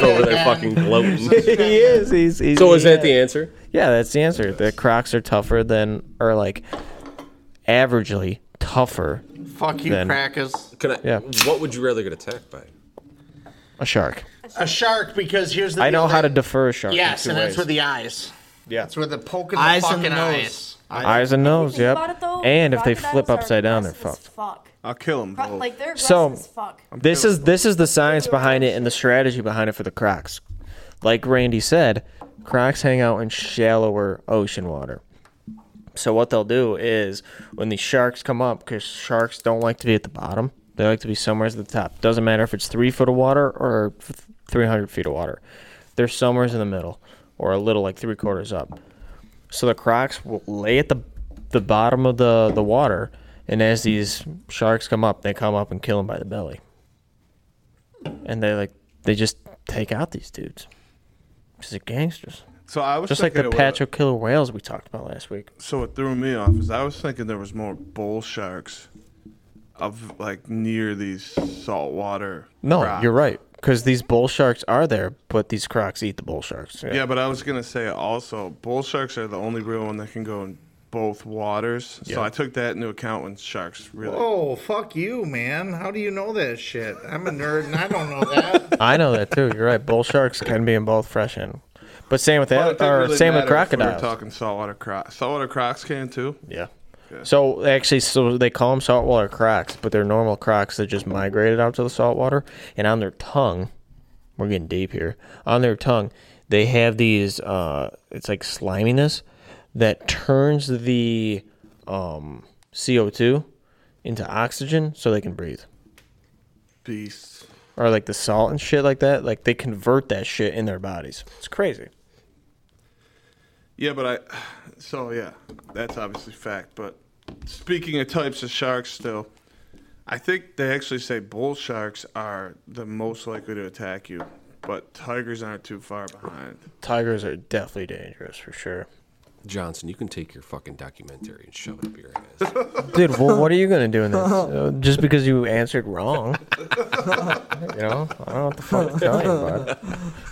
over there fucking gloating. he is. He's, he's, So is that the answer? Yeah, that's the answer. The crocs are tougher than, or like averagely tougher Fuck you, Then- crackers. Can I? Yeah. What would you rather get attacked by? a shark. A shark because here's the. I know deal how to that- defer a shark. in Yes, two and that's ways. with the eyes. Yeah. It's with the poke in the Eyes and fucking nose. eyes. Eyes and nose, Think yep. about it, though, And if they crocodiles flip are upside down, they're aggressive as fucked. Fuck. I'll kill him. Pro- Both. like they're aggressive So- as fuck. This is this is the science behind it and the strategy behind it for the crocs. Like Randy said, crocs hang out in shallower ocean water. So what they'll do is when the sharks come up, because sharks don't like to be at the bottom, they like to be somewhere at the top. Doesn't matter if it's three foot of water or f- 300 feet of water. They're somewhere in the middle or a little like three quarters up. So the crocs will lay at the the bottom of the, the water, and as these sharks come up, they come up and kill them by the belly. And they like they just take out these dudes. Because they're gangsters. So I was Just like the thinking it was- patch of killer whales we talked about last week. So what threw me off is I was thinking there was more bull sharks of like near these saltwater. No, crocs. you're right. Because these bull sharks are there, but these crocs eat the bull sharks. Yeah, but I was gonna say also bull sharks are the only real one that can go in both waters. So I took that into account when sharks really. Oh, fuck you, man. How do you know that shit? I'm a nerd and I don't know that. I know that too. You're right. Bull sharks can be in both fresh and. But same with But it that, didn't or really same with matter if we were crocodiles. talking saltwater crocs. Saltwater crocs can too. Yeah. So actually, so they call them saltwater crocs, but they're normal crocs that just migrated out to the saltwater. And on their tongue, we're getting deep here. On their tongue, they have these. Uh, it's like sliminess that turns the um, CO two into oxygen, so they can breathe. Beasts. Or like the salt and shit like that. Like they convert that shit in their bodies. It's crazy. Yeah, but I. So yeah, that's obviously fact. But speaking of types of sharks, still, I think they actually say bull sharks are the most likely to attack you, but tigers aren't too far behind. Tigers are definitely dangerous for sure. Johnson, you can take your fucking documentary and shove it up your ass. Dude, well, what are you gonna do in this? Uh, just because you answered wrong, you know? I don't know what the fuck to tell you, bud.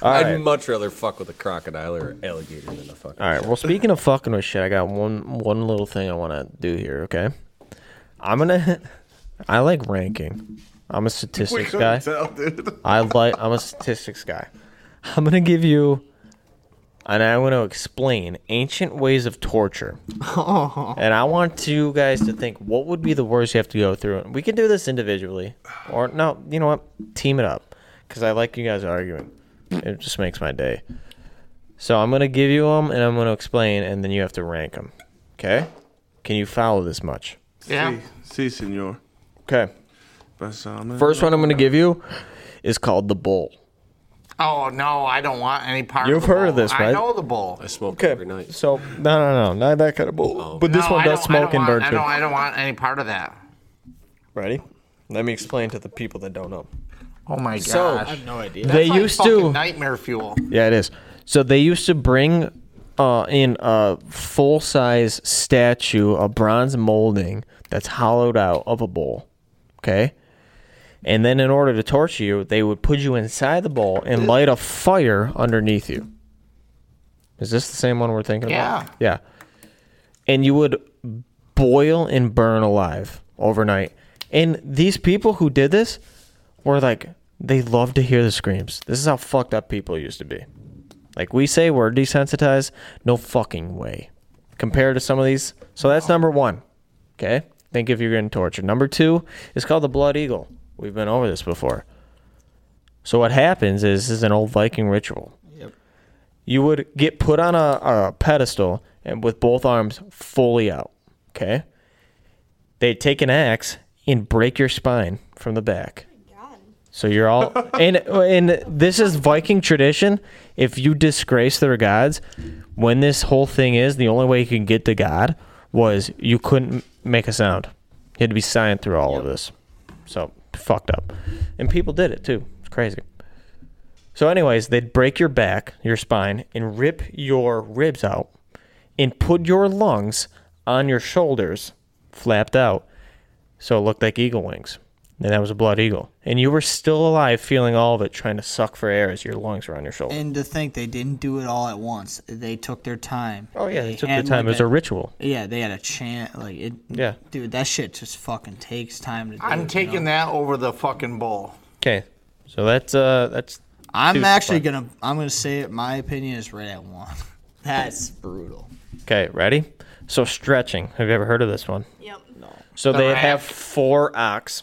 All I'd right, much rather fuck with a crocodile or alligator than a fucking. all right. Well, speaking of fucking with shit, I got one one little thing I want to do here. Okay, I'm gonna. I like ranking. I'm a We statistics couldn't guy. tell, dude. I like. I'm a statistics guy. I'm gonna give you, and I'm gonna explain ancient ways of torture. And I want you guys to think what would be the worst you have to go through. We can do this individually, or no, you know what? Team it up, because I like you guys arguing. It just makes my day. So I'm gonna give you them, and I'm gonna explain, and then you have to rank them. Okay? Can you follow this much? Yeah. Si, si, senor. Okay. Balsamic. First one I'm gonna give you is called the bull. Oh no, I don't want any part. You've of the heard of bowl. this, I right? know the bowl. I smoke every night. Oh. So no, no, no, not that kind of bull. But this No, one I does don't- I don't smoke and want- burn I too. don't. I don't want any part of that. Ready? Let me explain to the people that don't know. Oh my gosh. So- I have no idea. they used to. nightmare fuel. Yeah, it is. So they used to bring uh, in a full size statue, a bronze molding that's hollowed out of a bowl. Okay? And then in order to torture you, they would put you inside the bowl and light a fire underneath you. Is this the same one we're thinking Yeah. about? Yeah. And you would boil and burn alive overnight. And these people who did this were like, they love to hear the screams. This is how fucked up people used to be. Like we say, we're desensitized. No fucking way. Compared to some of these. So that's number one. Okay? Think if you're getting tortured. Number two is called the Blood Eagle. We've been over this before. So what happens is this is an old Viking ritual. Yep. You would get put on a, a pedestal and with both arms fully out. Okay? They'd take an axe and break your spine from the back. God. So you're all and and this is Viking tradition. If you disgrace their gods, when this whole thing is, the only way you could get to God was you couldn't m- make a sound. You had to be silent through all of this. So fucked up. And people did it too. It's crazy. So anyways, they'd break your back, your spine, and rip your ribs out and put your lungs on your shoulders, flapped out, so it looked like eagle wings. And that was a blood eagle. And you were still alive, feeling all of it, trying to suck for air as your lungs were on your shoulder. And to think they didn't do it all at once. They took their time. oh, yeah, they took their had, time. It like, was a ritual. Yeah, they had a chant. Like it. Yeah. Dude, that shit just fucking takes time to do. I'm it, you know? taking that over the fucking bowl. Okay. So that's, uh, that's, I'm Dude, actually fuck. gonna. I'm gonna say it. My opinion is right at one. That's brutal. okay, ready? So stretching. Have you ever heard of this one? Yep. No. So they rack. have four ox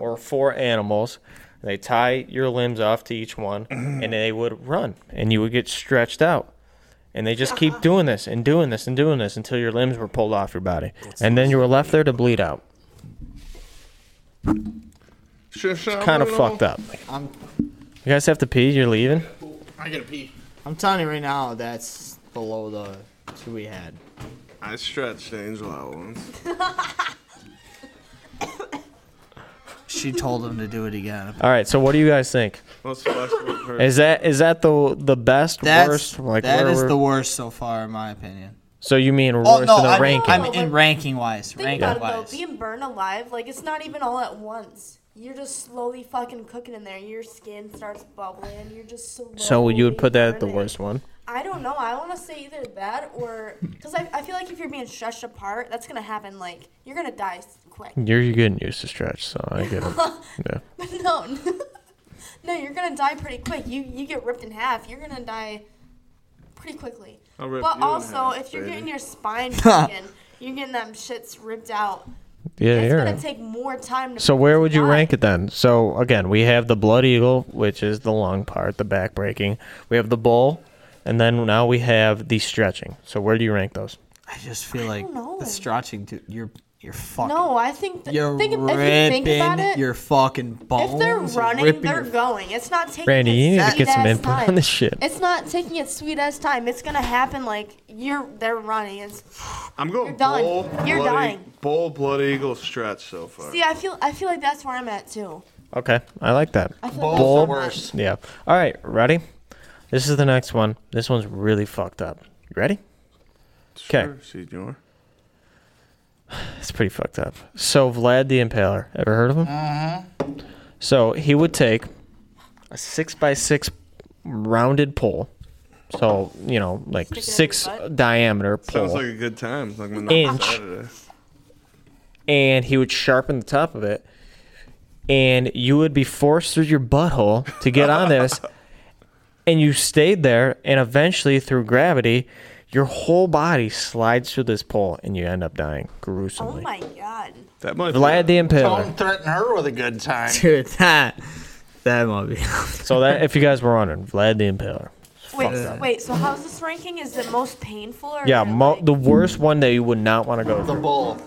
or four animals. They tie your limbs off to each one and they would run and you would get stretched out. And they just keep doing this and doing this and doing this until your limbs were pulled off your body. And then you were left there to bleed out. Kind of fucked up. I'm- You guys have to pee, you're leaving? I gotta pee. I'm telling you right now, that's below the two we had. I stretched Angel out once. She told him to do it again. Alright, so what do you guys think? Most flexible person. Is that is that the the best That's worst? that where is we're- the worst so far, in my opinion. So you mean worse Oh no, than a I mean, ranking? I mean, in ranking wise, Think ranking about it wise. though, being burned alive, like it's not even all at once. You're just slowly fucking cooking in there. Your skin starts bubbling. You're just slowly. so you would put that at the burning. worst one. I don't know. I want to say either that or because I, I feel like if you're being stretched apart, that's gonna happen. Like you're gonna die s- quick. You're getting used to stretch, so I get it. yeah. no, no, you're gonna die pretty quick. You you get ripped in half. You're gonna die pretty quickly. I'll rip you But in also, half, if you're baby. getting your spine broken, you're getting them shits ripped out. Yeah, It's you're gonna right. take more time to. So where would you die. rank it then? So again, we have the blood eagle, which is the long part, the back breaking. We have the bull, and then now we have the stretching. So where do you rank those? I just feel like know. the stretching. Dude, you're You're fucking. No, I think th- You're think if, ripping if you think about it, your fucking bones. if they're and running, ripping they're your- going. It's not taking. Randy, its you need to sweet get some ass input time. on this shit. It's not taking its sweet ass time. It's gonna happen like you're. They're running. It's I'm going You're done. bull, You're bloody, dying. bull, blood eagle stretch so far. see. I feel. I feel like that's where I'm at too. Okay, I like that. I feel like Bulls are that's where I'm worse. Yeah. All right, ready? This is the next one. This one's really fucked up. You ready? Okay. Sure, senor. It's pretty fucked up. So Vlad the Impaler, ever heard of him? Uh-huh. Mm-hmm. So he would take a six by six rounded pole, so you know, like Stick it in six your butt? diameter pole, Sounds like a good time. It's like my Inch. Saturday. and he would sharpen the top of it, and you would be forced through your butthole to get on this, and you stayed there, and eventually through gravity. Your whole body slides through this pole and you end up dying at. gruesomely. Oh my god. That might Vlad the Impaler. Don't threaten her with a good time. Dude, that that might be. So that, if you guys were wondering, Vlad the Impaler. Wait. So, wait. So how's this ranking? Is it most painful or? Yeah, is it, mo- like- the worst one that you would not want to go The through. bull.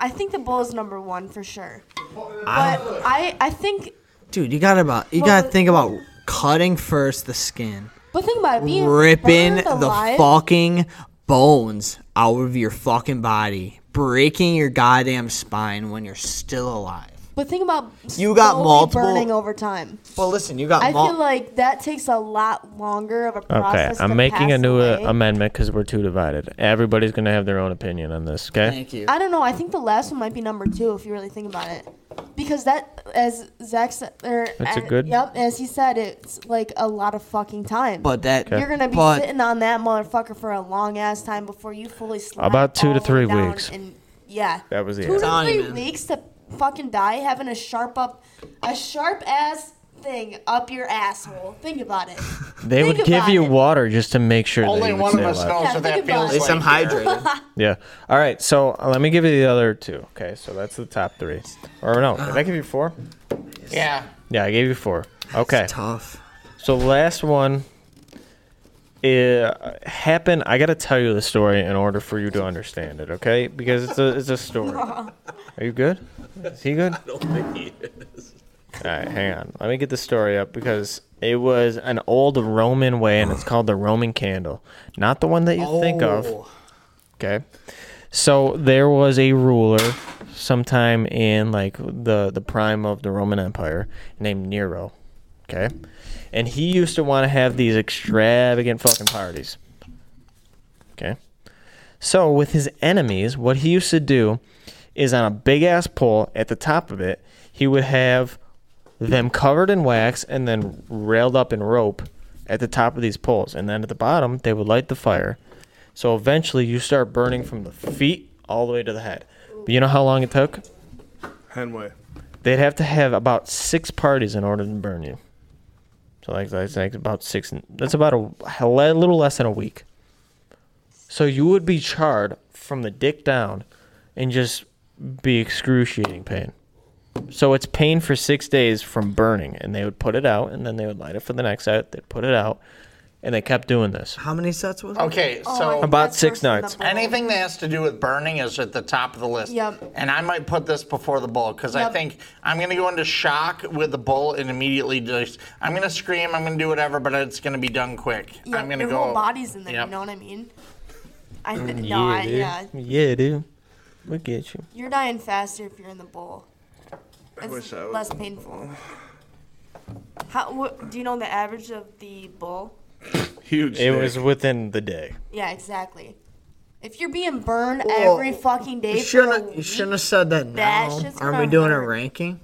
I think the bull is number one for sure. But I. I think. Dude, you gotta about you Well, gotta the- think about cutting first the skin, But think about it. Being ripping burned the alive- fucking bones out of your fucking body, breaking your goddamn spine when you're still alive. But think about You got slowly multiple- burning over time. Well, listen, you got. I mul- feel like that takes a lot longer of a Okay, process. I'm to making a pass new uh, away. amendment because we're too divided. Everybody's going to have their own opinion on this, okay? Thank you. I don't know. I think the last one might be number two if you really think about it, because that, as Zach said, or That's a uh, good- Yep, as he said, it's like a lot of fucking time. But that you're gonna be but sitting on that motherfucker for a long ass time before you fully slide About two to all the way three down weeks. And yeah, That was the two end. to Time, three man. weeks to fucking die having a sharp up, a sharp ass thing up your asshole. Think about it. They Think would give about you it. water just to make sure that Only you would one of stay us alive. knows Yeah, what that think about feels it. like. at least I'm hydrated. Yeah. All right, so uh, let me give you the other two. Okay, so that's the top three. Or no, did I give you four? Yeah. Yeah, I gave you four. Okay, Tough. so the last one it happened. I got to tell you the story in order for you to understand it, okay? Because it's a, it's a story. Are you good? Is he good? I don't think he is. All right, hang on. Let me get the story up because it was an old Roman way, and it's called the Roman candle, not the one that you think of. Okay. So there was a ruler sometime in like the the prime of the Roman Empire named Nero. Okay. And he used to want to have these extravagant fucking parties. Okay. So with his enemies, what he used to do is on a big ass pole at the top of it, he would have them covered in wax and then railed up in rope at the top of these poles. And then at the bottom, they would light the fire. So eventually, you start burning from the feet all the way to the head. But you know how long it took? Henway. They'd have to have about six parties in order to burn you. So like that's like about six. That's about a, a little less than a week. So you would be charred from the dick down, and just be excruciating pain. So it's pain for six days from burning, and they would put it out, and then they would light it for the next out. They'd put it out, and they kept doing this. How many sets was? it? Okay, Oh, I so think About that's six worse than the nights. bull. anything that has to do with burning is at the top of the list. Uh-huh. Yep. And I might put this before the bull because I Yep. think I'm going to go into shock with the bull and immediately just I'm going to scream, I'm going to do whatever, but it's going to be done quick. Yeah, I'm going to your go. whole body's in there. Yep. You know what I mean? I Mm, th- no, I, yeah. yeah, dude. We get you. You're dying faster if you're in the bowl. It's wish I was less painful. How? What, do you know the average of the bowl? Huge. It dick. was within the day. Yeah, exactly. If you're being burned every fucking day You for a shouldn't. You week- shouldn't have said that That now. shit's Aren't gonna we doing a hurt. ranking?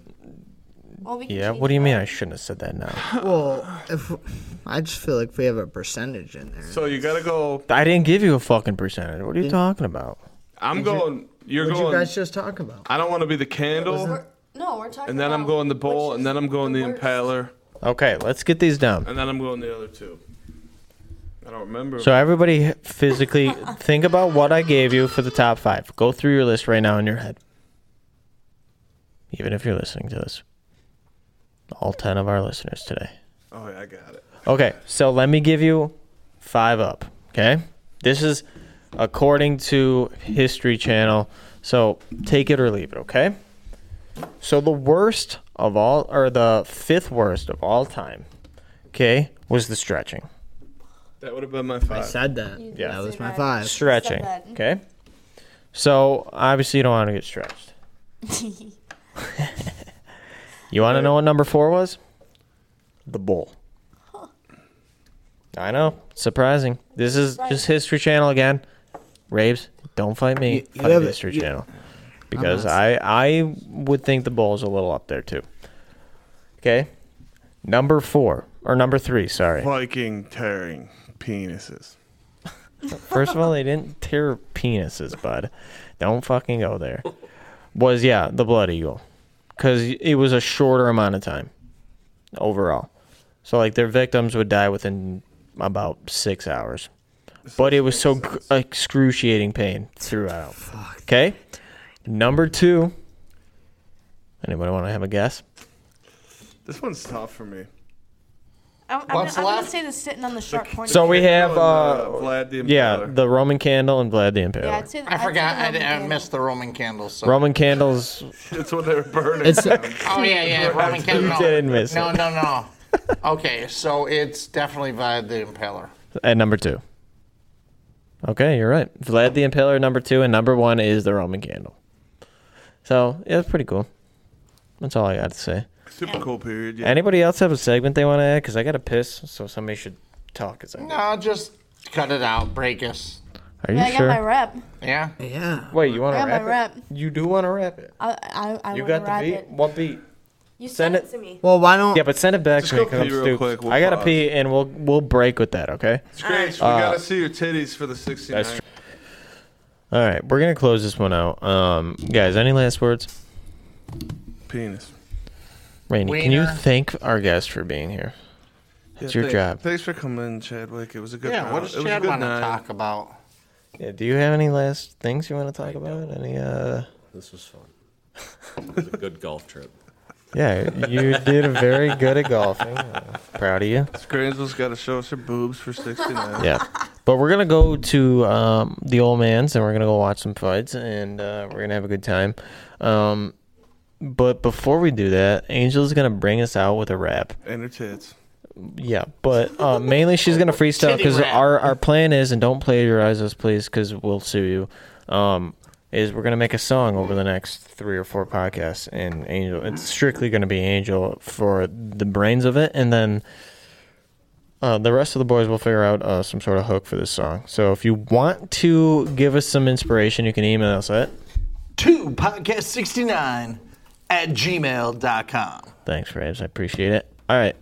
Well, we can Yeah. change What do you it mean? up. I shouldn't have said that now. Well, if I just feel like we have a percentage in there. So you gotta go. I didn't give you a fucking percentage. What are you talking about? I'm going. You're What did you going. guys just talk about? I don't want to be the candle, We're- no, we're talking. and then I'm about going the bowl, which and then is I'm going the worst. impaler, Okay, let's get these down. and then I'm going the other two. I don't remember. So everybody physically think about what I gave you for the top 5. Go through your list right now in your head. Even if you're listening to this. All 10 of our listeners today. oh yeah, I got it. Okay, so let me give you 5 up, okay? This is according to History Channel So take it or leave it, okay? So the worst of all, or the fifth worst of all time, okay, was the stretching. That would have been my five. Said that. You Yeah. That was said my that. five. Stretching, that. okay? So obviously you don't want to get stretched. You want to know what number four was? The bowl. I know, surprising. This is just History Channel again. Raves, don't fight me. You- you fight have- History you- Channel because not- I I would think the bowl's a little up there too. Okay, number four or number three. Sorry. Viking tearing penises. First of all, they didn't tear penises, bud. Don't fucking go there. Was yeah, the blood eagle, because it was a shorter amount of time overall. So like their victims would die within about six hours, but it was so gr- excruciating pain throughout. Okay, number two. Anybody want to have a guess? This one's tough for me. I'm, I'm, gonna, What's I'm gonna left? say the sitting on the sharp point. So of we it. have uh, Vlad the yeah, Impaler. the Roman candle and Vlad the Impaler. Yeah, I'd say the, I forgot. I, I'd say did- the I Roman missed the Roman candles. So. Roman candles. That's what they were burning. It's Oh yeah, yeah. Roman candles. You didn't miss No, it. no, no. Okay, so it's definitely by the Impaler. At number two. Okay, you're right. Vlad the Impaler number two, and number one is the Roman candle. So yeah, it's pretty cool. That's all I got to say. Super cool period. Yeah. Anybody else have a segment they want to add? Because I got to piss, so somebody should talk. Is that No, just cut it out. Break us. Are you Yeah, I got sure? my rep. Yeah. yeah. Wait, you want I to got wrap my it? rep. You do want to wrap it. I I, I you wanna got wrap the beat. It. What beat? You Send sent it- it to me. Well, why don't? Yeah, but send it back Just to me. go 'cause I'm pee real stupid. quick, we'll I gotta pause. pee, and we'll we'll break with that. Okay. Scratch, we gotta see your titties for the 69. uh, That's true. All right, we're gonna close this one out. Um, guys, any last words? Penis. Rainey, can you Wiener. thank our guest for being here? It's your thank- job. Thanks for coming in, Chadwick. It was a good Yeah. round. What does it was Chad a good want to night. talk about? Yeah, do you have any last things you want to talk about? Any uh This was fun. It was a good golf trip. Yeah, you did very good at golfing. Uh, proud of you. Scranzel's gotta show us her boobs for 69. Yeah. But we're going to go to um, the old man's and we're going to go watch some fights and uh, we're going to have a good time. Um, but before we do that, Angel's going to bring us out with a rap. And her tits. Yeah, but uh, mainly she's gonna freestyle Titty because rap. our our plan is, and don't plagiarize us, please, because we'll sue you. Um, is we're gonna make a song over the next three or four podcasts, and Angel, it's strictly gonna be Angel for the brains of it, and then uh, the rest of the boys will figure out uh, some sort of hook for this song. So if you want to give us some inspiration, you can email us at Two podcast sixty nine at gmail.com. Thanks, Raves. I appreciate it. All right.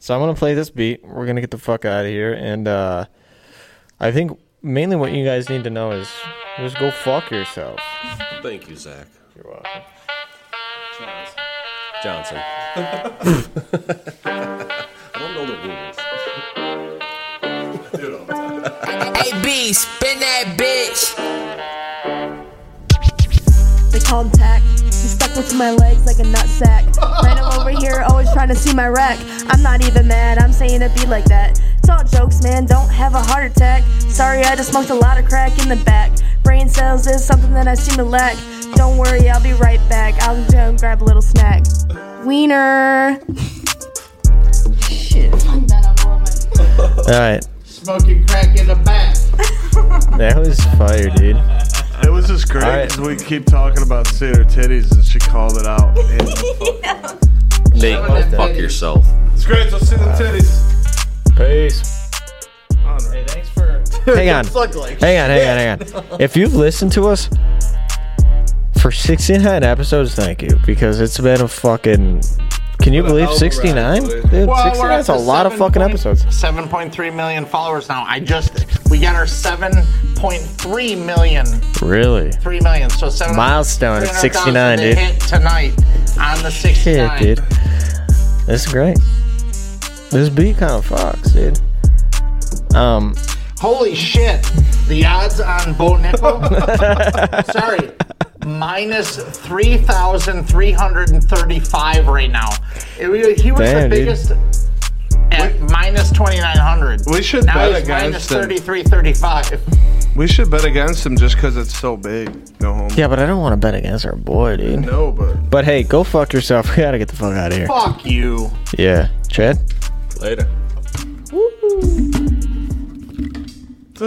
So I'm going to play this beat. We're going to get the fuck out of here. And uh, I think mainly what you guys need to know is just go fuck yourself. Thank you, Zach You're welcome. Johnson. I don't know the rules. AB, spin that bitch. They call him Tack. He's stuck between my legs like a nut sack. Ran him over here, always trying to see my rack. I'm not even mad, I'm saying it be like that. It's all jokes, man, don't have a heart attack. Sorry, I just smoked a lot of crack in the back. Brain cells is something that I seem to lack. Don't worry, I'll be right back. I'll go grab a little snack. Wiener. Shit. I'm done, I'm blowing my All right. Smoking crack in the back. That was fire, dude. It was just great Alright. 'cause we keep talking about seeing her titties and she called it out. Nate, go fuck yourself. Scranzel, see the titties. Peace. Honor. Thanks for. Hang on. Hang on, hang on, hang on. If you've listened to us for 69 episodes, thank you. Because it's been a fucking. Can you What a believe hell of a ride, 69? boy. Dude, 69 is a lot of fucking episodes. Seven point three million followers now. I just we got our seven point three million. Really? Three million. So seven Milestone at 300,000 69, they dude. Hit tonight on the sixty Shit, nine. dude. This is great. This beat kind of fucks, dude. Um, Holy shit. The odds on Bo Nickel. Sorry. Minus 3,335 right now. It- he was the Damn, dude. biggest at minus 2,900. We should now bet he's minus against him. 33.35. We should bet against him just because it's so big. Go home. Yeah, but I don't want to bet against our boy, dude. No, but. But hey, go fuck yourself. We gotta get the fuck out of here. Fuck you. Yeah, Chad. Later. Woo.